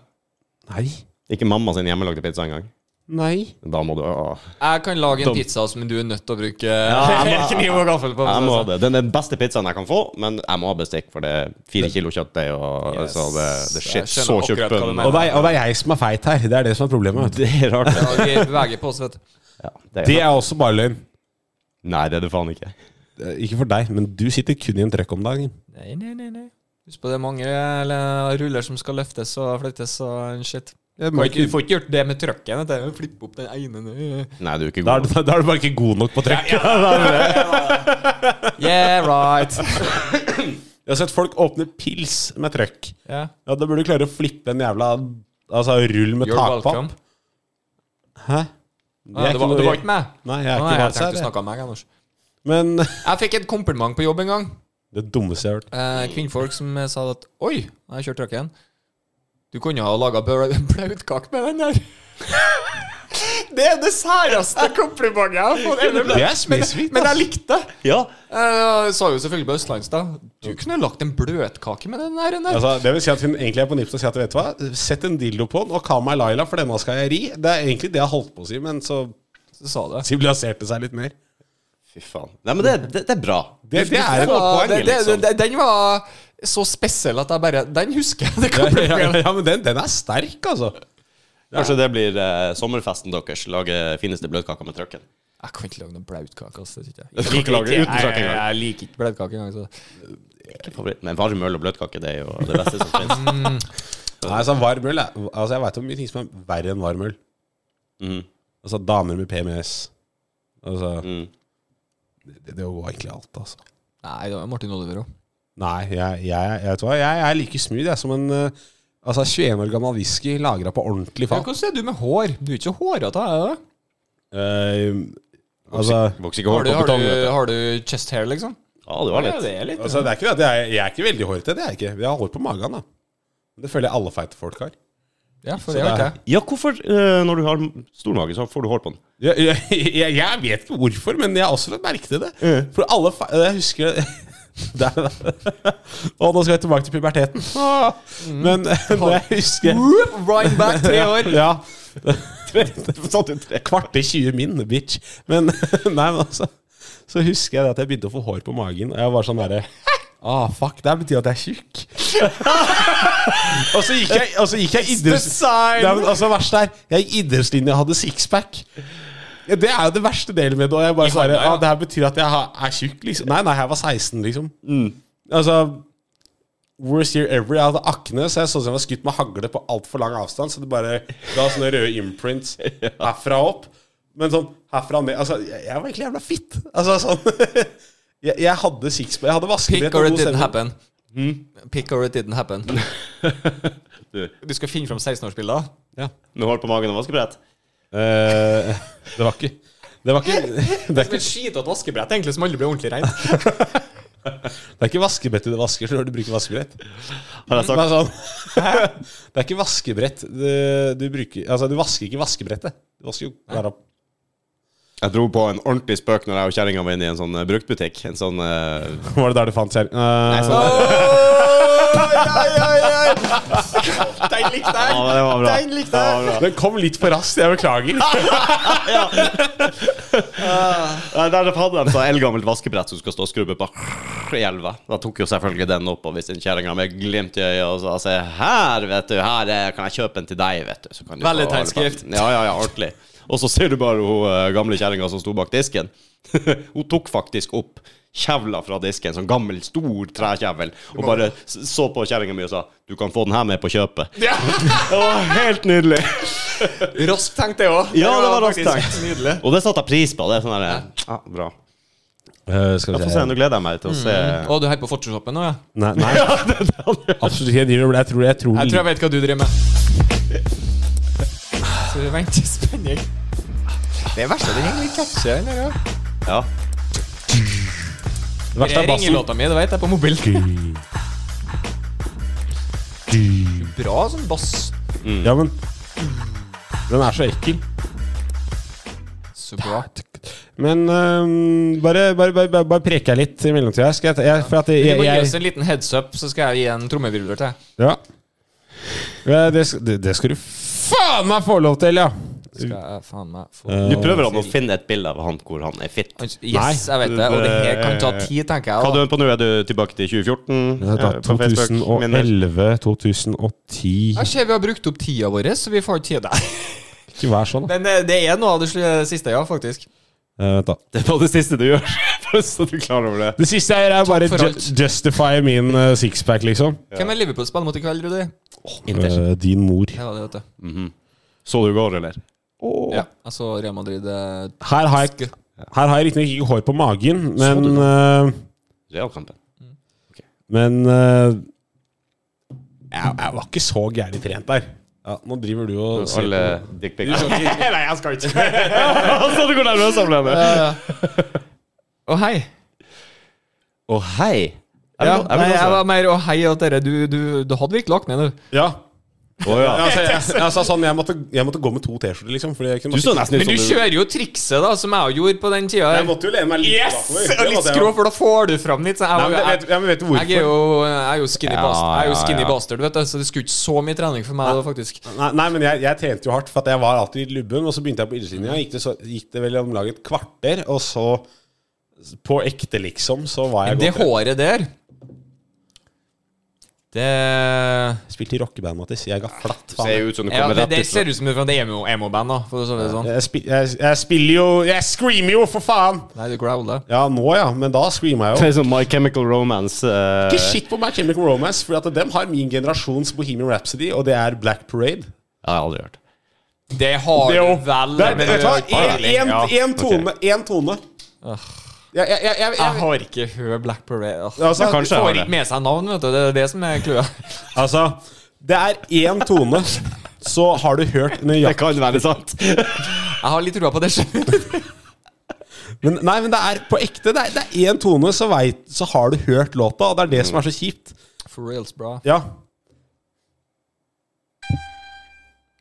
S3: Nei.
S1: Ikke mamma sin hjemmelagde pizza engang.
S3: Nei.
S1: Da må du åh.
S2: Jeg kan lage en
S1: Tom.
S2: pizza som du er nødt til å bruke
S1: jeg må-
S2: kniv og gaffel på.
S1: Jeg må ha
S2: for å si
S1: Altså, det. Det er den beste pizzaen jeg kan få, men jeg må ha bestikk, for det er fire kilo kjøttdeig, og
S2: Yes.
S1: så Altså, det, det er
S2: Jeg
S1: shit,
S2: skjønner
S1: så
S2: akkurat
S1: tjukk
S2: hva du
S1: bunn.
S3: Og
S1: og-
S3: det, er, og det er jeg som er feit her. Det er det som er problemet. vet du.
S1: Det er rart.
S2: det. Ja, vi beveger på oss, vet du.
S1: Ja, det
S3: Det
S1: er.
S3: er også bare løgn.
S1: Nei, det er det faen ikke.
S3: Eh, Ikke for deg, men du sitter kun i en trøkk om dagen.
S2: Nei, nei, nei, nei. Husk på det er mange eller, ruller som skal løftes og flyttes og shit.
S3: Jeg
S2: Du
S3: må
S2: får ikke,
S3: ikke-
S2: du får ikke gjort det med trøkken. Vet du. Flippe opp den ene nå.
S1: Nei, du er ikke
S3: Da er,
S1: god.
S3: du, da er du bare ikke god nok på trøkk.
S2: Yeah, right.
S3: Jeg har sett folk åpne pils med trøkk.
S2: Yeah.
S3: Ja, Da burde du klare å flippe en jævla Altså rull med
S2: You're welcome.
S3: takpapp. Hæ?
S2: Ah, det, var, det var ikke meg?
S3: Nei, jeg er
S2: Å,
S3: ikke
S2: nei, jeg
S3: valgt
S2: tenkte du
S3: her. jeg.
S2: snakket om meg. Anders.
S3: Men
S2: Jeg fikk et kompliment på jobb en gang.
S3: det dummeste jeg har hørt.
S2: Eh, kvinnfolk som eh, sa at Oi, jeg kjørte trøkken. Du kunne ha laga blautkake med den der. det er det særeste komplimentet jeg har fått. Eller-
S3: Det er spesifikt, altså.
S2: Men, men jeg likte det.
S1: Ja,
S2: Eh, Jeg sa jo selvfølgelig på østlands, da. Du kunne lagt en bløtkake med den der. den der.
S3: Altså, det vil si at hun egentlig er på nippet og sier at vet du hva, sett en dildo på den og kall meg Laila, for denne skal jeg ri. Det er egentlig det jeg holdt på å si, men så
S2: Så sa det.
S3: siviliserte seg litt mer.
S1: Fy faen. Nei, men det, det, det er bra.
S3: Det, det er
S2: Det
S3: et godt
S2: var-
S3: poeng,
S2: det- det-
S3: liksom.
S2: det- Den var så spesiell at jeg bare Den husker jeg. Det kan bli
S3: Ja, ja, ja, men den, den er sterk, altså.
S1: Kanskje det blir eh, sommerfesten deres. Lage fineste bløtkaker med trøkken.
S2: Jeg kan ikke lage noe blautkake. Altså, det
S1: Du kan ikke lage det uten trøkk engang.
S2: Jeg liker ikke blautkake engang. Så.
S1: Ikke favoritt, Men varm øl og bløtkake, det er jo det beste som finnes.
S3: Nei, altså, varm øl er- altså, Jeg veit om mye ting som er verre enn varm øl.
S1: Mhm.
S3: Altså damer med PMS. Altså
S1: Mm.
S3: Det, det var egentlig alt, altså.
S2: Nei, det var Martin Oliver òg.
S3: Nei, jeg, jeg, jeg vet hva, jeg er like smooth jeg, som en eh, altså, 21 år gammel whisky lagra på ordentlig fat.
S2: Hvordan er du med hår? Du er ikke hårete, er du det?
S3: Eh, altså,
S1: Vokser ikke
S2: Har
S1: hår
S2: du,
S1: på
S2: har,
S1: betongen.
S2: du,
S1: vet du.
S2: har du chest hair, liksom?
S1: Ja, du har
S2: Ja,
S1: litt.
S2: det er litt.
S3: altså, det er ikke det at jeg, jeg er ikke veldig hårete. Det er jeg ikke. Jeg har hår på magen, da. Det føler jeg alle feite folk har.
S2: Ja, for
S3: Så
S2: det har
S3: det
S2: ikke
S3: er-
S2: jeg.
S1: Ja, hvorfor, eh, når du har stor mage, så får du hår på den?
S3: Jeg, jeg, jeg, jeg vet ikke hvorfor, men jeg har også lagt merke til det. For alle fe Jeg husker der, der. Og nå skal jeg tilbake til puberteten. Åh. Men når jeg husker
S2: Whoop, Right back, tre år.
S3: Ja.
S1: Satt ut tre.
S3: Kvarte 20 min, bitch. Men nei, men altså Så husker jeg det at jeg begynte å få hår på magen, og jeg var sånn derre Ah, fuck, det her betyr at jeg er tjukk. og så gikk jeg, og så gikk jeg idretts...
S2: sign.
S3: Nei, men altså, verst er, jeg gikk idrettslinja og hadde sixpack. Ja, det er jo det verste delen med det. Og jeg bare svarer,
S2: hånda, ja.
S3: ah, det her betyr at jeg har- er tjukk, liksom. Nei, nei, jeg var 16, liksom. Altså, worst year ever. Jeg hadde akne, så jeg så ut som jeg var skutt med hagle på altfor lang avstand. Så det bare ga sånne røde imprints herfra opp. Men sånn herfra og ned Altså, jeg, jeg var egentlig jævla fit. Altså sånn Jeg, jeg hadde sixpack. Jeg hadde
S2: Pick
S3: vaskebrett
S2: or it
S3: og god
S2: didn't
S3: stemning.
S2: happen. Pick or it didn't happen.
S1: Hmm? Du,
S2: Du skal finne fram 16-årsbilder?
S3: Ja.
S1: med hår på magen og vaskebrett.
S3: Eh, det var ikke Det var ikke Det er
S2: Det er
S3: ikke,
S2: et skitete vaskebrett egentlig som aldri blir ordentlig rent.
S3: det er ikke vaskebrettet du vasker når du bruker vaskebrett.
S1: Har jeg
S3: Det
S1: sagt
S3: er, sånn. det er ikke vaskebrett du, du bruker Altså, du vasker ikke vaskebrettet. Du vasker jo hver opp.
S1: Jeg dro på en ordentlig spøk når jeg og kjerringa var inne i en sånn eh, bruktbutikk. En sånn eh,
S3: Var det der du fant kjerringa?
S1: sånn-
S2: Den likte
S1: Ja, det var bra.
S2: Den likte
S1: Det
S2: jeg!
S1: var bra.
S3: Eh. Den kom litt for raskt, jeg beklager.
S1: Nei, Der hadde de så eldgammelt vaskebrett som skal stå og skrubbe på i elva. Da tok jo selvfølgelig den opp, og hvis en kjerringa med glimt i øyet og sa se her, vet du, her eh, kan jeg kjøpe en til deg, vet du. Så kan du få-
S2: Valentinsgift.
S1: Ja, ja, ja, ordentlig. Og så ser du bare hun eh, gamle kjerringa som sto bak disken. hun tok faktisk opp kjevla fra disken, sånn gammel, stor trekjevel, og bare s- så på kjerringa mi og sa du kan få den her med på kjøpet. det var helt nydelig.
S2: Raskt tenkt, det òg.
S1: Ja, det var raskt
S2: faktisk
S1: tenkt.
S2: Nydelig.
S1: Og det satte jeg pris på. Det er sånn der, ja, bra.
S3: Eh, skal
S1: Jeg får se, nå gleder jeg meg til å se.
S2: Å, du holder på Photoshop nå, ja?
S3: Nei, nei. Absolutt ikke. Jeg driver med det. Jeg tror, jeg tror,
S2: Jeg tror jeg vet hva du driver med. Så vi venter i spenning. Det er verst at den egentlig catcher den. der, ja.
S1: Ja.
S3: det verste
S2: Jeg
S3: er
S2: ringer
S3: bassen.
S2: låta mi, det vet jeg, på mobilen. Bra sånn bass.
S3: Ja, men Den er så ekkel.
S2: Så bra.
S3: Men øhm, bare, bare, bare, bare, bare preker jeg litt i mellomtida. Skal jeg, ta- jeg, for at jeg,
S2: Du må
S3: jeg,
S2: gi oss
S3: jeg
S2: en liten heads up, så skal jeg gi en trommevirvel til.
S3: ja. Ja, det, sk- det, det skal du faen meg få lov til, ja! Eh,
S2: Skal jeg faen meg få
S1: Du prøver han å finne et bilde av han hvor han er fit.
S2: Yes,
S3: Nei,
S2: jeg vet det. Og det her kan ta tid, tenker
S1: Hva er
S2: jeg.
S1: du på nå? Er du tilbake til 2014?
S3: Det er da
S1: eh, på Facebook, min del?
S3: 2011, 2010
S2: Jeg ser vi har brukt opp tida vår, så vi får ikke tid der.
S3: Ikke vær sånn, da.
S2: Men eh, det er noe av det sli- siste, ja, faktisk.
S3: Eh, Vent, da.
S1: Det var det siste du gjør, bare så du er klar over det.
S3: Det siste jeg gjør, er bare
S2: for
S3: ju
S2: alt.
S3: justify min eh, sixpack, liksom.
S2: Hvem er Liverpool spiller mot i kveld, Rudi?
S3: Eh, din mor.
S2: Det var det, vet du.
S1: Så du i går, eller?
S2: Ja, altså Real Madrid eh,
S3: Her har jeg, her har jeg riktignok ikke hår på magen, men
S1: du
S3: eh,
S1: Realkampen.
S3: Men eh, jeg, jeg var ikke så gærent trent der. Ja, nå driver du og ser
S1: Alle
S3: på-
S1: dickpics.
S3: Nei, jeg skal ikke.
S1: Så du går nervøs av det? Å,
S2: Å, hei.
S1: hei! Jeg vil-
S2: Ja,
S1: jeg vil
S2: nei,
S1: også-
S2: jeg var mer å hei at dere Du, du, du hadde virkelig lagt ned, du.
S3: Ja.
S1: Å, ja.
S3: Altså, jeg, jeg sa sånn, jeg måtte, jeg måtte gå med to T-skjorter, liksom. Fordi jeg, kunne,
S1: Du så nesten ut
S2: Men du
S1: som
S2: kjører jo trikset, da, som jeg gjorde på den tida.
S3: jeg måtte jo lene meg litt
S2: Yes!
S3: bakover.
S2: Og
S3: Det
S2: litt
S3: måtte jeg
S2: skrå,
S3: jo.
S2: for da får du fram litt. Så
S3: Nei,
S2: jeg,
S3: men vet,
S2: jeg,
S3: ja, men vet du hvorfor?
S2: jeg er jo, jeg er jo skinny
S1: Ja,
S2: bast- jeg er jo
S1: ja,
S2: skinny
S1: ja.
S2: bastard, vet du, så det skulle ikke så mye trening for meg da, faktisk.
S3: Nei, nei, men jeg, jeg trente jo hardt, for at jeg var alltid litt lubben. Og så begynte jeg på idrettslinja. Gikk, det så- gikk det vel om lag et kvarter, og så På ekte, liksom, så var jeg
S2: Men det
S3: godt trent.
S2: håret der Det
S3: Jeg Spilte i rockeband, Mattis. Jeg ga flatt
S1: du
S3: faen.
S1: ser ut som du
S2: Ja,
S1: kommer
S2: det,
S1: rett
S2: det
S1: ut fra
S2: ser ut som det er fra et emo- emo-band, da. For å si det sånn.
S3: Jeg, spil, jeg, jeg spiller jo Jeg screamer jo, for faen!
S2: Nei, det growler.
S3: Ja, nå ja, men da screama jeg
S1: Det
S3: jo.
S1: er sånn My Chemical Romance. eh,
S3: Ikke shit på My Chemical Romance, for at dem har min generasjons Bohemian Rhapsody, og det er Black Parade.
S1: Jeg har aldri hørt.
S2: Det har
S3: jo
S2: du vel
S3: Det er-
S2: men
S3: Vet du
S2: du
S3: hva?
S2: har ikke
S3: En-
S2: peiling.
S3: en-
S2: Ja.
S3: en tone. En tone. Jeg, jeg, jeg, jeg,
S2: Jeg
S3: jeg,
S2: har ikke hørt Black Parade. Åh.
S3: altså,
S1: Ja, kanskje.
S2: Får
S1: har det.
S2: ikke med seg navn, vet du. Det er det som er clouet.
S3: altså, det er én tone, så har du hørt
S1: Det
S3: nøyaktig
S1: kan være sant.
S2: Jeg har litt trua på det. selv.
S3: men, Nei, men det er på ekte. Det er- det er én tone, så, vet, så har du hørt låta, og det er det som er så kjipt.
S2: For reals, bra.
S3: Ja.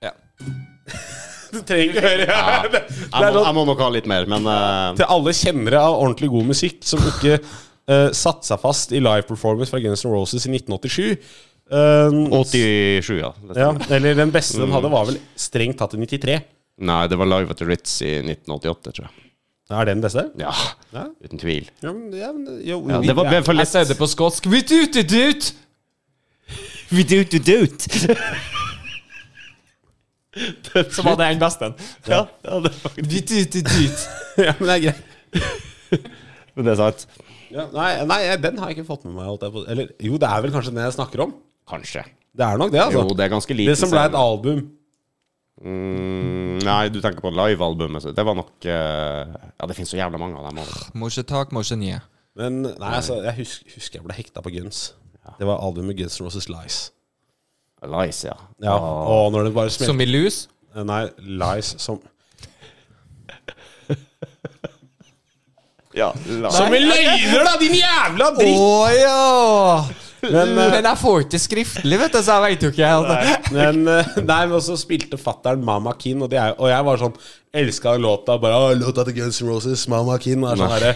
S2: Ja.
S3: Du trenger ikke høre.
S1: Ja.
S3: Det,
S1: Jeg
S3: er
S1: må,
S3: sånn-
S1: jeg må nok ha litt mer, men eh,
S3: til alle kjennere av ordentlig god musikk som ikke eh, satte seg fast i live performance fra Guns N' Roses i 1987. Um,
S1: 87, ja.
S3: ja, eller den beste de hadde, var vel strengt tatt i 93.
S1: Nei, det var Live at the Ritz i 1988, tror jeg.
S3: Er det den beste?
S1: Ja,
S3: Ja.
S1: uten tvil.
S3: Ja, men, ja, men, jo,
S1: Ja, det var i hvert fall
S2: Jeg
S1: litt
S2: sier det på skotsk. Vi tuter tut! Så var det den beste.
S1: Ja, ja, det er faktisk-
S2: Vi tuter tut.
S3: ja, men det er greit.
S1: Men det er sant.
S3: Ja, nei, nei, den har jeg ikke fått med meg. Holdt jeg på. Eller jo, det er vel kanskje den jeg snakker om.
S1: Kanskje.
S3: Det er nok det, altså.
S1: Jo, det er ganske liten
S3: det som ble et
S1: scene.
S3: album.
S1: Mm, nei, du tenker på livealbumet. så Det var nok eh, Ja, det finnes så jævla mange av dem. også.
S2: Må ikke tak, må ikke nye.
S3: Men nei, altså, jeg husker, husker jeg ble hekta på Guns. Det var albumet Guns N' Roses Lies.
S1: Lies, ja. Ah.
S3: Ja, Og når det bare smelte
S2: Som i lus.
S3: Nei, Lies som
S1: ja lies.
S2: Som i løgner,
S3: da, din jævla
S2: Å ja!
S3: Men, eh,
S2: Men jeg får ikke skriftlig, vet du, så jeg veit jo ikke. altså. helt.
S3: Men, eh, nei, men også spilte fatteren Mama Keen, og, det er, og jeg var sånn Elska låta. Bare «Å, låta til Guns N' Roses, Mama Keen. Er sånn
S1: Nei.
S3: herre.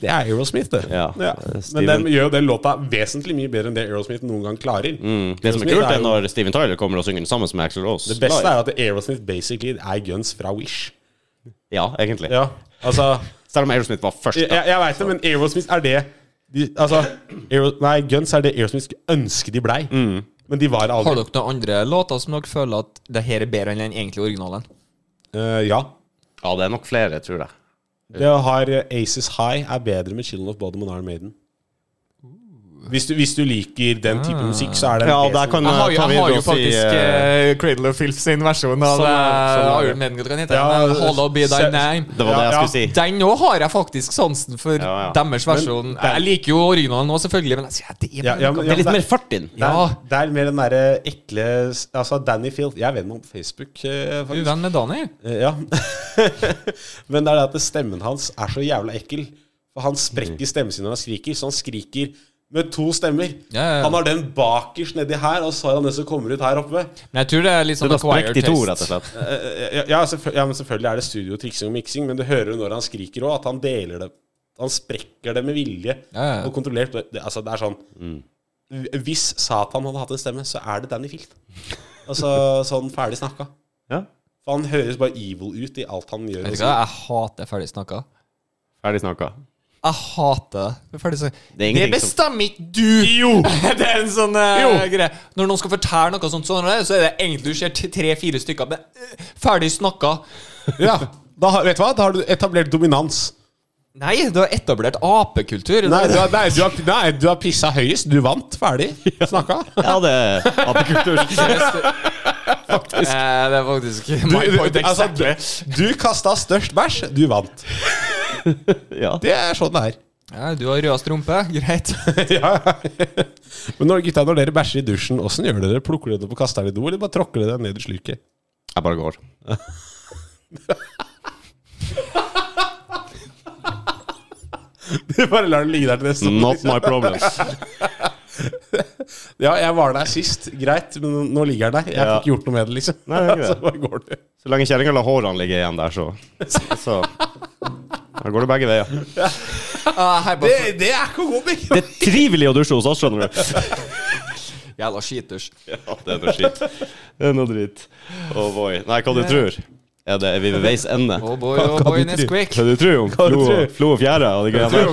S3: det er Aerosmith, det.
S1: Ja,
S3: Men
S1: Steven.
S3: den gjør jo den låta vesentlig mye bedre enn det Aerosmith noen gang klarer.
S1: Mm, det som er
S3: Aerosmith
S1: kult, er
S3: jo-
S1: når Steven Tyler kommer og synger den sammen som Axel Rose.
S3: Det beste
S1: live.
S3: er at Aerosmith basically er Guns fra Wish.
S1: Ja, egentlig.
S3: Ja, altså
S1: Selv om Aerosmith var først.
S3: Jeg,
S1: Da.
S3: jeg veit det, men Aerosmith er det de, Altså, Aero, nei, Guns er det Aerosmith skulle ønske de blei.
S1: Mm.
S3: Men de var
S2: Har
S3: aldri
S2: dere noen andre låter som dere føler at det her er bedre enn den egentlige originalen?
S3: Eh, Ja.
S1: Ja, det er nok flere, tror jeg.
S3: Det har eh, Aces High er bedre med Children of Bodom og Iron Maiden. Hvis du, hvis du liker den type
S2: Ah.
S3: musikk, så er det
S1: Ja,
S3: vesentlig-
S1: der kan
S2: Jeg har, jo-
S1: tar vi
S2: jeg har
S1: og
S2: jo
S1: si,
S2: faktisk
S1: eh,
S2: eh, Cradle of Filth sin versjon av
S3: Sånn er det,
S2: eh,
S3: sånn er det.
S2: Iron Maiden. hva den heter,
S3: Ja,
S2: men Hollow Be Thy
S3: se-
S2: Name.
S1: Det var det
S3: Ja,
S1: jeg
S3: ja.
S1: skulle si.
S2: Den òg har jeg faktisk sansen for,
S1: Ja, ja.
S2: deres versjon. jeg liker jo originalen nå selvfølgelig, men jeg sier, det er
S3: Ja, ja, men-
S1: Det er litt
S3: der-
S1: mer fart inn.
S3: der-
S2: Ja.
S3: Det er mer den derre ekle s- Altså, Danny Field Jeg er venn med ham på Facebook, eh, faktisk.
S2: Uvenn med Daniel.
S3: Eh, Ja. Men det er det at stemmen hans er så jævla ekkel. For han sprekker
S2: Mm.
S3: stemmen sin når han skriker, så han skriker med to stemmer.
S2: Ja, ja, ja.
S3: Han har den bakerst nedi her, og så har han den som kommer ut her oppe.
S2: Men jeg tror det er litt sånn
S1: Den har sprukket i to,
S2: taste.
S1: rett og slett.
S3: Eh, Ja, ja, selvfø- ja, men selvfølgelig er det studio, triksing og miksing, men du hører jo når han skriker òg, at han deler det Han sprekker det med vilje
S2: Ja, ja.
S3: og kontrollert. Det, det- altså, det er sånn Hvis Satan hadde hatt en stemme, så er det Danny Filt. Altså sånn ferdig snakka.
S1: Ja.
S3: For han høres bare evil ut i alt han gjør.
S2: Vet
S3: og
S2: du
S3: sånn.
S2: hva, jeg hater ferdig snakka.
S1: Ferdig snakka.
S2: Jeg hater det. Ferdig snakka.
S1: Det er
S2: Det
S1: ingenting som
S2: bestemmer ikke du! Jo! det er en sånn eh, greie. Når noen skal fortelle noe sånt, sånn, så er det egentlig du ser tre-fire stykker men eh, ferdig snakka.
S3: Ja, da, har- vet du hva? Da har du etablert dominans.
S2: Nei, du har etablert apekultur. Eh,
S3: Nei, du har, nei, du har, nei, du har pissa høyest. Du vant. Ferdig snakka.
S1: Ja, det er apekultur.
S2: faktisk. Eh, det er faktisk
S3: Du,
S2: my
S3: du,
S2: point
S3: altså,
S2: exactly.
S3: du, du kasta størst bæsj. Du vant.
S1: Ja.
S3: Det er sånn det er.
S2: ja, du har rød strømpe. Greit.
S3: ja. Men når, gutta, når dere bæsjer i dusjen, åssen gjør dere? Plukker dere det opp og kaster det i do, eller bare tråkker dere det ned i sluket?
S1: Jeg bare går.
S3: Du bare lar det ligge der til neste år,
S1: Not
S3: liksom.
S1: my problem.
S3: Ja, jeg var der sist, greit, men nå ligger den der. Jeg
S1: Ja.
S3: fikk ikke gjort noe med det, liksom.
S1: Nei, det er ikke det.
S3: Så bare går du.
S1: Så lenge kjerringa lar hårene ligge igjen der, så Så Da går det begge veier.
S2: Ah, hei,
S3: Det,
S2: bare,
S3: det er ikke å gå med!
S1: Det er trivelig å dusje hos oss, skjønner du.
S2: jævla skitdusj.
S1: Ja, det er noe skitt. Det er noe dritt. Oh boy. Nei, hva du tror? Er, det, er vi ved veis ende?
S2: Oh boy, oh
S3: Hva- hva
S2: boy,
S3: du
S2: Nesquik.
S1: Hva du tror om
S3: du
S1: flo,
S3: tror?
S1: flo og fjære og de greiene der?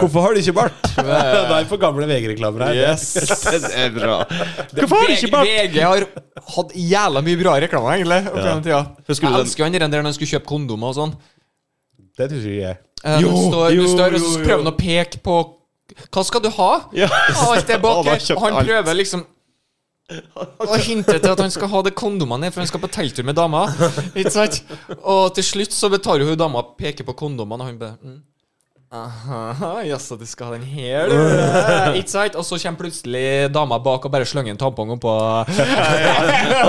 S3: Hvorfor har du ikke bart? Det er for gamle VG-reklamer her.
S1: Yes, det er bra. Hvorfor har du ikke bart?
S2: VG har hatt jævla mye bra reklame, egentlig. Opp gjennom tida.
S1: Husker du
S2: Jeg
S1: den-
S2: elsker jo han der når han skulle kjøpe kondomer og sånn.
S3: Det tror ikke jeg.
S2: Eh,
S1: Jo,
S2: du står,
S1: jo,
S2: du står og
S1: jo,
S2: så
S1: jo.
S2: prøver han å peke på Hva skal du ha?
S1: Ja.
S2: Alt er bak
S1: Han har
S2: her.
S1: kjøpt
S2: Og han
S1: alt.
S2: prøver liksom å hinte til at han skal ha det kondomene, for han skal på telttur med dama. Ikke sant? Og til slutt så betaler hun dama peker på kondomene, og han bare mm. Aha, jaså, du skal ha den her, du. Eh, Ikke sant? Og så kommer plutselig dama bak og bare slenger en tampong oppå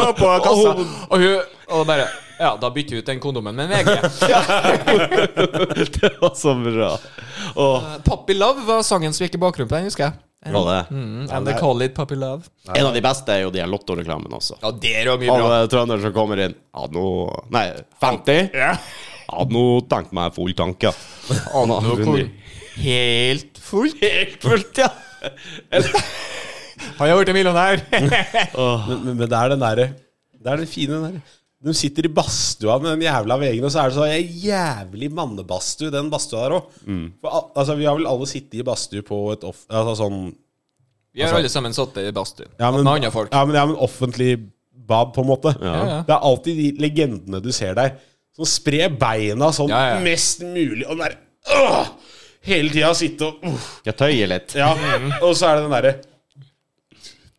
S2: Oppå kassa. Og hun og bare Ja, da bytter vi ut den kondomen med en VG.
S1: Det var så bra. Åh,
S2: Eh, Puppy Love var sangen som gikk i bakgrunnen på den, husker jeg.
S1: bra det.
S2: Mm, and they call it Puppy Love.
S1: En av de beste er jo de her lottoreklamene også.
S2: Ja, det er jo mye
S1: Av eh, trøndere som kommer inn Ja, nå Nei, 50? Ja, nå tenkte meg full tanke. Ja, nå
S2: Hvor- Helt fullt.
S1: Helt fullt, ja.
S2: Har jeg blitt millionær?
S3: Men, men, men det er den derre Det er den fine den derre De sitter i badstua med den jævla veggen, og så er det så en jævlig mannebadstue, den badstua der òg. Altså, vi har vel alle sittet i badstue på et off... Altså sånn
S2: Vi har alle sammen sittet i badstue
S3: ja, men,
S2: med andre folk.
S3: Ja, men det er en offentlig bad, på en måte.
S2: Ja, ja.
S3: Det er alltid de legendene du ser der. Som sprer beina sånn
S2: Ja, ja.
S3: mest mulig, og bare åh! Hele tida sitte og uff.
S1: Jeg tøyer litt.
S3: Ja,
S2: Mhm.
S3: og så er det den derre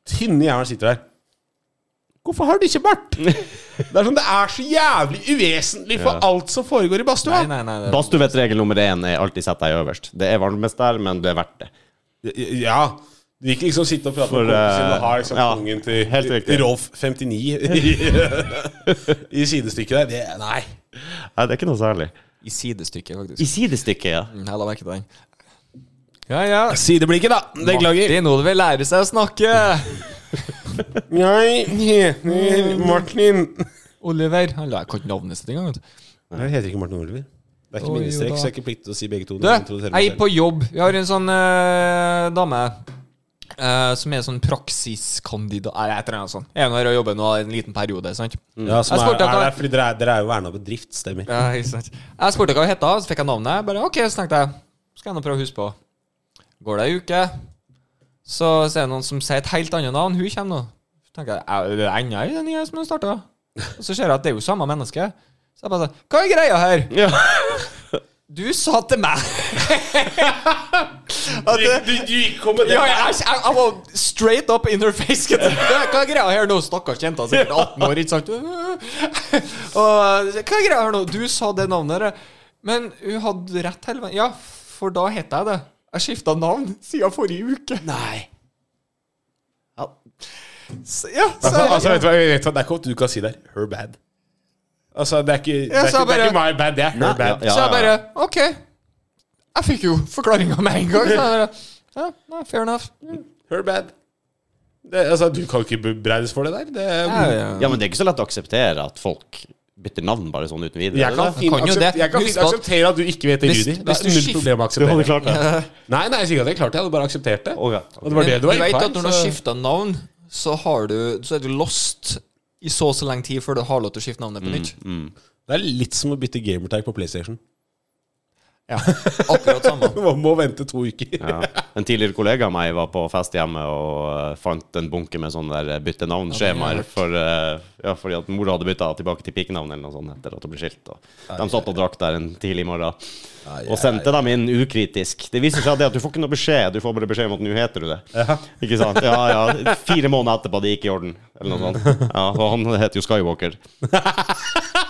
S3: tynne jævelen sitter der. Hvorfor har du ikke bart? Det er sånn, det er så jævlig uvesentlig for
S1: Ja.
S3: alt som foregår i badstua.
S2: Nei, nei, nei. Det,
S1: Badstuevettregel nummer én er alltid sett deg øverst. Det er varmest der, men det er verdt det.
S3: Ja. Du vil ikke liksom sitte og prate
S1: For,
S3: med kompisen
S1: eh,
S3: sin og ha liksom
S1: ja,
S3: kongen til
S1: helt riktig.
S3: Rolf 59 i, i sidestykket der. Det, nei.
S1: Nei, det er ikke noe særlig.
S2: I sidestykket, faktisk.
S1: I sidestykket, ja.
S2: Mm, Jeg la merke til den. Ja, ja.
S3: Sideblikket, da.
S2: Martin Olve lærer seg å snakke!
S3: Jeg heter Martin.
S2: Oliver. Han la jeg kan ikke navnet sitt engang. vet du.
S3: Nei, jeg heter ikke Martin Oliver. Det
S2: Oi,
S3: er ikke
S2: jo
S3: minnestrek,
S2: da.
S3: så jeg er ikke pliktig til å si begge to.
S2: Du, jeg er på jobb. Vi har en sånn eh, dame eh, som er sånn praksiskandidat Eller et eller annet sånt. Jeg er nå her og jobber nå en liten periode, sant?
S3: ja, som
S2: Jeg
S3: er,
S2: spurte
S3: er
S2: dere-
S3: der, fordi dere er, dere er jo verna bedrift, stemmer.
S2: Ja, ikke sant. Jeg spurte hva hun het, så fikk jeg navnet. Jeg Bare, ok, så tenkte jeg, skal jeg nå prøve å huske på. Går det ei uke, så ser jeg noen som sier et helt annet navn. Hun kommer nå. Så tenker jeg, er det enda ei den nye som har starta? Og så ser jeg at det er jo samme menneske. Så jeg bare sånn, hva er greia her?
S1: Ja.
S2: Du sa til meg at det-
S3: Du, gikk om med
S2: ja, jeg, jeg, jeg var straight up in her face. gutt. Hva er greia her nå? Stakkars jenta, sikkert 18 år, ikke sant? Og, hva er greia her nå? Du sa det navnet der. Men hun hadde rett hele veien. Ja, for da het jeg det. Jeg skifta navn siden forrige uke. Nei. Ja, så, ja, så,
S3: Altså, altså, vet du hva, vet du hva, det er ikke at du kan si der Her bad. Altså, det er ikke, det
S2: Ja,
S3: er
S2: så
S3: ikke, det er
S2: bare-
S3: ikke my bad, det er her
S1: Nei,
S3: bad.
S1: ja,
S2: så jeg bare OK. Jeg fikk jo forklaringa med en gang. Så jeg bare, ja, nei, fair enough.
S3: Her bad. Det, altså, du kan ikke bebreides for det der. Det,
S1: Ja, men det er ikke så lett å akseptere at folk bytter navn bare sånn uten videre.
S3: Jeg kan,
S1: eller?
S3: fint
S2: kan jo
S3: aksep-
S2: det.
S3: jeg kan
S2: Husk
S3: fint
S2: at-
S3: akseptere at du ikke vet det,
S2: Hvis-
S3: Rudi. Det
S2: hvis
S3: er
S2: du
S3: null
S2: skift-
S3: problem å
S1: Du hadde
S3: akseptere.
S1: klart det.
S3: Nei, nei, jeg sier ikke at jeg klarte det. Jeg hadde bare akseptert det.
S1: Å, ja.
S3: Og det var det du var
S2: vet
S3: feil,
S2: at når du har
S3: så-
S2: skifta navn, så, har du, så er du lost i så og så lang tid før du har lov til å skifte navnet på
S1: Mm,
S2: nytt.
S3: Det er litt som å bytte gamertag på PlayStation.
S2: Akkurat samme.
S3: Man må vente to uker.
S1: Ja. En tidligere kollega av meg var på fest hjemme og eh, fant en bunke med sånne der bytte navn-skjemaer. For, eh, ja, fordi at mora hadde bytta tilbake til pikenavn eller noe sånt etter at hun ble skilt. Og de satt og drakk der en tidlig morgen og sendte dem inn ukritisk. Det viser seg det at du får ikke noe beskjed, du får bare beskjed om at nå heter du det. Ikke sant? Ja, ja. Fire måneder etterpå det gikk i orden, eller noe sånt. Ja, og han heter jo Skywalker.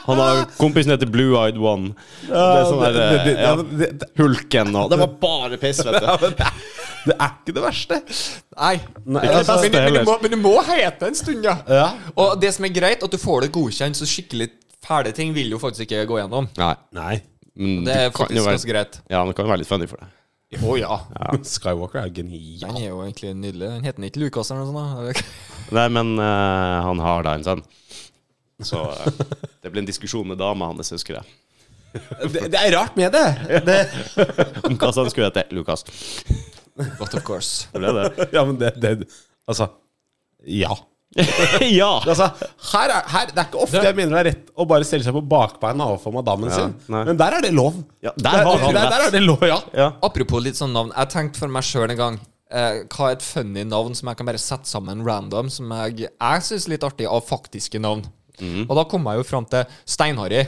S1: Han har kompisen heter Blue Eyed One. Det er sånn der,
S3: det- det-
S1: eh, ja,
S3: det- det- det-
S1: Hulken og Det var bare piss, vet du.
S3: Ja, men det er- det er ikke det verste.
S2: Nei.
S3: Nei,
S1: Ikke det
S3: altså,
S1: beste
S2: Men, men, du
S1: heller.
S2: må, men du må hete en stund, ja.
S3: Ja.
S2: Og det som er greit, at du får det godkjent, så skikkelig fæle ting vil jo faktisk ikke gå gjennom.
S1: Nei.
S3: Nei.
S1: Men
S2: Det er
S1: du Mm, kan jo
S2: faktisk
S1: være-
S2: ganske greit.
S1: Ja, men det kan jo være litt funny for deg.
S2: Å ja.
S3: Skywalker er
S2: Den
S3: genial.
S2: er jo egentlig nydelig. Den heter ikke Lukas eller noe sånt? da?
S1: Nei, men eh, han har da en sønn. Så eh, det ble en diskusjon med dama hans, husker jeg.
S3: Det, det er rart med det.
S1: Om hva han skulle hete. Lukas.
S2: But of course.
S1: Det ble det.
S3: Ja, men det, det Altså. Ja.
S1: ja!
S3: Altså, her er, her, det er ikke ofte jeg mener det er rett å bare stelle seg på bakbeina overfor madammen sin,
S1: nei.
S3: men der er det lov.
S1: Ja, der har han
S3: der, der er
S1: rett.
S3: det lov, ja.
S1: Ja.
S2: Apropos litt sånn navn. Jeg tenkte for meg sjøl en gang eh, hva er et funny navn som jeg kan bare sette sammen random, som jeg, jeg syns er litt artig, av faktiske navn. Og da kom jeg jo fram til Stein-Harry.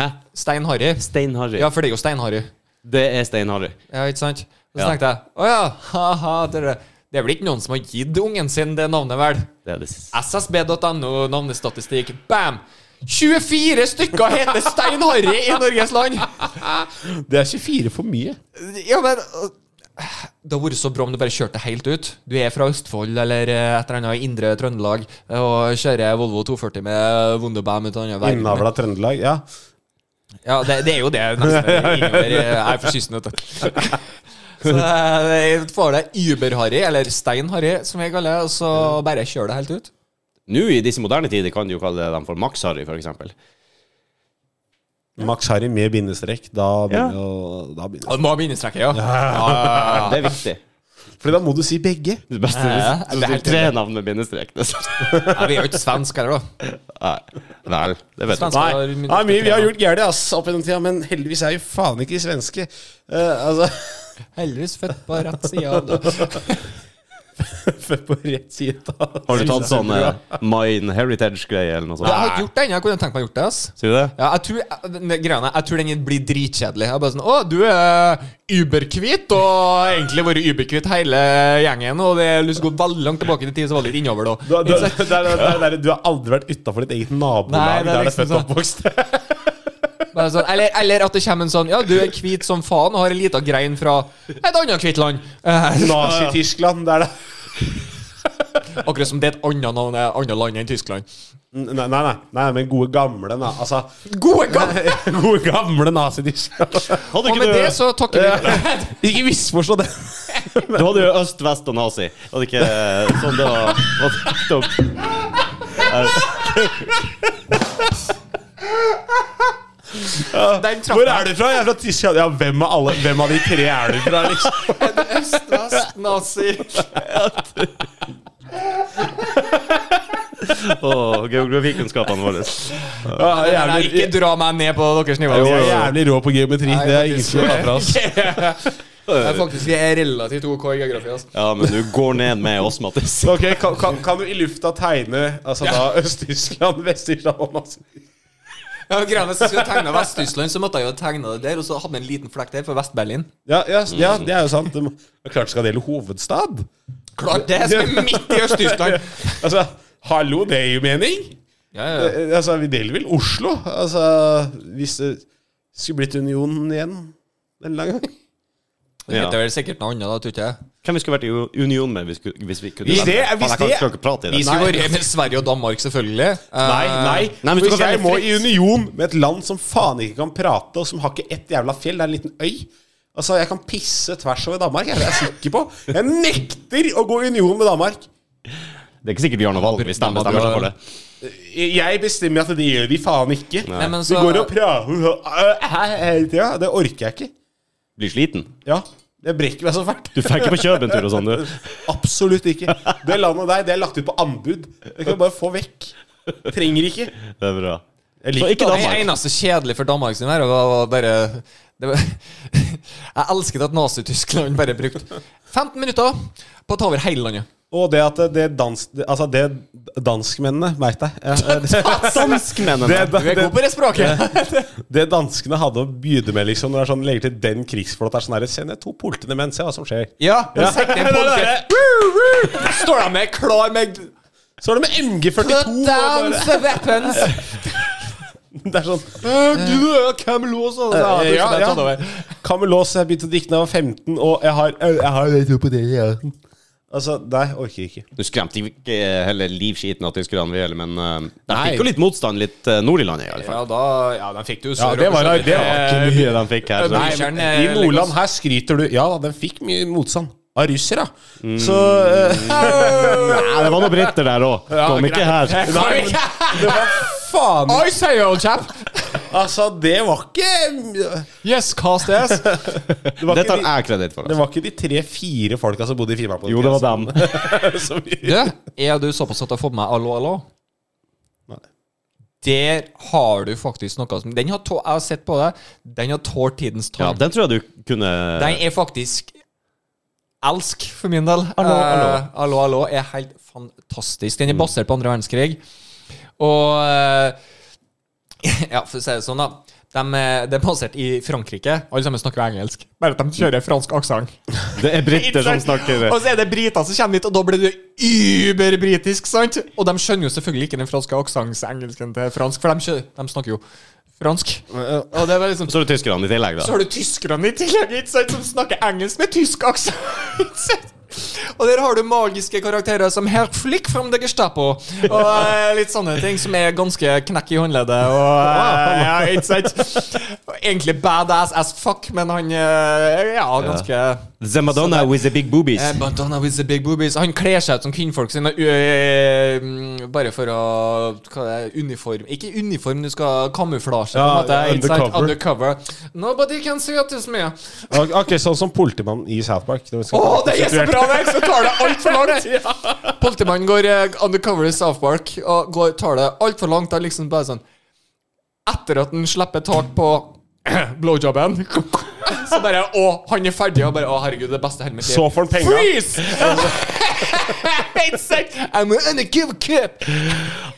S1: Hæ?
S2: Stein-Harry.
S1: Stein-Harry.
S2: Ja, for det er jo Stein-Harry.
S1: Det er Stein-Harry.
S2: Ja, ikke sant? Og så
S1: Ja.
S2: tenkte jeg å ja, ha-ha, det, er- det er vel ikke noen som har gitt ungen sin det navnet, vel?
S1: Det er det s-
S2: SSB.no, navnestatistikk, bam! 24 stykker heter Stein-Harry i Norges land!
S3: Det er 24 for mye.
S2: Ja, men øh, Det hadde vært så bra om du bare kjørte helt ut. Du er fra Østfold eller eh, et eller annet i indre Trøndelag og kjører Volvo 240 med Wunderbam ut av andre verden.
S3: Innavla Trøndelag, ja.
S2: Ja, det, det er jo det. nesten. Ingeborg eh, er fra kysten, vet du. Så eh, jeg får det Uber-Harry, eller Stein-Harry, som jeg kaller det, og så bare kjører det helt ut.
S1: Nå i disse moderne tider kan du jo kalle dem for Max-Harry, for eksempel.
S3: Max Harry med bindestrek. Da
S1: Ja.
S3: begynner, å- da begynner.
S2: Og du må ha bindestreket, ja. ja.
S1: Det er viktig.
S3: For da må du si begge.
S1: Det beste
S2: Ja, ja.
S1: hvis det er tre navn med bindestrek. det er sånn.
S2: Nei, vi er jo ikke svenske heller, da.
S1: Nei, vel. Det vet du.
S2: Svensk.
S3: Nei,
S2: Skal
S3: det
S2: vi-
S3: er mye vi har gjort gærent ass, opp gjennom tida, men heldigvis er vi faen ikke svenske. Eh, altså
S2: Heldigvis født på rett side av det.
S3: Født på rett side av
S1: Har du tatt sånn eh, Mine Heritage-greie eller noe
S2: Jeg har ikke
S1: sånt?
S2: gjort det ennå. Jeg kunne tenkt meg å gjort det. ass
S1: Sier du det?
S2: ja, jeg, tror, den greia er, jeg tror den blir dritkjedelig. Jeg er bare sånn, Å, du er überkvitt, og egentlig vært überkvitt hele gjengen. Og det er lyst til å gå veldig langt tilbake i tid, så var det litt innover da.
S3: Du, har- du, har- det er- det er- det er- du har aldri vært utafor ditt eget
S2: Nei,
S3: nabolag
S2: det er
S3: der du er
S2: liksom
S3: født og oppvokst.
S2: Bare sånn, eller, eller at det kommer en sånn Ja, du er hvit som faen og har en lita grein fra et annet hvitt land. Eh,
S3: Nazi-Tyskland, det er det.
S2: akkurat som det er et annet, navn, eh, annet land enn Tyskland.
S3: Nei, nei, nei, nei, men gode gamle, na, altså.
S2: Gode gang!
S3: Gode gamle nazi-Tyskland.
S1: Hadde
S2: Og
S1: ikke
S2: med
S1: du,
S2: det så takker vi for det.
S3: Ikke misforstå det.
S1: du hadde jo øst, vest og nazi. Hadde ikke eh, sånn det var, var fucked up.
S2: Den
S3: Hvor
S2: traff
S3: er du fra? Jeg er fra Tyskland. Ja, hvem av, alle, hvem av de tre er du fra, liksom?
S2: meg. Øst, vest, nazi.
S1: Og geografikunnskapene våre.
S3: Ja, jeg er
S2: Nei,
S3: jævlig-
S2: ikke dra meg ned på deres nivå.
S3: Jeg er jævlig rå på geometri.
S2: Nei,
S3: det er
S2: faktisk.
S3: ingen som tar fra oss.
S2: Jeg er faktisk jeg er relativt OK i geografi. Altså.
S1: Ja, men du går ned med oss, Mattis.
S3: Ok, kan, kan, kan du i lufta tegne altså da Øst-Tyskland, Vest-Tyskland og masse
S2: Ja, men greia er, Hvis jeg skulle tegne Vest-Tyskland, så måtte jeg jo tegne det der, og så hadde jeg en liten flekk der for Vest-Berlin.
S3: ja, ja, s- ja, det er jo sant. Det må- det er klart det skal dele hovedstad.
S2: Klart det! Som er midt i Øst-Tyskland.
S3: Altså, hallo, det er jo mening.
S2: Ja, ja, ja.
S3: Eh, Altså, vi deler vel Oslo? Altså, hvis det skulle blitt unionen igjen en eller annen gang.
S2: Det heter vel sikkert noe annet, da, tror ikke jeg.
S1: Hvem vi skulle vært i u- union med hvis, ku- hvis vi kunne
S3: Hvis
S1: velge?
S3: det-
S1: Faen,
S3: hvis
S1: jeg kan,
S3: det-
S1: skal ikke prate i
S2: Vi
S1: det.
S2: skulle vært med Sverige og Danmark, selvfølgelig. Eh,
S3: Nei, nei.
S1: Nei, men hvis du
S3: hvis
S1: kan
S3: jeg
S1: velge
S3: må
S1: fritt.
S3: i union med et land som faen ikke kan prate, og som har ikke ett jævla fjell, det er en liten øy Altså, jeg kan pisse tvers over Danmark, jeg, det er jeg sikker på. Jeg nekter å gå i union med Danmark.
S1: Det er ikke sikkert vi har noe valg hvis de bestemmer seg for det.
S3: Jeg bestemmer at det gjør de faen ikke.
S1: Nei.
S2: Nei, men
S3: De
S2: så,
S3: går og prater hele tida. Det orker jeg ikke.
S1: Blir sliten.
S3: Ja, Jeg brekker meg så fælt.
S1: Du får ikke på kjøpentur og sånn, du.
S3: Absolutt ikke. Det landet der, det er lagt ut på anbud. Det kan du bare få vekk. Trenger ikke.
S1: Det er bra.
S3: Jeg
S1: Så
S3: liker
S1: ikke
S2: Det
S1: Danmark.
S2: eneste kjedelige for Danmark sin her var var bare det var, Jeg elsket at Nazi-Tyskland bare brukte 15 minutter på å ta over hele landet.
S3: Og det at det dansk... det- Altså, det danskmennene Veit deg. Ja, det,
S1: Danskmennene.
S3: Det-
S2: Du er god på det språket!
S3: det danskene hadde å begynne med, liksom, når det er sånn, legger til den krigsflåten er sånn herre Send ned to poltende menn, se hva som skjer.
S2: Ja,
S3: Ja.
S2: sekk ned
S3: Det er
S2: polke.
S3: det.
S2: Woo, woo. Står de med klar med
S3: Så er det med MG42
S2: Put
S3: og
S2: down
S3: bare-
S2: the weapons!
S3: Det er sånn
S2: Ja,
S3: Ja,
S2: ja,
S3: ja. Kamelås, jeg begynte å dikte da jeg var 15, og jeg har Jeg har litt tro på det, ja. Altså, nei, orker ikke.
S1: Du skremte ikke hele livskiten av tyskerne, vi heller, men eh, de
S3: Nei.
S1: fikk jo litt motstand litt eh, nord i landet, i alle fall.
S2: Ja, da Ja, de fikk det jo
S3: Ja, det var- det var
S1: Ikke mye de fikk her.
S2: Nei,
S1: Så.
S2: men-
S3: I
S2: eh,
S3: Nordland
S2: legger
S3: her skryter du Ja da, den fikk mye motstand. Av russere. Så eh,
S1: Nei, det var noen briter der òg. Kom ikke her.
S3: Nei, men det var faen
S2: I say, old chap!
S3: Altså, det var ikke
S2: Yes, cast ass.
S3: Det var
S1: Det
S3: ikke
S1: tar
S3: de,
S1: jeg kreditt for.
S3: det
S1: Altså.
S3: var ikke de tre-fire folka som bodde i Finnmark på den
S1: Jo, det var dem.
S3: tiden, som vi-
S2: Du, er du såpass at du har fått med meg Allo, allo?
S3: Nei.
S2: Der har du faktisk noe som Den har tå, Jeg har sett på det. Den har tålt tidens
S1: Ja,
S2: tann.
S1: den tror jeg du kunne
S2: den er faktisk Elsk, for min del.
S1: Allo, allo.
S2: Eh, allo, allo er helt fantastisk. Den er basert på andre verdenskrig. Og eh, Ja, for å si det sånn, da. De, eh, det er basert i Frankrike. Alle sammen snakker engelsk. Bare at de kjører fransk aksent. sånn
S1: Det er briter som snakker
S2: Og så er det briter som kommer hit, og da blir det überbritisk, sant? Og de skjønner jo selvfølgelig ikke den franske aksentengelsken til fransk, for de, skjø- de snakker jo fransk. Og det var liksom
S1: Så er det tyskerne i tillegg,
S2: Så
S1: da.
S2: har du tyskerne i tillegg, ikke sant, som snakker engelsk med tysk aksent. Og der har du magiske karakterer som Herr Flick from the Gestapo. Og eh, litt sånne ting som er ganske knekk i håndleddet. Og eh, ja, ikke sant. Og egentlig badass as fuck, men han eh, Ja, ganske
S1: The Madonna with the big boobies.
S2: Eh, Madonna with the big boobies. Han kler seg ut som kvinnfolk sine. eh, mm, bare for å Hva det er Uniform. Ikke uniform, du skal kamuflasje.
S4: Ja,
S2: på en måte,
S4: ja,
S2: ikke sant?
S4: undercover.
S2: undercover. Nobody can see it is me. Å,
S4: Ak akkurat sånn som politimannen i South Park. når vi skal-
S2: det er så bra! Nei, så tar det altfor langt! Politimannen går eh, undercover i South Park og går, tar det altfor langt. Det er liksom bare sånn Etter at han slipper tak på blowjobben, så bare Å, han er ferdig, og bare Å, herregud, det beste hele mitt liv.
S4: Så får han penger.
S2: Freeze! Exakt. I'm an undercover cop.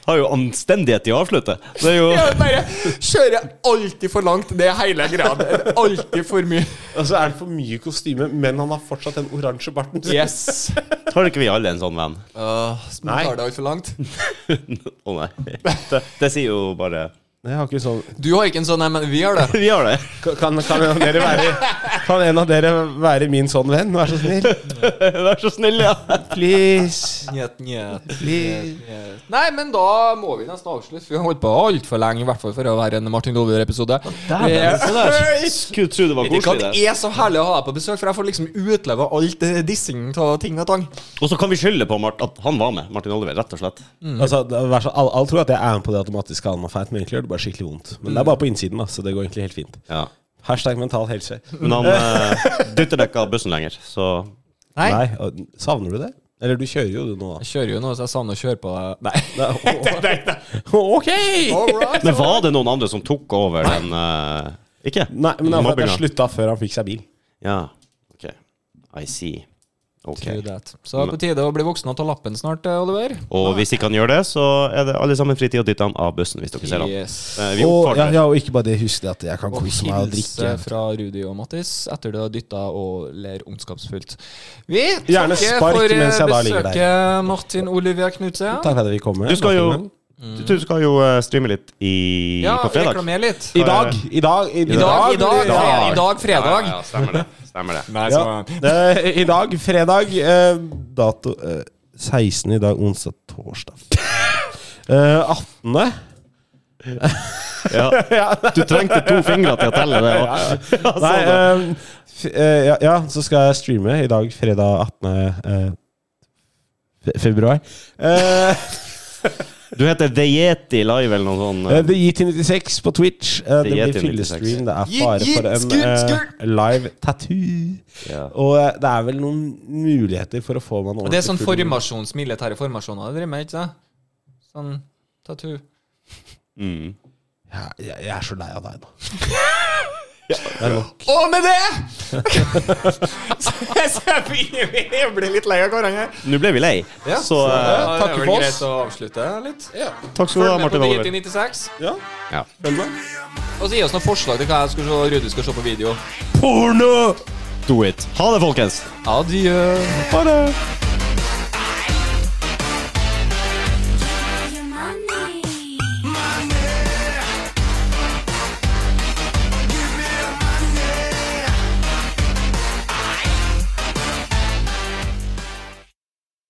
S1: Har jo anstendighet til å avslutte. Det er jo
S2: Jeg bare kjører alltid for langt. Det er hele greia. Det er Alltid for mye.
S4: Og så er det for mye kostyme, men han har fortsatt den oransje barten. sin.
S2: Yes.
S1: Har ikke vi alle en sånn venn?
S4: Nei.
S2: tar det altfor langt.
S1: Å nei. Det, det sier jo bare
S4: Jeg har ikke sånn
S2: Du har ikke en sånn, nei, men vi har det.
S1: Vi har det.
S4: Kan, kan, kan, en av dere være, kan en av dere være min sånn venn? Vær så snill.
S1: Vær så snill, ja.
S4: Please.
S2: Njet, njet,
S4: Please.
S2: njet. Nei, men da må vi nesten avslutte. for Vi har holdt på altfor lenge, i hvert fall for å være en Martin Dolver-episode. Yes.
S1: Skulle tro det var
S2: Kritikant
S1: koselig, det.
S2: er så herlig å ha deg på besøk, for jeg får liksom utleve alt eh, dissing av ting og tang.
S1: Og så kan vi skylde på Mart, at han var med, Martin Oliver, rett og slett.
S4: Altså, det er- vær så- alle, alle tror at jeg er med på det automatiske almafeit, men egentlig gjør det bare skikkelig vondt. Men det er bare på innsiden, da, så det går egentlig helt fint.
S1: Ja.
S4: Hashtag mental helse.
S1: Men han eh, dytter deg ikke av bussen lenger, så
S2: Nei.
S4: Nei, og- savner du det? Eller du kjører jo du nå, da.
S2: Jeg kjører jo nå, så jeg savner å kjøre på deg. Nei.
S4: Ok!
S2: Alright.
S1: Men var det noen andre som tok over den eh, Ikke?
S4: Nei, men det er for at jeg
S1: Mobbinga.
S4: slutta før han fikk seg bil.
S1: Ja. OK. I see. OK.
S2: True that. Så på tide å bli voksen og ta lappen snart, eh, Oliver.
S1: Og hvis ikke han gjør det, så er det alle sammen fri til å dytte han av bussen, hvis dere ser han.
S2: Yes.
S1: Eh, vi
S4: Og, ja,
S1: oppfordrer.
S4: ja, og ikke bare det, husk det at jeg kan
S2: Og
S4: kose meg og
S2: hilse
S4: drikke.
S2: fra Rudi og Mattis etter du har dytta og ler ondskapsfullt. Vi
S4: Gjerne
S2: takker
S4: spark
S2: for eh,
S4: mens jeg da ligger
S2: besøket, Martin Olivia Knutsen.
S4: Takk for at vi kom.
S1: Du skal jo, du skal jo eh, streame litt i,
S2: Ja,
S1: på fredag.
S2: reklamer litt.
S4: I dag! I dag! I,
S2: I dag, i dag,
S1: dag.
S2: fre- i dag fredag.
S1: Ja, ja, stemmer det. Stemmer det.
S2: Nei,
S4: Ja. Det, I dag, fredag eh, Dato eh, 16 i dag, onsdag, torsdag eh, 18.
S1: Ja. Du trengte to fingre til å telle det. og-
S4: Nei, eh, f- eh, ja, ja, så skal jeg streame i dag, fredag 18. Eh, fe- februar. Eh,
S1: Du heter The Yeti Live eller noe sånt. eh.
S4: eh, The YT96 på Twitch. Eh, det
S1: The
S4: blir
S1: YT96.
S4: fyllestream. Det er
S2: Yeet,
S4: fare
S2: yeet,
S4: for en
S2: skur,
S4: eh,
S2: skur.
S4: live tattoo.
S1: Ja.
S4: Og eh, det er vel noen muligheter for å få meg en
S2: Det er sånn
S4: ordentlig full-
S2: formasjons, militære formasjoner det driver med, ikke sant? Sånn tattoo.
S1: Mm.
S4: Ja, jeg, jeg er så lei av deg nå.
S2: Og med det Så vi vi blir litt lei av hverandre.
S1: Nå ble vi lei,
S2: Ja.
S1: så eh,
S2: Ja,
S4: takk
S2: det er vel
S4: for oss.
S2: greit å avslutte litt.
S1: takk skal du
S2: Følg
S1: ha,
S2: med på
S1: Martin Oliver.
S2: DT96.
S4: Ja,
S1: Ja.
S4: følg med.
S2: Og så gi oss noen forslag til hva jeg skal se, Rudi skal se på video.
S1: Porno! Do it. Ha det, folkens.
S2: Adjø.
S1: Ha det.